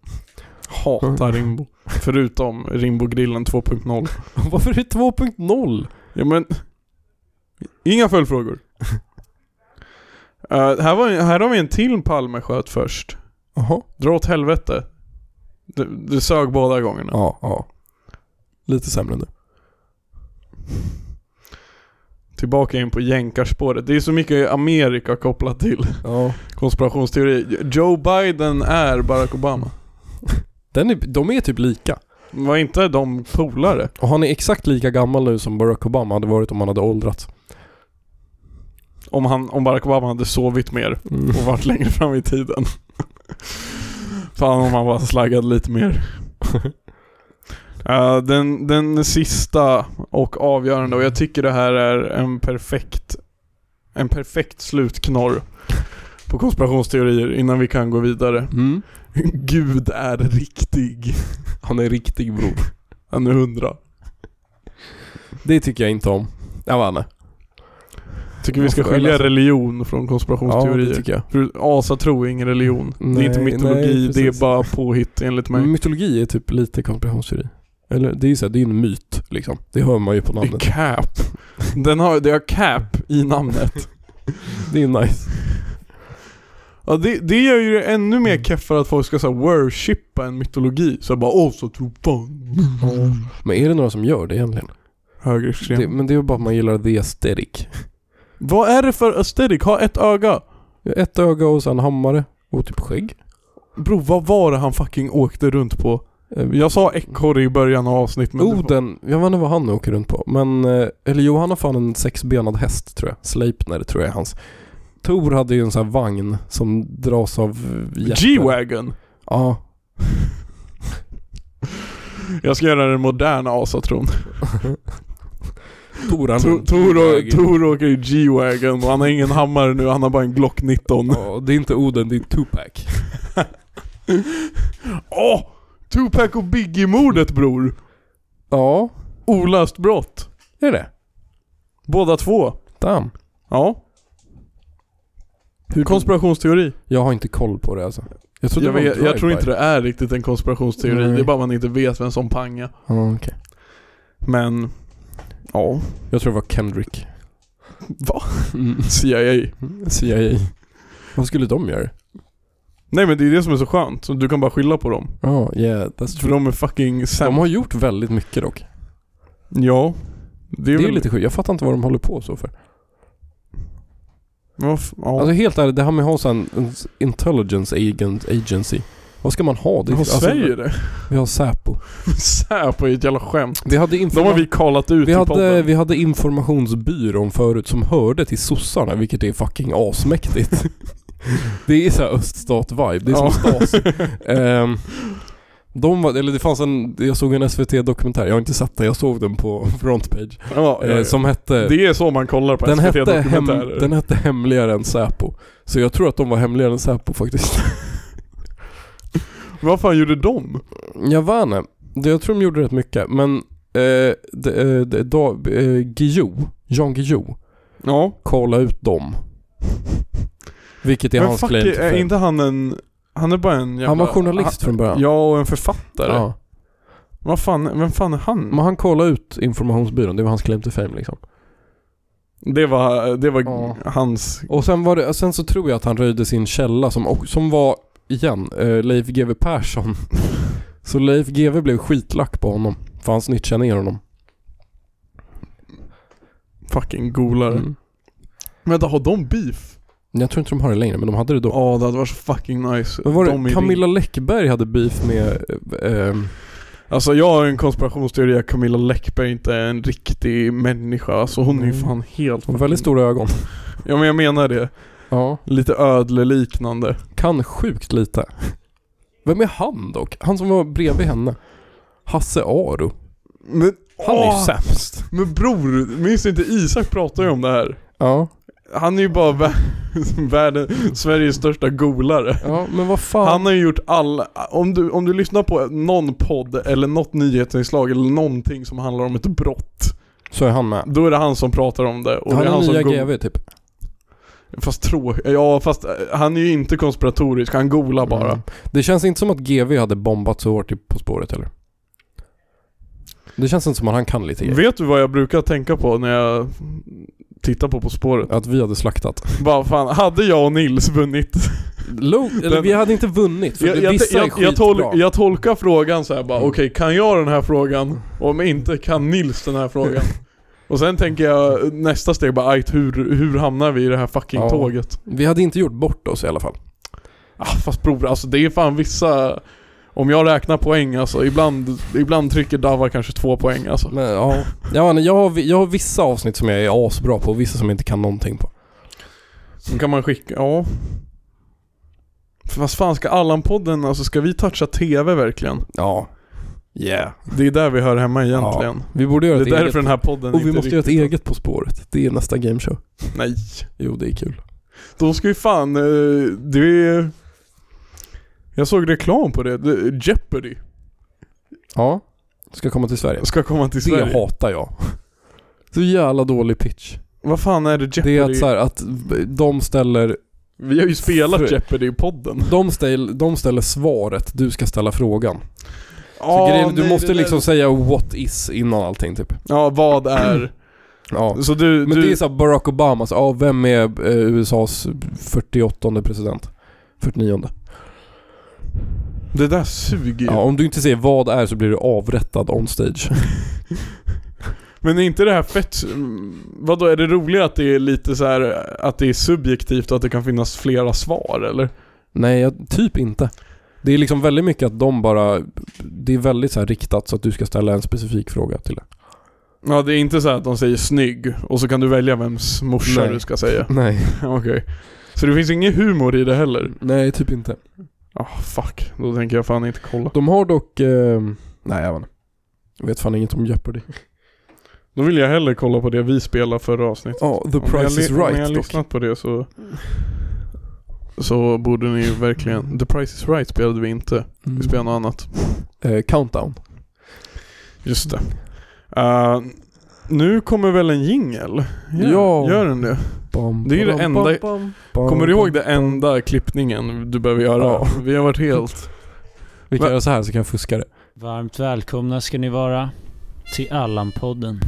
Speaker 1: Hatar Rimbo. Förutom Rimbo-grillen 2.0.
Speaker 2: Varför är det 2.0?
Speaker 1: Ja men... Inga följdfrågor. Eh, här, var, här har vi en till Palme sköt först.
Speaker 2: Jaha.
Speaker 1: Dra åt helvete. Det, det sög båda gångerna.
Speaker 2: Ja, ja. Lite sämre nu.
Speaker 1: Tillbaka in på jänkarspåret. Det är så mycket Amerika kopplat till
Speaker 2: Ja.
Speaker 1: konspirationsteori. Joe Biden är Barack Obama.
Speaker 2: Den är, de är typ lika.
Speaker 1: Var inte de polare?
Speaker 2: Och han är exakt lika gammal nu som Barack Obama hade varit om han hade åldrats.
Speaker 1: Om, han, om Barack Obama hade sovit mer och varit längre fram i tiden. Fan om han bara slaggade lite mer. Eh, den, den sista och avgörande och jag tycker det här är en perfekt en perfekt slutknorr på konspirationsteorier innan vi kan gå vidare.
Speaker 2: Mm.
Speaker 1: Gud är riktig.
Speaker 2: Han är riktig bror.
Speaker 1: Han är hundra.
Speaker 2: Det tycker jag inte om. Jag vann. det.
Speaker 1: Tycker vi ska
Speaker 2: Varför?
Speaker 1: skilja religion från
Speaker 2: Ja, det
Speaker 1: konspirationsteorier.
Speaker 2: tycker jag.
Speaker 1: För asatro är ingen religion. det är inte
Speaker 2: Nej,
Speaker 1: mytologi, det
Speaker 2: nej, precis.
Speaker 1: är bara påhitt enligt mig.
Speaker 2: Men mytologi är typ lite konspirationsteori. Eller det är ju så här, det är ju en myt liksom. Det hör man ju på
Speaker 1: Det är
Speaker 2: namnet.
Speaker 1: cap. Den har, det har cap i namnet.
Speaker 2: Det är nice.
Speaker 1: Ja, det, det gör ju det ännu mer keffare att folk ska så här, worshipa en mytologi. Så bara åh så tro fan.
Speaker 2: Men är det några som gör det egentligen?
Speaker 1: Högerextrem.
Speaker 2: Det, men det är ju bara att man gillar the aesthetic.
Speaker 1: Vad är det för aesthetic? Ha ett öga.
Speaker 2: Ett öga och sen hammare. Och typ skägg.
Speaker 1: Bro, vad var det han fucking åkte runt på?
Speaker 2: Eh,
Speaker 1: Jag sa ekorre i början av avsnittet
Speaker 2: Oh,
Speaker 1: men det var-
Speaker 2: Oden, jag vet inte vad han åker runt på. Men, eh, eller jo, han har fan en sexbenad häst tror jag. Sleipner tror jag är hans. Thor hade ju en sån här vagn som dras av eh, jätter.
Speaker 1: G-Wagon.
Speaker 2: Ja.
Speaker 1: Jag ska göra den moderna asatron.
Speaker 2: Thor han
Speaker 1: Tor- Tor Tor åker i G-Wagon och han har ingen hammare nu, han har bara en Glock 19.
Speaker 2: Ja, det är inte Oden, det är Tupac.
Speaker 1: Åh! Tupac och Biggie-mordet bror!
Speaker 2: Ja.
Speaker 1: Olöst brott.
Speaker 2: Är det
Speaker 1: Båda två?
Speaker 2: Damn.
Speaker 1: Ja. Hur konspirationsteori?
Speaker 2: Jag har inte koll på det alltså. Jag, trodde
Speaker 1: Jag,
Speaker 2: det var
Speaker 1: vet,
Speaker 2: en
Speaker 1: jag tror inte
Speaker 2: drive-by.
Speaker 1: det är riktigt en konspirationsteori,
Speaker 2: Nej.
Speaker 1: det är bara man inte vet vem som panga.
Speaker 2: Ja, okej.
Speaker 1: Men... Ja.
Speaker 2: Jag tror det var Kendrick.
Speaker 1: Va?
Speaker 2: Mm.
Speaker 1: CIA.
Speaker 2: CIA. Vad skulle de göra?
Speaker 1: Nej men det är det som är så skönt, så du kan bara skylla på dem.
Speaker 2: Ja, yeah, that's
Speaker 1: För
Speaker 2: true.
Speaker 1: de är fucking
Speaker 2: De
Speaker 1: sämst.
Speaker 2: har gjort väldigt mycket dock.
Speaker 1: Ja. Det
Speaker 2: Det
Speaker 1: är,
Speaker 2: är ju
Speaker 1: väl...
Speaker 2: lite sjukt. Jag fattar inte vad de håller på så för.
Speaker 1: Ja, f- ja.
Speaker 2: Alltså helt ärligt, det här med att ha så här en intelligence agent, agency. Vad ska man ha det
Speaker 1: de
Speaker 2: Alltså,
Speaker 1: säger det.
Speaker 2: Vi har Säpo.
Speaker 1: Säpo är ett jävla skämt.
Speaker 2: Vi hade,
Speaker 1: De har
Speaker 2: informa-
Speaker 1: vi kallat ut
Speaker 2: vi,
Speaker 1: i
Speaker 2: hade,
Speaker 1: podden.
Speaker 2: vi hade informationsbyrån förut som hörde till sossarna, vilket är fucking asmäktigt. det är så här öststat-vibe. Det är
Speaker 1: Ja.
Speaker 2: som Stasi. Ehm, de var, eller det fanns en, jag såg en SVT-dokumentär, jag har inte sett den, jag såg den på frontpage.
Speaker 1: Ja, ja,
Speaker 2: eh,
Speaker 1: ja.
Speaker 2: Som hette...
Speaker 1: Det är så man kollar på
Speaker 2: Den hette, hem,
Speaker 1: SVT-dokumentärer.
Speaker 2: den hette Hemligare än Säpo. Så jag tror att de var hemligare än Säpo faktiskt.
Speaker 1: Vad fan gjorde de?
Speaker 2: Jag vann. eh. Det- Jag tror de gjorde rätt mycket. Men eh, det, eh, det, da, eh, Guillou, Jan Guillou,
Speaker 1: Ja.
Speaker 2: kolla ut dem. Vilket är
Speaker 1: Men
Speaker 2: hans
Speaker 1: fuck,
Speaker 2: claim to
Speaker 1: är
Speaker 2: fame.
Speaker 1: inte han en... Han är bara en jävla...
Speaker 2: Han var journalist från början.
Speaker 1: Han, ja, och en författare.
Speaker 2: Ja.
Speaker 1: Vad fan, vem fan är han?
Speaker 2: Men han kollade ut informationsbyrån, det var hans claim to fame liksom.
Speaker 1: Det var, det var
Speaker 2: Ja.
Speaker 1: hans...
Speaker 2: Och sen, var det, sen så tror jag att han röjde sin källa som, och- som var, igen, eh, Leif GW Persson. så Leif GW blev skitlack på honom. För han snitchade ner honom.
Speaker 1: Fucking golare.
Speaker 2: Mm.
Speaker 1: Vänta, har de beef?
Speaker 2: Jag tror inte de har det längre, men de hade det då.
Speaker 1: Ja, det hade varit så fucking nice.
Speaker 2: Men var
Speaker 1: De i
Speaker 2: det,
Speaker 1: ring.
Speaker 2: Camilla Läckberg hade beef med... eh, Eh,
Speaker 1: Alltså jag har en konspirationsteori att Camilla Läckberg inte är en riktig människa. Alltså hon är ju
Speaker 2: Mm.
Speaker 1: fan helt...
Speaker 2: hon har väldigt stora ögon.
Speaker 1: Ja men jag menar det.
Speaker 2: Ja.
Speaker 1: Lite ödleliknande.
Speaker 2: Kan sjukt lite. Vem är han dock? Han som var bredvid henne. Hasse Aro.
Speaker 1: Men,
Speaker 2: Han är ju
Speaker 1: åh!
Speaker 2: sämst.
Speaker 1: Men bror, minns du inte Isak pratade ju om det här?
Speaker 2: Ja.
Speaker 1: Han är ju bara vä- världen, Sveriges största golare.
Speaker 2: ja, men vad fan.
Speaker 1: Han har ju gjort alla, om du, om du lyssnar på någon podd eller något nyhetsinslag eller någonting som handlar om ett brott.
Speaker 2: Så är han med.
Speaker 1: Då är det han som pratar om det. Och
Speaker 2: han
Speaker 1: det
Speaker 2: är,
Speaker 1: är han som
Speaker 2: nya
Speaker 1: go-
Speaker 2: GV typ.
Speaker 1: Fast trå... Ja fast eh, han är ju inte konspiratorisk, han golar bara.
Speaker 2: Mm. Det känns inte som att GV hade bombat så hårt i På spåret eller? Det känns inte som att han kan lite grejer.
Speaker 1: Vet du vad jag brukar tänka på när jag tittar på På spåret?
Speaker 2: Att vi hade slaktat.
Speaker 1: Bara fan, hade jag och Nils vunnit?
Speaker 2: Low, eller
Speaker 1: Den-
Speaker 2: vi hade inte vunnit för
Speaker 1: Jag, jag,
Speaker 2: vissa är
Speaker 1: jag, jag,
Speaker 2: skitbra.
Speaker 1: tol, jag tolkar frågan så här bara,
Speaker 2: Mm.
Speaker 1: okej kan jag den här frågan? Om inte, kan Nils den här frågan? Och sen tänker jag nästa steg bara, ajt, hur, hur hamnar vi i det här fucking
Speaker 2: Ja.
Speaker 1: tåget?
Speaker 2: Vi hade inte gjort bort oss i alla fall.
Speaker 1: Ah, fast bror, alltså det är fan vissa... Om jag räknar poäng alltså, ibland, ibland trycker Dava kanske två poäng alltså.
Speaker 2: Men, ja. jag, vet inte, jag, har, vi- jag har vissa avsnitt som jag är asbra på och vissa som jag inte kan någonting på.
Speaker 1: Sen kan man skicka, ja. Fast fan ska Allan-podden, alltså ska vi toucha TV verkligen?
Speaker 2: Ja. Yeah.
Speaker 1: Det är där vi hör hemma egentligen.
Speaker 2: Vi borde göra
Speaker 1: Det
Speaker 2: ett
Speaker 1: är därför
Speaker 2: eget.
Speaker 1: den här podden
Speaker 2: Och vi
Speaker 1: inte
Speaker 2: måste göra ett
Speaker 1: riktigt-
Speaker 2: eget På spåret. Det är nästa gameshow.
Speaker 1: Nej.
Speaker 2: Jo, det är kul.
Speaker 1: De ska ju fan, eh, det är... Jag såg reklam på det, Det- Jeopardy
Speaker 2: Ja. Ska komma till Sverige.
Speaker 1: ska komma till
Speaker 2: Det
Speaker 1: Sverige.
Speaker 2: hatar jag. Så jävla dålig pitch.
Speaker 1: Vad fan är det Jeopardy?
Speaker 2: Det är att, så här, att de ställer,
Speaker 1: Vi har ju spelat
Speaker 2: Fru-
Speaker 1: Jeopardy i podden.
Speaker 2: de, ställ, de ställer svaret, du ska ställa frågan. Så
Speaker 1: Ah,
Speaker 2: grejen, du
Speaker 1: nej,
Speaker 2: måste
Speaker 1: det där-
Speaker 2: liksom säga what is innan allting typ.
Speaker 1: Ja, vad är...
Speaker 2: Ja.
Speaker 1: Så du...
Speaker 2: Men
Speaker 1: du...
Speaker 2: det är så här Barack Obama, så, ja, vem är eh, USAs 48 president? 49
Speaker 1: det där suger ju.
Speaker 2: Ja, om du inte säger vad är så blir du avrättad on stage.
Speaker 1: Men är inte det här fett... Vad då är det roliga att det är lite så här att det är subjektivt och att det kan finnas flera svar eller?
Speaker 2: Nej, jag, typ inte. Det är liksom väldigt mycket att de bara, det är väldigt så här riktat så att du ska ställa en specifik fråga till det.
Speaker 1: Ja, det är inte så här att de säger 'snygg' och så kan du välja vems morsa
Speaker 2: Nej.
Speaker 1: du ska säga.
Speaker 2: Nej.
Speaker 1: Okej. Så det finns ingen humor i det heller?
Speaker 2: Nej, typ inte.
Speaker 1: Ah fuck, då tänker jag fan inte kolla.
Speaker 2: De har dock, eh, nej jag vet inte. Jag vet fan inget om Jeopardy.
Speaker 1: Då vill jag hellre kolla på det vi spelade förra avsnittet.
Speaker 2: Ja, The
Speaker 1: Om ni har
Speaker 2: Price is
Speaker 1: li- Om ni har
Speaker 2: Right dock.
Speaker 1: lyssnat på det så... Så borde ni ju verkligen... The Price is Right spelade vi inte. Vi
Speaker 2: Mm.
Speaker 1: spelade något annat.
Speaker 2: Eh, countdown.
Speaker 1: Just det. Eh, Nu kommer väl en jingel? Gör-
Speaker 2: Ja.
Speaker 1: Gör den det?
Speaker 2: Bam,
Speaker 1: Det är ju det
Speaker 2: bam,
Speaker 1: enda-
Speaker 2: bam, bam, bam,
Speaker 1: Kommer du
Speaker 2: bam.
Speaker 1: ihåg det enda klippningen du behöver göra?
Speaker 2: Ja.
Speaker 1: Vi har varit helt...
Speaker 2: Vi kan göra så här så kan jag fuska det.
Speaker 6: Varmt välkomna ska ni vara till Allan-podden.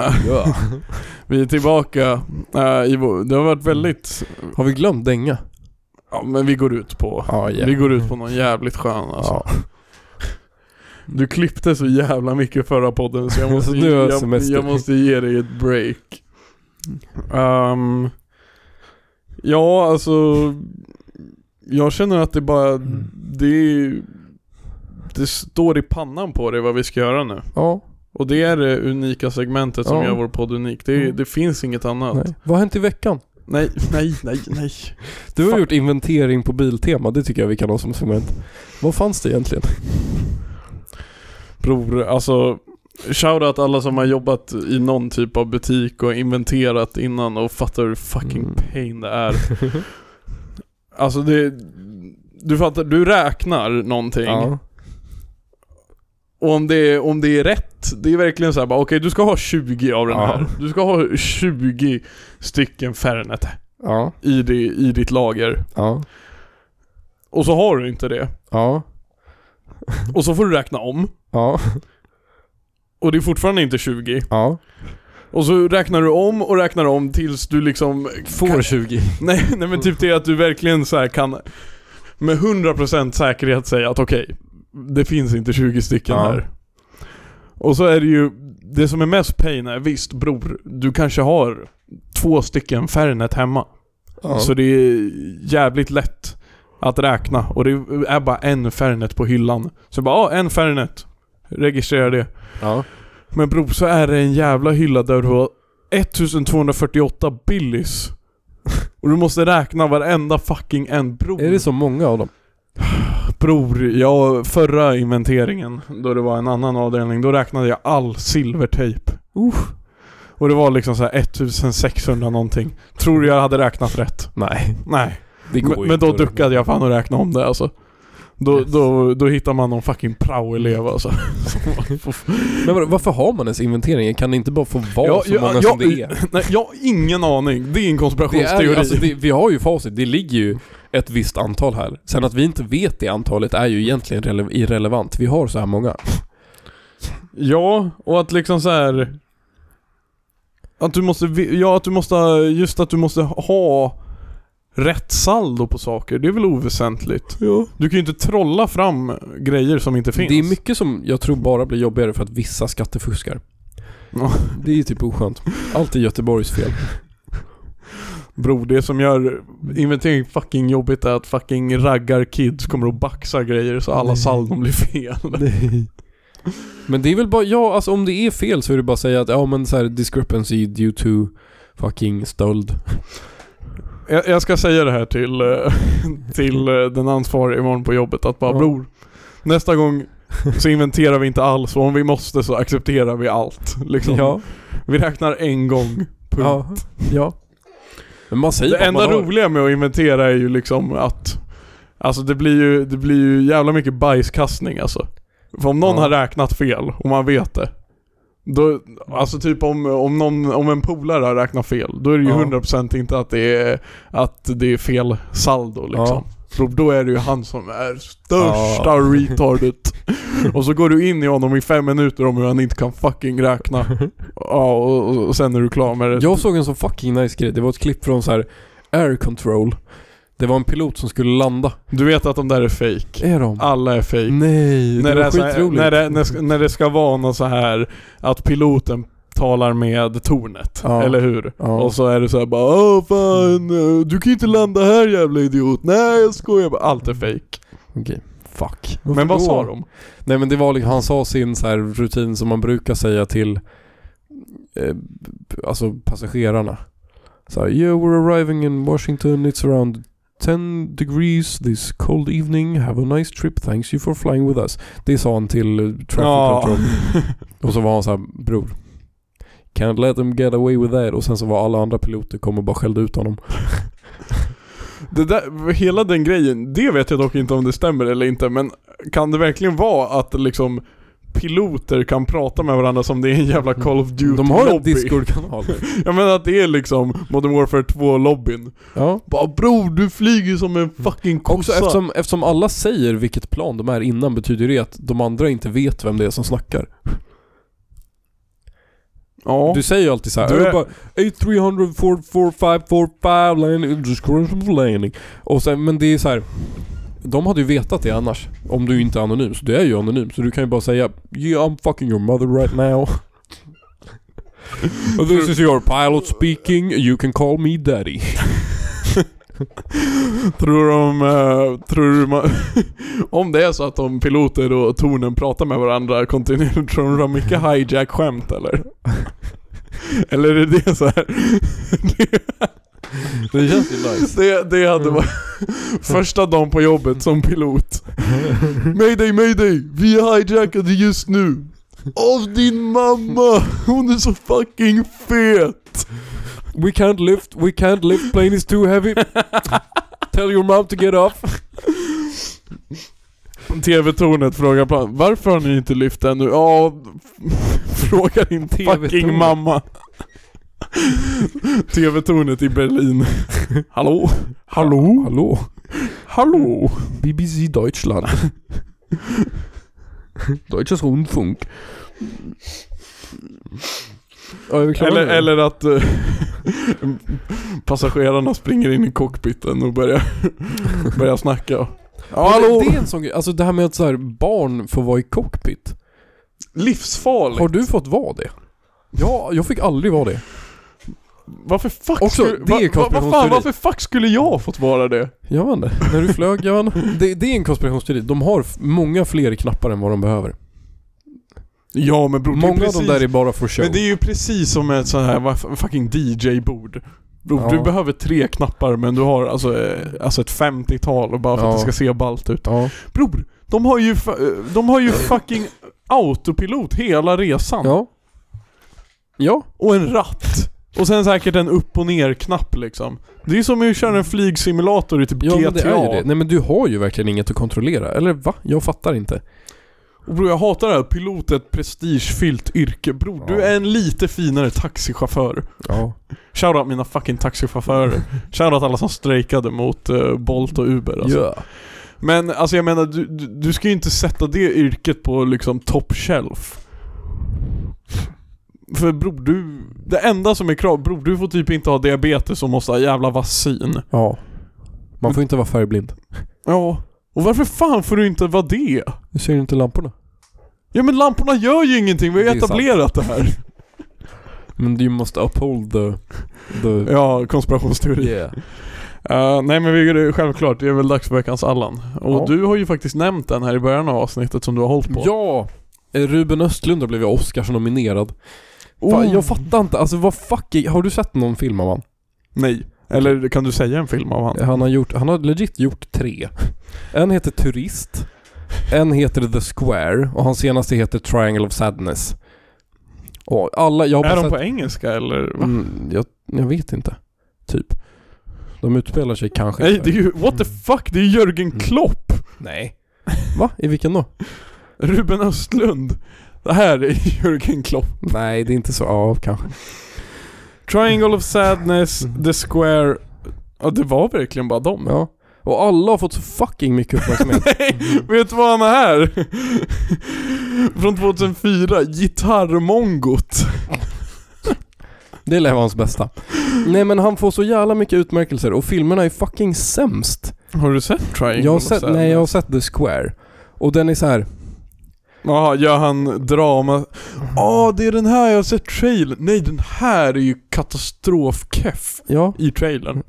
Speaker 1: Vi är tillbaka eh, i vår... Det har varit väldigt...
Speaker 2: Har vi glömt dänga?
Speaker 1: Ja men vi går ut på...
Speaker 2: Ja,
Speaker 1: Vi går ut på någon jävligt skön alltså.
Speaker 2: Ja.
Speaker 1: Du klippte så jävla mycket förra podden så jag måste,
Speaker 2: Så nu har jag
Speaker 1: jag,
Speaker 2: semester.
Speaker 1: jag måste ge dig ett break. Ehm, ja, alltså. Jag känner att det bara,
Speaker 2: Mm.
Speaker 1: det är- Det står i pannan på dig vad vi ska göra nu.
Speaker 2: ja.
Speaker 1: Och det är det unika segmentet som
Speaker 2: Ja.
Speaker 1: gör vår podd unik. Det, är-
Speaker 2: Mm.
Speaker 1: det finns inget annat.
Speaker 2: Nej. Vad har hänt i veckan?
Speaker 1: Nej, nej, nej, nej.
Speaker 2: Du har
Speaker 1: Fan.
Speaker 2: gjort inventering på Biltema, det tycker jag vi kan ha som segment. Vad fanns det egentligen?
Speaker 1: Bror, alltså Shoutout alla som har jobbat i någon typ av butik och inventerat innan och fattar hur fucking
Speaker 2: Mm.
Speaker 1: pain det är Alltså det Du fattar, du räknar någonting Och om det, är, om det är rätt, det är verkligen såhär bara okej du ska ha 20 av den
Speaker 2: Ja.
Speaker 1: här Du ska ha 20 stycken Fernet
Speaker 2: Ja.
Speaker 1: i, det, i ditt lager
Speaker 2: Ja.
Speaker 1: Och så har du inte det
Speaker 2: Ja.
Speaker 1: Och så får du räkna om
Speaker 2: Ja.
Speaker 1: Och det är fortfarande inte 20
Speaker 2: Ja.
Speaker 1: Och så räknar du om och räknar om tills du liksom
Speaker 2: Får 20.
Speaker 1: Nej, nej men typ det att du verkligen så här kan med 100% säkerhet säga att okej, det finns inte 20 stycken
Speaker 2: Ja.
Speaker 1: här. Och så är det ju, det som är mest pain är visst bror, du kanske har två stycken Fernet hemma.
Speaker 2: Ja.
Speaker 1: Så det är jävligt lätt att räkna och det är bara en Fernet på hyllan. Så bara, ja en Fernet. Registrera det.
Speaker 2: Ja.
Speaker 1: Men bror, så är det en jävla hylla där du har 1248 Billys. Och du måste räkna varenda fucking en bror.
Speaker 2: Är det så många av dem?
Speaker 1: Bror, jag, förra inventeringen, då det var en annan avdelning, då räknade jag all silvertejp. Och det var liksom så här 1600 någonting. Tror du jag hade räknat rätt?
Speaker 2: Nej.
Speaker 1: Nej.
Speaker 2: Det går
Speaker 1: Men,
Speaker 2: ju
Speaker 1: men då
Speaker 2: inte.
Speaker 1: duckade jag fan och räknade om det alltså. Då,
Speaker 2: Yes.
Speaker 1: då, då hittar man någon fucking prao-elev alltså. Som-
Speaker 2: Men vadå, varför har man ens inventeringen? Kan det inte bara få vara
Speaker 1: Ja,
Speaker 2: så
Speaker 1: ja,
Speaker 2: många
Speaker 1: ja,
Speaker 2: som det är?
Speaker 1: Nej, jag har ingen aning. Det är en
Speaker 2: Det är,
Speaker 1: konspirationsteori.
Speaker 2: ju- alltså, det, vi har ju facit, det ligger ju ett visst antal här. Sen att vi inte vet det antalet är ju egentligen rele- irrelevant. Vi har så här många.
Speaker 1: Ja, och att liksom så här. Att du måste, vi- ja att du måste, just att du måste ha rätt saldo på saker, det är väl oväsentligt?
Speaker 2: Ja.
Speaker 1: Du kan ju inte trolla fram grejer som inte finns.
Speaker 2: Det är mycket som jag tror bara blir jobbigare för att vissa skattefuskar.
Speaker 1: Ja.
Speaker 2: Det är ju typ oskönt. Allt är Göteborgs fel.
Speaker 1: Bro, det som gör inventering fucking jobbigt är att fucking raggar kids kommer att baxa grejer så alla
Speaker 2: Nej.
Speaker 1: saldon blir fel.
Speaker 2: Men det är väl bara, ja alltså om det är fel så är det bara att säga att ja men så här discrepancy due to fucking stöld.
Speaker 1: Jag, jag ska säga det här till, eh, till eh, den ansvariga imorgon på jobbet att bara
Speaker 2: Ja.
Speaker 1: bror, nästa gång så inventerar vi inte alls och om vi måste så accepterar vi allt. Liksom.
Speaker 2: Ja,
Speaker 1: Vi räknar en gång. Punkt.
Speaker 2: ja, ja. Men man säger
Speaker 1: Det
Speaker 2: bara att
Speaker 1: enda
Speaker 2: man har-
Speaker 1: roliga med att inventera är ju liksom att Alltså det blir ju, det blir ju jävla mycket bajskastning alltså. För om någon
Speaker 2: Ja.
Speaker 1: har räknat fel och man vet det. Då, alltså typ om, om, någon, om en polare har räknat fel, då är det ju
Speaker 2: Ja.
Speaker 1: 100% inte att det, är, att det är fel saldo liksom. För då är det ju han som är största
Speaker 2: Ja.
Speaker 1: retardet. Och så går du in i honom i fem minuter om hur han inte kan fucking räkna. Ja, och, och, och sen är du klar med det.
Speaker 2: Jag såg en så fucking nice grej. Det var ett klipp från så här Air Control. Det var en pilot som skulle landa.
Speaker 1: Du vet att de där är fake.
Speaker 2: Är de?
Speaker 1: Alla är fake.
Speaker 2: Nej,
Speaker 1: Ah, när, det
Speaker 2: Mm. det var
Speaker 1: är så här,
Speaker 2: skitroligt.
Speaker 1: när, det, när, när det ska vara något så här att piloten talar med tornet,
Speaker 2: Ja.
Speaker 1: eller hur?
Speaker 2: Ja. Mm.
Speaker 1: Och så är det så här bara Åh fan, eh, du kan ju inte landa här jävla idiot, nej jag skojar bara. Allt är fake.
Speaker 2: Okej. Fuck.
Speaker 1: Men vad
Speaker 2: då?
Speaker 1: sa de?
Speaker 2: Nej men det var liksom, han sa sin så här rutin som man brukar säga till eh, alltså passagerarna. Så här, yeah we're arriving in Washington, it's around 10 degrees this cold evening, have a nice trip, thanks you for flying with us. Det sa han till eh, traffic
Speaker 1: Ja.
Speaker 2: control. Och så var han så här, bror. Can't let them get away with that. Och sen så var alla andra piloter kom och bara skällde ut honom.
Speaker 1: Det där, hela den grejen, det vet jag dock inte om det stämmer eller inte, men kan det verkligen vara att liksom piloter kan prata med varandra som det är en jävla Call of Duty
Speaker 2: De har en
Speaker 1: lobby?
Speaker 2: Discord-kanal.
Speaker 1: Jag menar att det är liksom Modern Warfare 2-lobbyn.
Speaker 2: ja.
Speaker 1: Bara bror, du flyger som en fucking
Speaker 2: Också
Speaker 1: kossa.
Speaker 2: eftersom, eftersom alla säger vilket plan de är innan betyder det att de andra inte vet vem det är som snackar.
Speaker 1: ja.
Speaker 2: Du säger ju alltid såhär
Speaker 1: Du är-
Speaker 2: du... bara 8300 445 landing, just current landing. Och sen, men det är så här. De hade ju vetat det annars. Om du inte är anonym. Så du är ju anonym. Så du kan ju bara säga Yeah I'm fucking your mother right now. This is your pilot speaking. You can call me daddy.
Speaker 1: Tror de, eh, tror du man, om det är så att de piloter och tornen pratar med varandra kontinuerligt, tror de de har mycket hijack-skämt eller? Eller är det det så här?
Speaker 2: Det känns ju nice. Mm.
Speaker 1: Det, det hade varit första dagen på jobbet som pilot. Mayday, mayday! Vi är hijackade just nu! Av din mamma! Hon är så fucking fet!
Speaker 2: We can't lift, we can't lift, plane is too heavy. Tell your mom to get off.
Speaker 1: TV-tornet frågar plan. Varför har ni inte lyft ännu? Ja, fråga din fucking
Speaker 2: TV-tornet.
Speaker 1: mamma. TV-tornet i Berlin. Hallå? Hallå?
Speaker 2: Hallå?
Speaker 1: Hallå?
Speaker 2: BBC Deutschland. Deutsches Rundfunk. Ja, är vi klara
Speaker 1: Eller,
Speaker 2: nu?
Speaker 1: eller att eh, passagerarna springer in i cockpiten och börjar, börjar snacka.
Speaker 2: Men
Speaker 1: Ja, hallå?
Speaker 2: Det, det är en sån grej. Alltså det här med att så här, barn får vara i cockpit.
Speaker 1: Livsfarligt.
Speaker 2: Har du fått vara det? Ja, jag fick aldrig vara det.
Speaker 1: Varför fuck
Speaker 2: Också,
Speaker 1: skulle...
Speaker 2: det är
Speaker 1: va, va, vad fan,
Speaker 2: konspirationsteori.
Speaker 1: varför fuck skulle jag fått vara det?
Speaker 2: Jag vet inte. När du flög, jag vet inte. Det, det är en konspirationsteori. De har f- många fler knappar än vad de behöver.
Speaker 1: Ja men bror, det är
Speaker 2: Många av
Speaker 1: precis-
Speaker 2: dem där är bara för show.
Speaker 1: Men det är ju precis som ett sånt här vad f- fucking DJ-bord. Bror,
Speaker 2: Ja.
Speaker 1: Du behöver tre knappar men du har alltså, eh, alltså ett 50-tal och bara för att
Speaker 2: Ja.
Speaker 1: det ska se ballt ut.
Speaker 2: Ja.
Speaker 1: Bror, de har ju, fa- eh, de har ju fucking autopilot hela resan.
Speaker 2: Ja. Ja.
Speaker 1: Och en ratt. Och sen säkert en upp och ner-knapp liksom. Det är som att köra en flygsimulator i typ
Speaker 2: Ja,
Speaker 1: GTA.
Speaker 2: men det är ju det. Nej men du har ju verkligen inget att kontrollera. Eller va? Jag fattar inte.
Speaker 1: Och bror jag hatar det här. Pilot är ett prestigefyllt yrke. Bror, du
Speaker 2: Ja.
Speaker 1: är en lite finare taxichaufför.
Speaker 2: Ja.
Speaker 1: Shoutout mina fucking taxichaufförer. Shoutout alla som strejkade mot eh, Bolt och Uber alltså.
Speaker 2: Ja.
Speaker 1: Men alltså jag menar, du, du, du ska ju inte sätta det yrket på liksom top shelf. För bror du, det enda som är krav, bror du får typ inte ha diabetes och måste ha jävla vaccin.
Speaker 2: Ja. Man får inte vara färgblind.
Speaker 1: Ja. Och varför fan får du inte vara det?
Speaker 2: Du ser ju inte lamporna.
Speaker 1: Ja men lamporna gör ju ingenting, vi har
Speaker 2: Det är
Speaker 1: etablerat det här.
Speaker 2: Men du måste uphold the... the
Speaker 1: Ja, konspirationsteori.
Speaker 2: yeah.
Speaker 1: Eh, nej men vi, det är självklart, det är väl dags för veckans Allan. Och
Speaker 2: Ja.
Speaker 1: du har ju faktiskt nämnt den här i början av avsnittet som du har hållit på.
Speaker 2: Ja! Eh, Ruben Östlund har blivit Oscars-nominerad. Fan,
Speaker 1: Oh.
Speaker 2: Jag fattar inte, alltså vad fuck är, Har du sett någon film av han?
Speaker 1: Nej. Eller kan du säga en film av han?
Speaker 2: Han har, gjort, han har legit gjort tre. En heter Turist, en heter The Square och hans senaste heter Triangle of Sadness. Och alla, jag har bara
Speaker 1: Är de
Speaker 2: sett-
Speaker 1: på engelska eller? Va?
Speaker 2: Mm, jag, jag vet inte. Typ. De utspelar sig kanske.
Speaker 1: Nej, det är ju, what the fuck, det är Jörgen
Speaker 2: Mm.
Speaker 1: Klopp!
Speaker 2: Nej. Va? I vilken då?
Speaker 1: Ruben Östlund. Det här är Jörgen Klopp.
Speaker 2: Nej, det är inte så. Ja, kanske.
Speaker 1: Triangle of Sadness,
Speaker 2: Mm.
Speaker 1: The Square. Ja, det var verkligen bara dem.
Speaker 2: Ja. Och alla har fått så fucking mycket uppmärksamhet.
Speaker 1: Nej, vet du vad han är här? Från 2004, Gitarrmongot.
Speaker 2: det lär vara hans bästa. Nej men han får så jävla mycket utmärkelser och filmerna är fucking sämst.
Speaker 1: Har du sett Triangle
Speaker 2: Jag har
Speaker 1: of
Speaker 2: sett,
Speaker 1: Sadness?
Speaker 2: nej jag har sett The Square. Och den är så här.
Speaker 1: Jaha, gör han drama? Åh, det är den här jag har sett trailern. Nej, den här är ju katastrofkeff
Speaker 2: Ja.
Speaker 1: i
Speaker 2: Mm.
Speaker 1: trailern.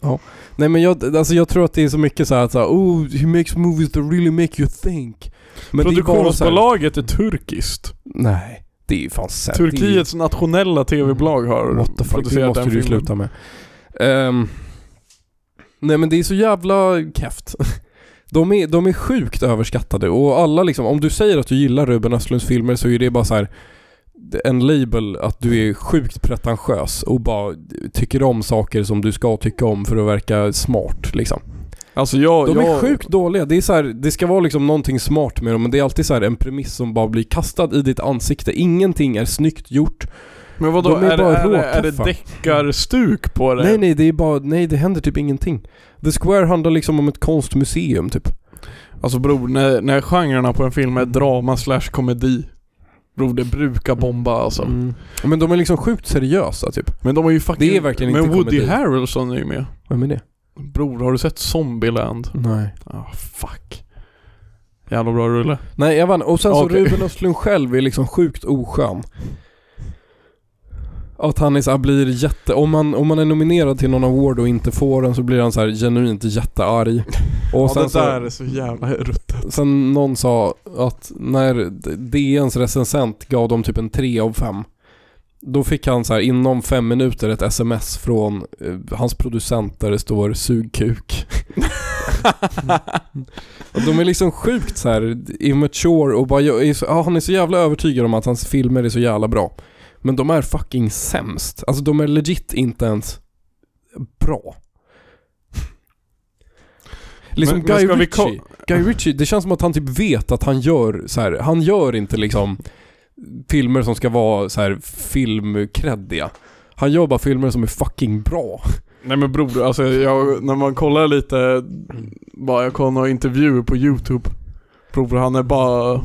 Speaker 2: Nej men jag, alltså jag tror att det är så mycket så här att så här, oh, he makes movies that really make you think. Men det är bara så här,
Speaker 1: Produktionsbolaget är turkiskt.
Speaker 2: Nej, det är ju fan sämst.
Speaker 1: Turkiets nationella tv-bolag har
Speaker 2: What the fuck, det
Speaker 1: producerat
Speaker 2: måste
Speaker 1: den
Speaker 2: du ju
Speaker 1: filmen.
Speaker 2: sluta med. Ehm, nej men det är så jävla keft. De är, de är sjukt överskattade och alla liksom, om du säger att du gillar Ruben Östlunds filmer så är det bara så här en label att du är sjukt pretentiös och bara tycker om saker som du ska tycka om för att verka smart liksom.
Speaker 1: Alltså jag...
Speaker 2: De
Speaker 1: jag,
Speaker 2: är sjukt dåliga. Det, är så här, det ska vara liksom någonting smart med dem men det är alltid så här en premiss som bara blir kastad i ditt ansikte. Ingenting är snyggt gjort.
Speaker 1: Men vadå,
Speaker 2: de är
Speaker 1: är, det,
Speaker 2: bara
Speaker 1: är, det, är det
Speaker 2: råtuffa.
Speaker 1: deckarstuk på det?
Speaker 2: Nej nej, det är bara, nej det händer typ ingenting. The Square handlar liksom om ett konstmuseum typ.
Speaker 1: Alltså bror, när, när genrerna på en film
Speaker 2: Mm.
Speaker 1: är drama slash komedi. Bror, det brukar bomba alltså.
Speaker 2: Mm. Men de är liksom sjukt seriösa typ.
Speaker 1: Men de är ju fucking...
Speaker 2: Det är verkligen
Speaker 1: Men
Speaker 2: inte
Speaker 1: Woody
Speaker 2: komedi.
Speaker 1: Harrelson är ju med.
Speaker 2: Vem är det?
Speaker 1: Bror, har du sett Zombieland?
Speaker 2: Nej.
Speaker 1: Ah, fuck. Jävla bra rulle.
Speaker 2: Nej jag vann. Och sen så
Speaker 1: Okej.
Speaker 2: Ruben Östlund själv är liksom sjukt oskön. Att han är så här, blir jätte... Om man, om man är nominerad till någon award och inte får den så blir han så här genuint jättearg. Och
Speaker 1: ja, det
Speaker 2: så-
Speaker 1: där är så jävla ruttet.
Speaker 2: Sen någon sa att när DNs recensent gav dem typ en 3 av 5 då fick han så här inom fem minuter ett sms från eh, hans producent där det står “sug kuk”. och de är liksom sjukt så här immature och bara, jag är så, ja, han är så jävla övertygad om att hans filmer är så jävla bra. Men de är fucking sämst. Alltså de är legit inte ens bra. Liksom
Speaker 1: Men- men
Speaker 2: Guy
Speaker 1: ska vi ko-
Speaker 2: Ritchie. Guy Ritchie, det känns som att han typ vet att han gör så här. han gör inte liksom filmer som ska vara så här filmkreddiga. Han gör bara filmer som är fucking bra.
Speaker 1: Nej men bror, alltså jag, när man kollar lite, bara jag kollar några intervjuer på youtube. Bror han är bara,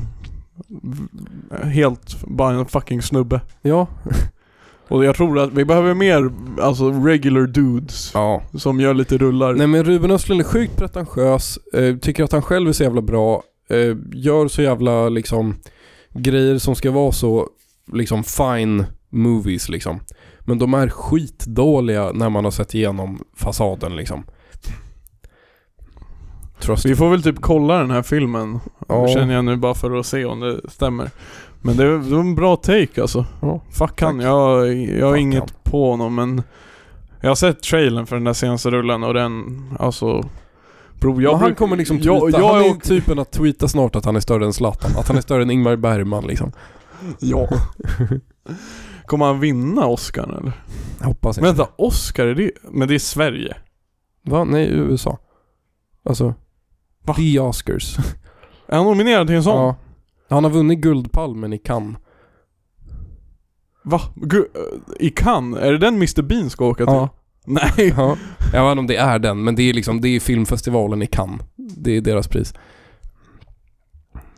Speaker 1: helt, bara en fucking snubbe.
Speaker 2: Ja.
Speaker 1: Och jag tror att vi behöver mer, alltså regular dudes.
Speaker 2: Ja.
Speaker 1: Som gör lite rullar.
Speaker 2: Nej men Ruben Östlund är sjukt pretentiös, eh, tycker att han själv är så jävla bra, eh, gör så jävla liksom grejer som ska vara så liksom fine movies liksom. Men de är skitdåliga när man har sett igenom fasaden liksom. Trust
Speaker 1: Vi får väl typ kolla den här filmen,
Speaker 2: Ja.
Speaker 1: känner jag nu bara för att se om det stämmer. Men det, det var en bra take alltså.
Speaker 2: Ja,
Speaker 1: Fuck han,
Speaker 2: tack.
Speaker 1: jag, jag har
Speaker 2: Fuck
Speaker 1: inget
Speaker 2: han.
Speaker 1: på honom men jag har sett trailern för den där senaste rullen och den, alltså... Bro, jag
Speaker 2: men han
Speaker 1: bruk-
Speaker 2: kommer liksom tweeta,
Speaker 1: jag, jag,
Speaker 2: han är
Speaker 1: jag,
Speaker 2: typen att tweeta snart att han är större än Zlatan, att han är större än Ingmar Bergman liksom.
Speaker 1: ja. Kommer han vinna Oscar eller?
Speaker 2: Jag hoppas inte.
Speaker 1: Vänta, Oscar är det? Men det är Sverige?
Speaker 2: Va? Nej, USA. Alltså,
Speaker 1: Va?
Speaker 2: The Oscars.
Speaker 1: Är han nominerad till en sån?
Speaker 2: Ja. Han har vunnit Guldpalmen i Cannes.
Speaker 1: Va? Gu- I Cannes? Är det den Mr Bean ska åka till?
Speaker 2: Ja.
Speaker 1: Nej.
Speaker 2: ja. Jag vet inte om det är den, men det är liksom, det är filmfestivalen i Cannes. Det är deras pris.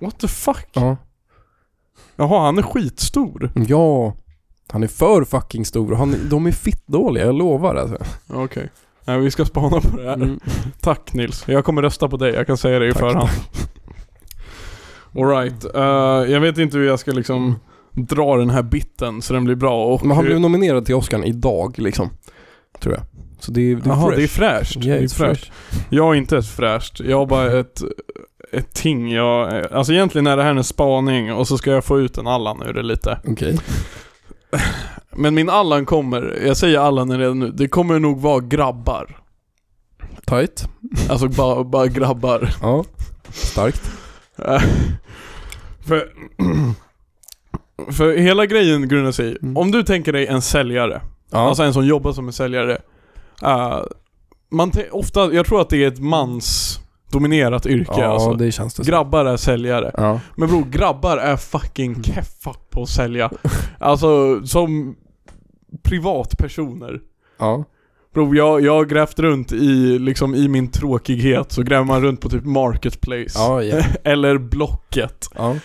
Speaker 1: What the fuck?
Speaker 2: Ja.
Speaker 1: Jaha, han är skitstor.
Speaker 2: Ja. Han är för fucking stor och han, de är fittdåliga, jag lovar alltså.
Speaker 1: Okej. Nej, vi ska spana på det här.
Speaker 2: Mm.
Speaker 1: Tack Nils. Jag kommer rösta på dig, jag kan säga det i
Speaker 2: Tack.
Speaker 1: förhand. Alright. eh, jag vet inte hur jag ska liksom dra den här biten så den blir bra. Och
Speaker 2: Men han blev
Speaker 1: hur...
Speaker 2: nominerad till Oscar idag liksom. Tror jag. Så det är, det är
Speaker 1: Jaha,
Speaker 2: fresh.
Speaker 1: det är fräscht.
Speaker 2: Yeah,
Speaker 1: det är
Speaker 2: it's
Speaker 1: fräscht. Jag är inte ett fräscht. Jag har bara ett, ett ting. Jag, alltså egentligen är det här en spaning och så ska jag få ut en Allan ur det lite.
Speaker 2: Okej.
Speaker 1: Men min Allan kommer, jag säger Allan redan nu, det kommer nog vara grabbar.
Speaker 2: Tight.
Speaker 1: Alltså bara, bara grabbar.
Speaker 2: Ja. Starkt.
Speaker 1: Eh, för, för hela grejen grundar sig i, om du tänker dig en säljare,
Speaker 2: Mm. Ja.
Speaker 1: alltså en som jobbar som en säljare. eh, man te- ofta, jag tror att det är ett mansdominerat yrke
Speaker 2: ja,
Speaker 1: alltså.
Speaker 2: det känns det som.
Speaker 1: Grabbar är säljare.
Speaker 2: Ja.
Speaker 1: Men bror, grabbar är
Speaker 2: Mm.
Speaker 1: fucking keffa på att sälja. Alltså som privatpersoner.
Speaker 2: Ja.
Speaker 1: Bror, jag, jag har grävt runt i, liksom, i min tråkighet så gräver man runt på typ marketplace.
Speaker 2: Ja, ja.
Speaker 1: Eller Blocket.
Speaker 2: ja.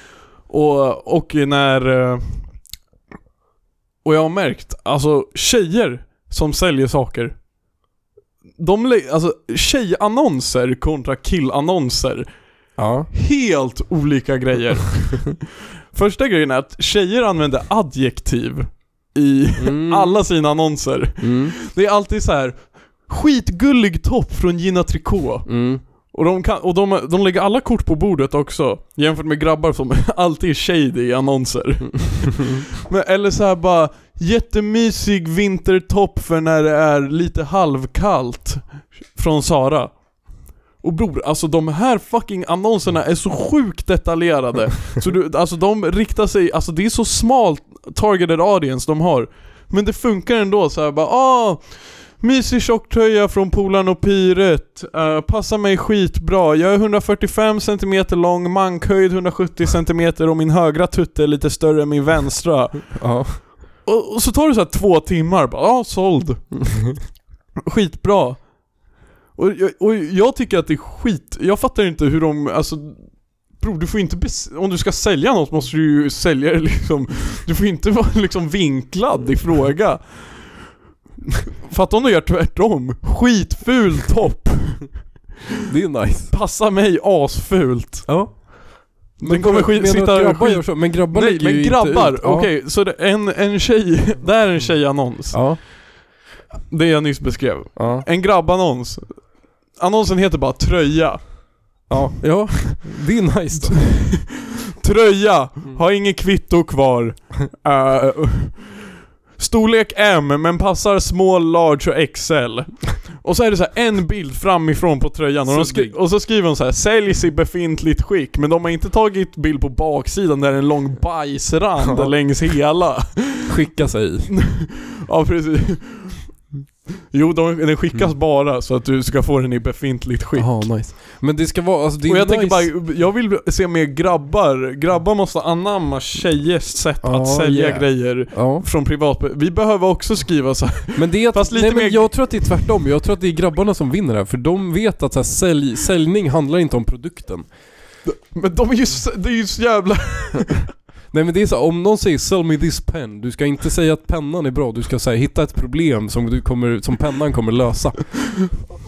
Speaker 1: Och, och när... eh, Och jag har märkt, alltså tjejer som säljer saker. De, lä- alltså tjejannonser kontra killannonser.
Speaker 2: Ja.
Speaker 1: helt olika grejer. Första grejen är att tjejer använder adjektiv i
Speaker 2: Mm.
Speaker 1: alla sina annonser.
Speaker 2: Mm.
Speaker 1: Det är alltid så här skitgullig topp från Gina Tricot.
Speaker 2: Mm.
Speaker 1: Och, de, kan, och de, de lägger alla kort på bordet också, jämfört med grabbar som alltid är shady i annonser. Men, eller så här bara, jättemysig vintertopp för när det är lite halvkallt från Sara. Och bror, alltså de här fucking annonserna är så sjukt detaljerade. Så du, alltså de riktar sig, alltså det är så smalt targeted audience de har. Men det funkar ändå så här bara, ah, Mysig tjocktröja från Polarn och Pyret. Eh, passar mig skitbra. Jag är 145 cm lång, mankhöjd 170 cm och min högra tutte är lite större än min vänstra.
Speaker 2: Ja.
Speaker 1: Och, och så tar det så här två timmar bara, ja såld. Skitbra. Och, jag- och jag tycker att det är skit, jag fattar inte hur de, alltså Bror, du får inte bes- om du ska sälja något måste du ju sälja det liksom Du får inte vara liksom vinklad i fråga Fatta om du gör tvärtom, skitful topp,
Speaker 2: Det är nice.
Speaker 1: passa mig asfult
Speaker 2: Ja.
Speaker 1: Den kommer skit-
Speaker 2: menar du
Speaker 1: sitta
Speaker 2: att grabbar
Speaker 1: skit-
Speaker 2: gör så? Men grabbar
Speaker 1: Nej
Speaker 2: lägger
Speaker 1: men
Speaker 2: ju
Speaker 1: grabbar,
Speaker 2: inte ut. Ja.
Speaker 1: okej så det, en, en tjej, det är en tjejannons
Speaker 2: Ja.
Speaker 1: Det jag nyss beskrev
Speaker 2: Ja.
Speaker 1: En grabbannons. Annonsen heter bara tröja.
Speaker 2: Ja. ja. Det är nice då.
Speaker 1: Tröja!
Speaker 2: Mm.
Speaker 1: Har inget kvitto kvar. Eh, storlek M men passar small, large och XL. Och så är det så här en bild framifrån på tröjan och, de skri-
Speaker 2: Suddig.
Speaker 1: och så skriver de så här säljs i befintligt skick men de har inte tagit bild på baksidan där det är en lång bajsrand
Speaker 2: Ja.
Speaker 1: längs hela.
Speaker 2: Skicka sig i.
Speaker 1: Ja precis. Jo, de, den skickas
Speaker 2: Mm.
Speaker 1: bara så att du ska få den i befintligt skick.
Speaker 2: Ja, nice. Men det ska vara, alltså det är
Speaker 1: Och jag
Speaker 2: nice.
Speaker 1: tänker bara, jag vill se mer grabbar. Grabbar måste anamma tjejers sätt
Speaker 2: Ja,
Speaker 1: att sälja
Speaker 2: yeah.
Speaker 1: grejer
Speaker 2: Ja.
Speaker 1: från privat. Vi behöver också skriva så här.
Speaker 2: Men det är att,
Speaker 1: Fast lite
Speaker 2: nej, men
Speaker 1: mer-
Speaker 2: jag tror att det är tvärtom. Jag tror att det är grabbarna som vinner här. För de vet att så här, sälj, säljning handlar inte om produkten.
Speaker 1: Men de är ju så, det är ju så jävla...
Speaker 2: Nej men det är så här, om någon säger 'Sell me this pen' Du ska inte säga att pennan är bra. Du ska säga hitta ett problem som, du kommer, som pennan kommer lösa.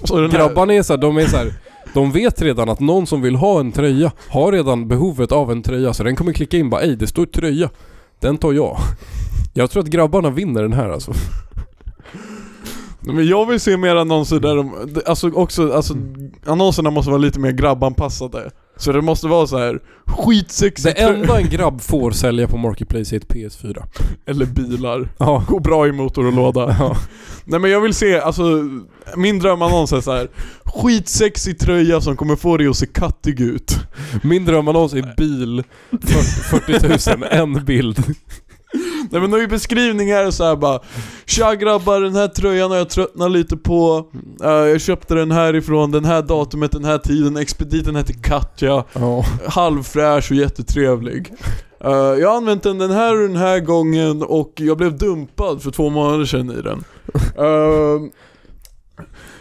Speaker 1: Så den här-
Speaker 2: Grabbarna är så här, de är så här, de vet redan att någon som vill ha en tröja har redan behovet av en tröja så den kommer klicka in bara ej det står tröja. Den tar jag. Jag tror att grabbarna vinner den här alltså.
Speaker 1: Men jag vill se mer annonser där de, alltså också, alltså
Speaker 2: Mm.
Speaker 1: annonserna måste vara lite mer grabbanpassade. Så det måste vara så här
Speaker 2: Det
Speaker 1: skitsexigt
Speaker 2: enda en grabb får sälja på Marketplace är ett PS4.
Speaker 1: eller bilar.
Speaker 2: Ja.
Speaker 1: Går bra i motor och låda.
Speaker 2: Ja.
Speaker 1: Nej men jag vill se, alltså min drömannons är så här. skitsexig tröja som kommer få dig att se kattig ut.
Speaker 2: Min drömannons är bil, 40 000, en bild.
Speaker 1: Nej men då i beskrivningen är det så här bara Tja grabbar, den här tröjan har jag tröttnat lite på Eh, Jag köpte den här ifrån, den här datumet, den här tiden Expediten heter Katja
Speaker 2: Ja.
Speaker 1: Halvfräsch och jättetrevlig Eh, Jag har använt den den här och den här gången och jag blev dumpad för två månader sedan i den Eh,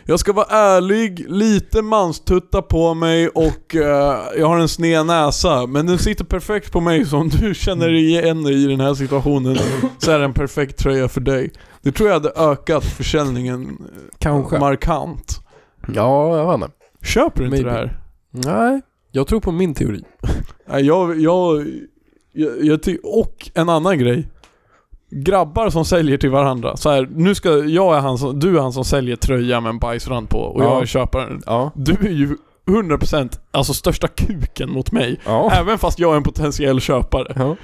Speaker 1: Jag ska vara ärlig, lite manstutta på mig och eh, jag har en sned näsa Men den sitter perfekt på mig så om du känner igen dig i den här situationen så är det en perfekt tröja för dig Det tror jag hade ökat försäljningen eh,
Speaker 2: Kanske.
Speaker 1: markant
Speaker 2: Ja, jag vet inte.
Speaker 1: Köper du inte
Speaker 2: Maybe.
Speaker 1: det här?
Speaker 2: Nej. Jag tror på min teori.
Speaker 1: Nej, jag, jag, jag, jag ty- och en annan grej. Grabbar som säljer till varandra. Så här, nu ska, jag är han som, du är han som säljer tröja med en bajsrand på och jag
Speaker 2: Ja.
Speaker 1: är köparen.
Speaker 2: Ja.
Speaker 1: Du är ju 100% alltså största kuken mot mig.
Speaker 2: Ja.
Speaker 1: Även fast jag är en potentiell köpare.
Speaker 2: Ja.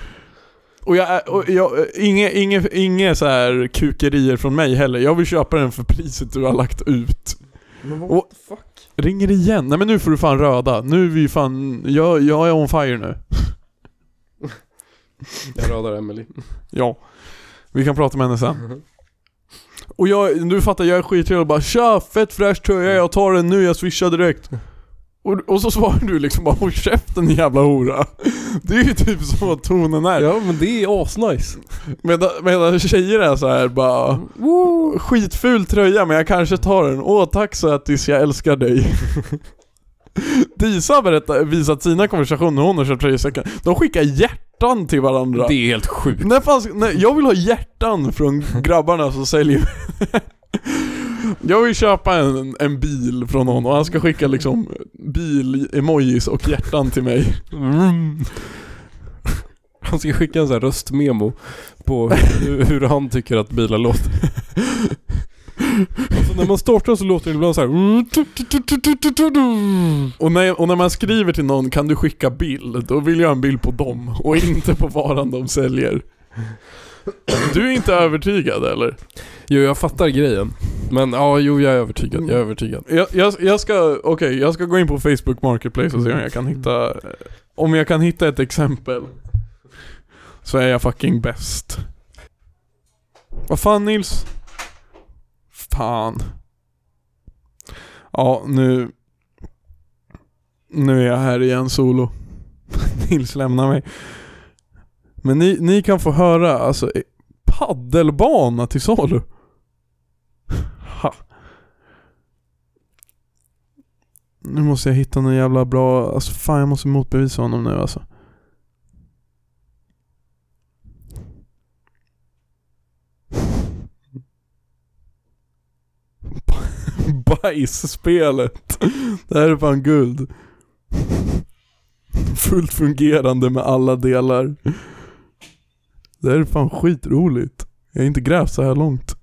Speaker 1: Och jag, är- och jag inga, inga, inga så här kukerier från mig heller. Jag vill köpa den för priset du har lagt ut.
Speaker 2: Men
Speaker 1: what
Speaker 2: the fuck?
Speaker 1: Ringer igen. Nej men nu får du fan röda. Nu är vi fan, jag, jag är on fire nu.
Speaker 2: Jag rödar Emily.
Speaker 1: Ja. Vi kan prata med henne sen. Och jag, du fattar, jag är skittrevlig och bara 'Tja, fett fräsch tröja, jag tar den nu, jag swishar direkt' och, och så svarar du liksom bara 'Håll käften din jävla hora' Det är ju typ så vad tonen är.
Speaker 2: Ja men det är asnice.
Speaker 1: Medan, medan tjejer är så här bara Woo, Skitful tröja men jag kanske tar den, åh tack sötis, jag älskar dig Disa har berättat- visat sina konversationer hon har köpt tröjsäckar, de skickar hjärtan till varandra
Speaker 2: Det är helt sjukt.
Speaker 1: när fan, ska- när, jag vill ha hjärtan från grabbarna som säljer Jag vill köpa en, en bil från någon och han ska skicka liksom bil-emojis och hjärtan till mig.
Speaker 2: Han ska skicka en sån här röstmemo på hur, hur han tycker att bilar låter. Alltså när man startar så låter det ibland så här.
Speaker 1: Och när, och när man skriver till någon kan du skicka bild, då vill jag ha en bild på dem och inte på varan de säljer. Du är inte övertygad eller?
Speaker 2: Jo, jag fattar grejen. Men ja, jo, jag är övertygad. Jag är övertygad.
Speaker 1: Jag, jag, jag ska, okej, jag ska gå in på Facebook Marketplace och se om jag kan hitta, om jag kan hitta ett exempel. Så är jag fucking bäst. Vad fan Nils? Fan. Ja, nu... Nu är jag här igen solo. Nils lämnar mig. Men ni, ni kan få höra, alltså, eh, paddelbana till salu. Ha. Nu måste jag hitta någon jävla bra, alltså fan jag måste motbevisa honom nu alltså. Bajsspelet. Det här är fan guld. Fullt fungerande med alla delar. Det här är fan skitroligt. Jag har inte grävt så här långt.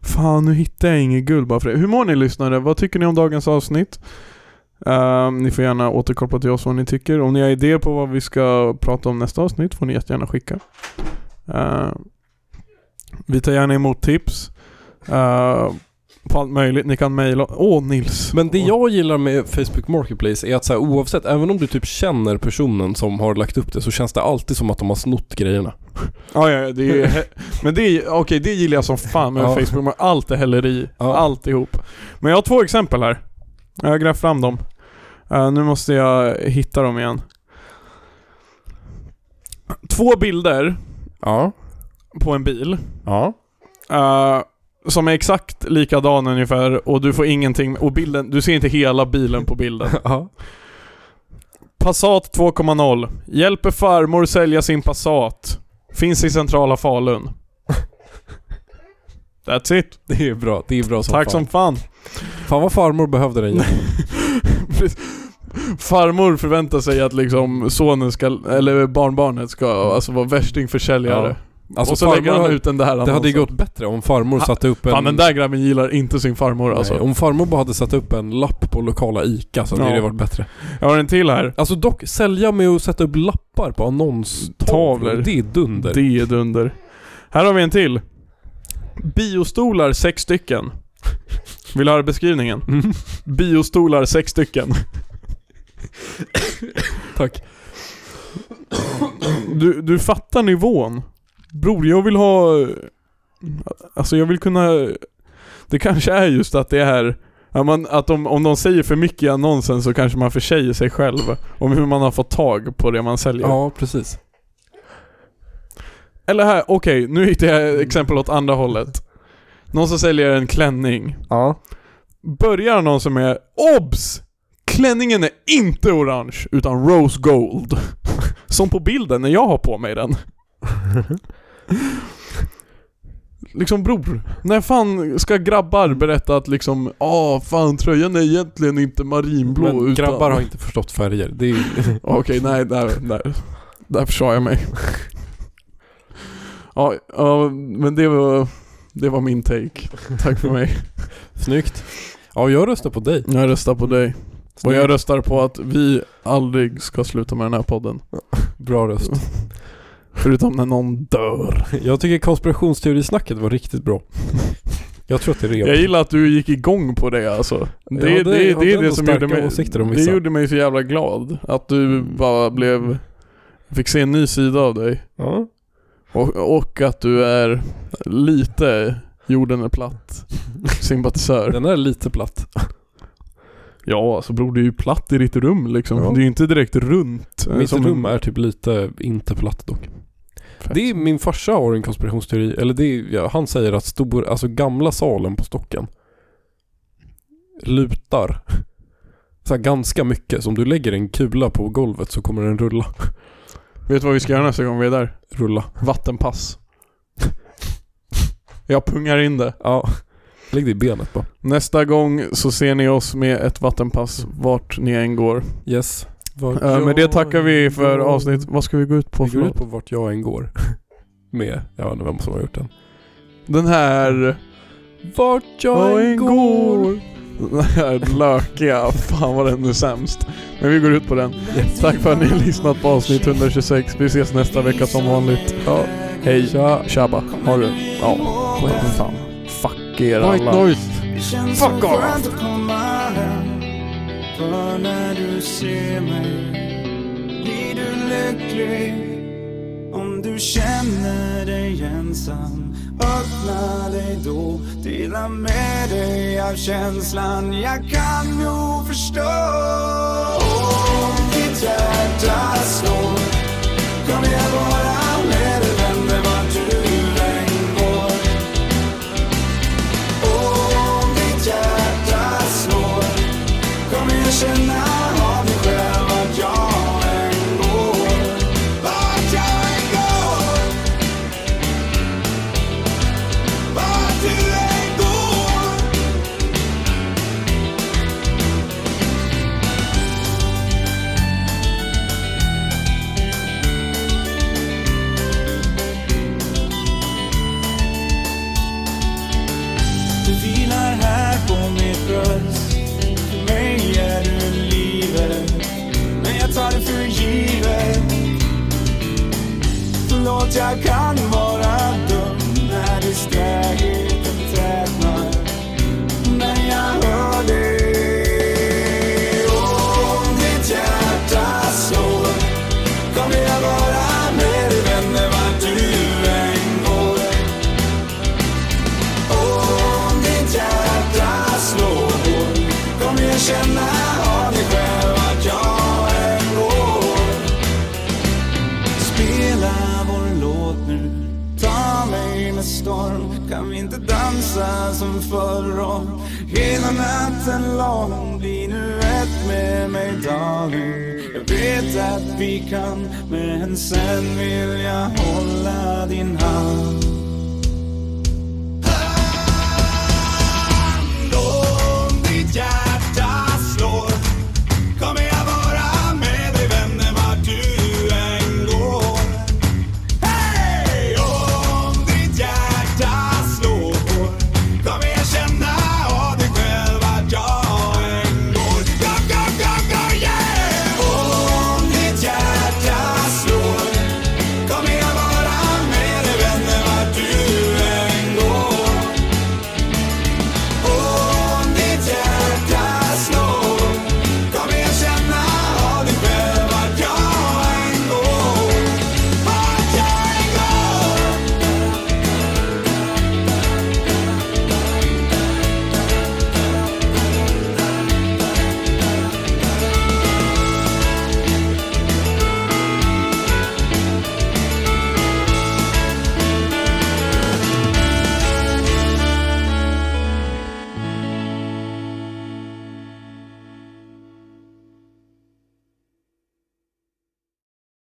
Speaker 1: Fan, nu hittar jag inget guld bara för det. Hur mår ni lyssnare? Vad tycker ni om dagens avsnitt? Ehm, ni får gärna återkoppla till oss vad ni tycker. Om ni har idéer på vad vi ska prata om nästa avsnitt får ni jättegärna skicka. Ehm, vi tar gärna emot tips. Ehm, på allt möjligt. Ni kan mejla... Åh Nils!
Speaker 2: Men det jag gillar med Facebook Marketplace är att så här, oavsett, även om du typ känner personen som har lagt upp det så känns det alltid som att de har snott grejerna.
Speaker 1: Ja, ja, ja, det är, men det är, okej det gillar jag som fan med
Speaker 2: Ja.
Speaker 1: Facebook, men allt är häleri.
Speaker 2: Ja.
Speaker 1: Alltihop. Men jag har två exempel här. Jag har grävt fram dem. Eh, nu måste jag hitta dem igen. Två bilder
Speaker 2: Ja.
Speaker 1: på en bil.
Speaker 2: Ja.
Speaker 1: eh, som är exakt likadan ungefär och du får ingenting, och bilden, du ser inte hela bilen på bilden.
Speaker 2: Ja.
Speaker 1: Passat 2.0. Hjälper farmor sälja sin Passat. Finns i centrala Falun. That's it.
Speaker 2: Det är bra. Det är bra som
Speaker 1: Tack
Speaker 2: fan.
Speaker 1: som fan.
Speaker 2: Fan vad farmor behövde den ju.
Speaker 1: Farmor förväntar sig att liksom sonen ska, eller barnbarnet ska alltså vara värstingförsäljare.
Speaker 2: Ja. Alltså
Speaker 1: och så
Speaker 2: farmor
Speaker 1: lägger han
Speaker 2: har-
Speaker 1: ut den där
Speaker 2: Det hade ju
Speaker 1: annonsen.
Speaker 2: gått bättre om farmor
Speaker 1: Ha-
Speaker 2: satte upp en...
Speaker 1: Fan den där grabben gillar inte sin farmor
Speaker 2: Nej,
Speaker 1: alltså.
Speaker 2: om farmor bara hade satt upp en lapp på lokala ICA så hade
Speaker 1: Ja.
Speaker 2: det varit bättre.
Speaker 1: Jag har en till här.
Speaker 2: Alltså dock, sälja med att sätta upp lappar på annonstavlor.
Speaker 1: Tavlor.
Speaker 2: Det är dunder.
Speaker 1: Det är dunder. Här har vi en till. Biostolar sex stycken. Vill du höra beskrivningen?
Speaker 2: Mm.
Speaker 1: Biostolar sex stycken.
Speaker 2: Tack.
Speaker 1: Du, du fattar nivån. Bror, jag vill ha... Alltså jag vill kunna... Det kanske är just att det är... Att, man, att om, om de säger för mycket i annonsen så kanske man försäger sig själv om hur man har fått tag på det man säljer.
Speaker 2: Ja, precis.
Speaker 1: Eller här, okej, nu hittade
Speaker 2: Mm.
Speaker 1: jag exempel åt andra hållet. Någon som säljer en klänning.
Speaker 2: Ja.
Speaker 1: Börjar någon som är OBS! Klänningen är inte orange, utan rose gold. Som på bilden när jag har på mig den. Liksom bror, när fan ska grabbar berätta att liksom ah fan tröjan är egentligen inte marinblå
Speaker 2: Men
Speaker 1: utan...
Speaker 2: grabbar har inte förstått färger. Det är
Speaker 1: Okej, nej, där, där, där försade jag mig. Ja, ja, men det var, det var min take. Tack för mig.
Speaker 2: snyggt. Ja, jag röstar på dig.
Speaker 1: Jag röstar på dig. Och
Speaker 2: Snyggt.
Speaker 1: jag röstar på att vi aldrig ska sluta med den här podden.
Speaker 2: Bra röst.
Speaker 1: Förutom när någon dör.
Speaker 2: Jag tycker konspirationsteorisnacket var riktigt bra. Jag tror att det är
Speaker 1: Jag
Speaker 2: rent.
Speaker 1: gillar att du gick igång på det alltså. Det,
Speaker 2: Jag
Speaker 1: det,
Speaker 2: hade-
Speaker 1: det,
Speaker 2: jag hade
Speaker 1: det är det
Speaker 2: ändå
Speaker 1: som
Speaker 2: starka
Speaker 1: gjorde mig,
Speaker 2: åsikter om
Speaker 1: det
Speaker 2: vissa. Mm.
Speaker 1: gjorde mig så jävla glad. Att du bara blev, fick se en ny sida av dig.
Speaker 2: Ja.
Speaker 1: Och, och att du är lite jorden är platt sympatisör.
Speaker 2: Den är lite platt.
Speaker 1: Ja alltså bror det är ju platt i ditt rum liksom.
Speaker 2: Ja.
Speaker 1: Det är ju inte direkt runt. eh,
Speaker 2: Mitt
Speaker 1: som
Speaker 2: rum
Speaker 1: en-
Speaker 2: är typ lite inte platt dock.
Speaker 1: Fett.
Speaker 2: Det är, min farsa har en konspirationsteori, eller det är, ja, han säger att stor, alltså gamla salen på stocken lutar. Så här ganska mycket, så om du lägger en kula på golvet så kommer den rulla.
Speaker 1: Vet du vad vi ska göra nästa gång vi är där?
Speaker 2: rulla.
Speaker 1: Vattenpass. Jag pungar in det.
Speaker 2: Ja. Lägg det i benet bara.
Speaker 1: Nästa gång så ser ni oss med ett vattenpass vart ni än går.
Speaker 2: Yes. Vart
Speaker 1: Eh, Med det
Speaker 2: jag
Speaker 1: tackar vi för
Speaker 2: går-
Speaker 1: avsnitt. Vad ska vi gå ut på?
Speaker 2: Vi går ut
Speaker 1: Förlåt.
Speaker 2: på vart jag än går. Med, jag vet inte vem som har gjort den.
Speaker 1: Den här...
Speaker 2: Vart jag än går.
Speaker 1: Den här lökiga, fan vad den är sämst. Men vi går ut på den. Tack för att ni har lyssnat på avsnitt 126. Vi ses nästa vecka som vanligt. Ja. Hej. Tja. Tjabba. Har du? Ja. Vad fan. Fuck er
Speaker 2: White
Speaker 1: alla.
Speaker 2: noise.
Speaker 7: Det känns så skönt att komma hem För när du ser mig blir du lycklig Om du känner dig ensam Öppna dig då Dela med dig av känslan Jag kan nog förstå Om ditt hjärta slår Kom jag vara med dig Vänder vart du än går om ditt hjärta slår kommer jag känna av mig själv att jag än går
Speaker 5: Oh,
Speaker 7: Vart jag än går
Speaker 5: Oh,
Speaker 7: Vart du än går Du vilar här på mitt bröst För mig är du livet Men jag tar det för givet Förlåt, jag kan vara dum När diskräheten tätnar Men jag hör dig Om ditt hjärta slår Kommer jag vara med dig vänner vart du än går om ditt hjärta slår kommer jag känna av mig själv att jag än går Spela vår låt nu, ta mig med storm Kan vi inte dansa som förr om hela natten lång? Bli nu ett med mig darling Jag vet att vi kan, men sen vill jag hålla din hand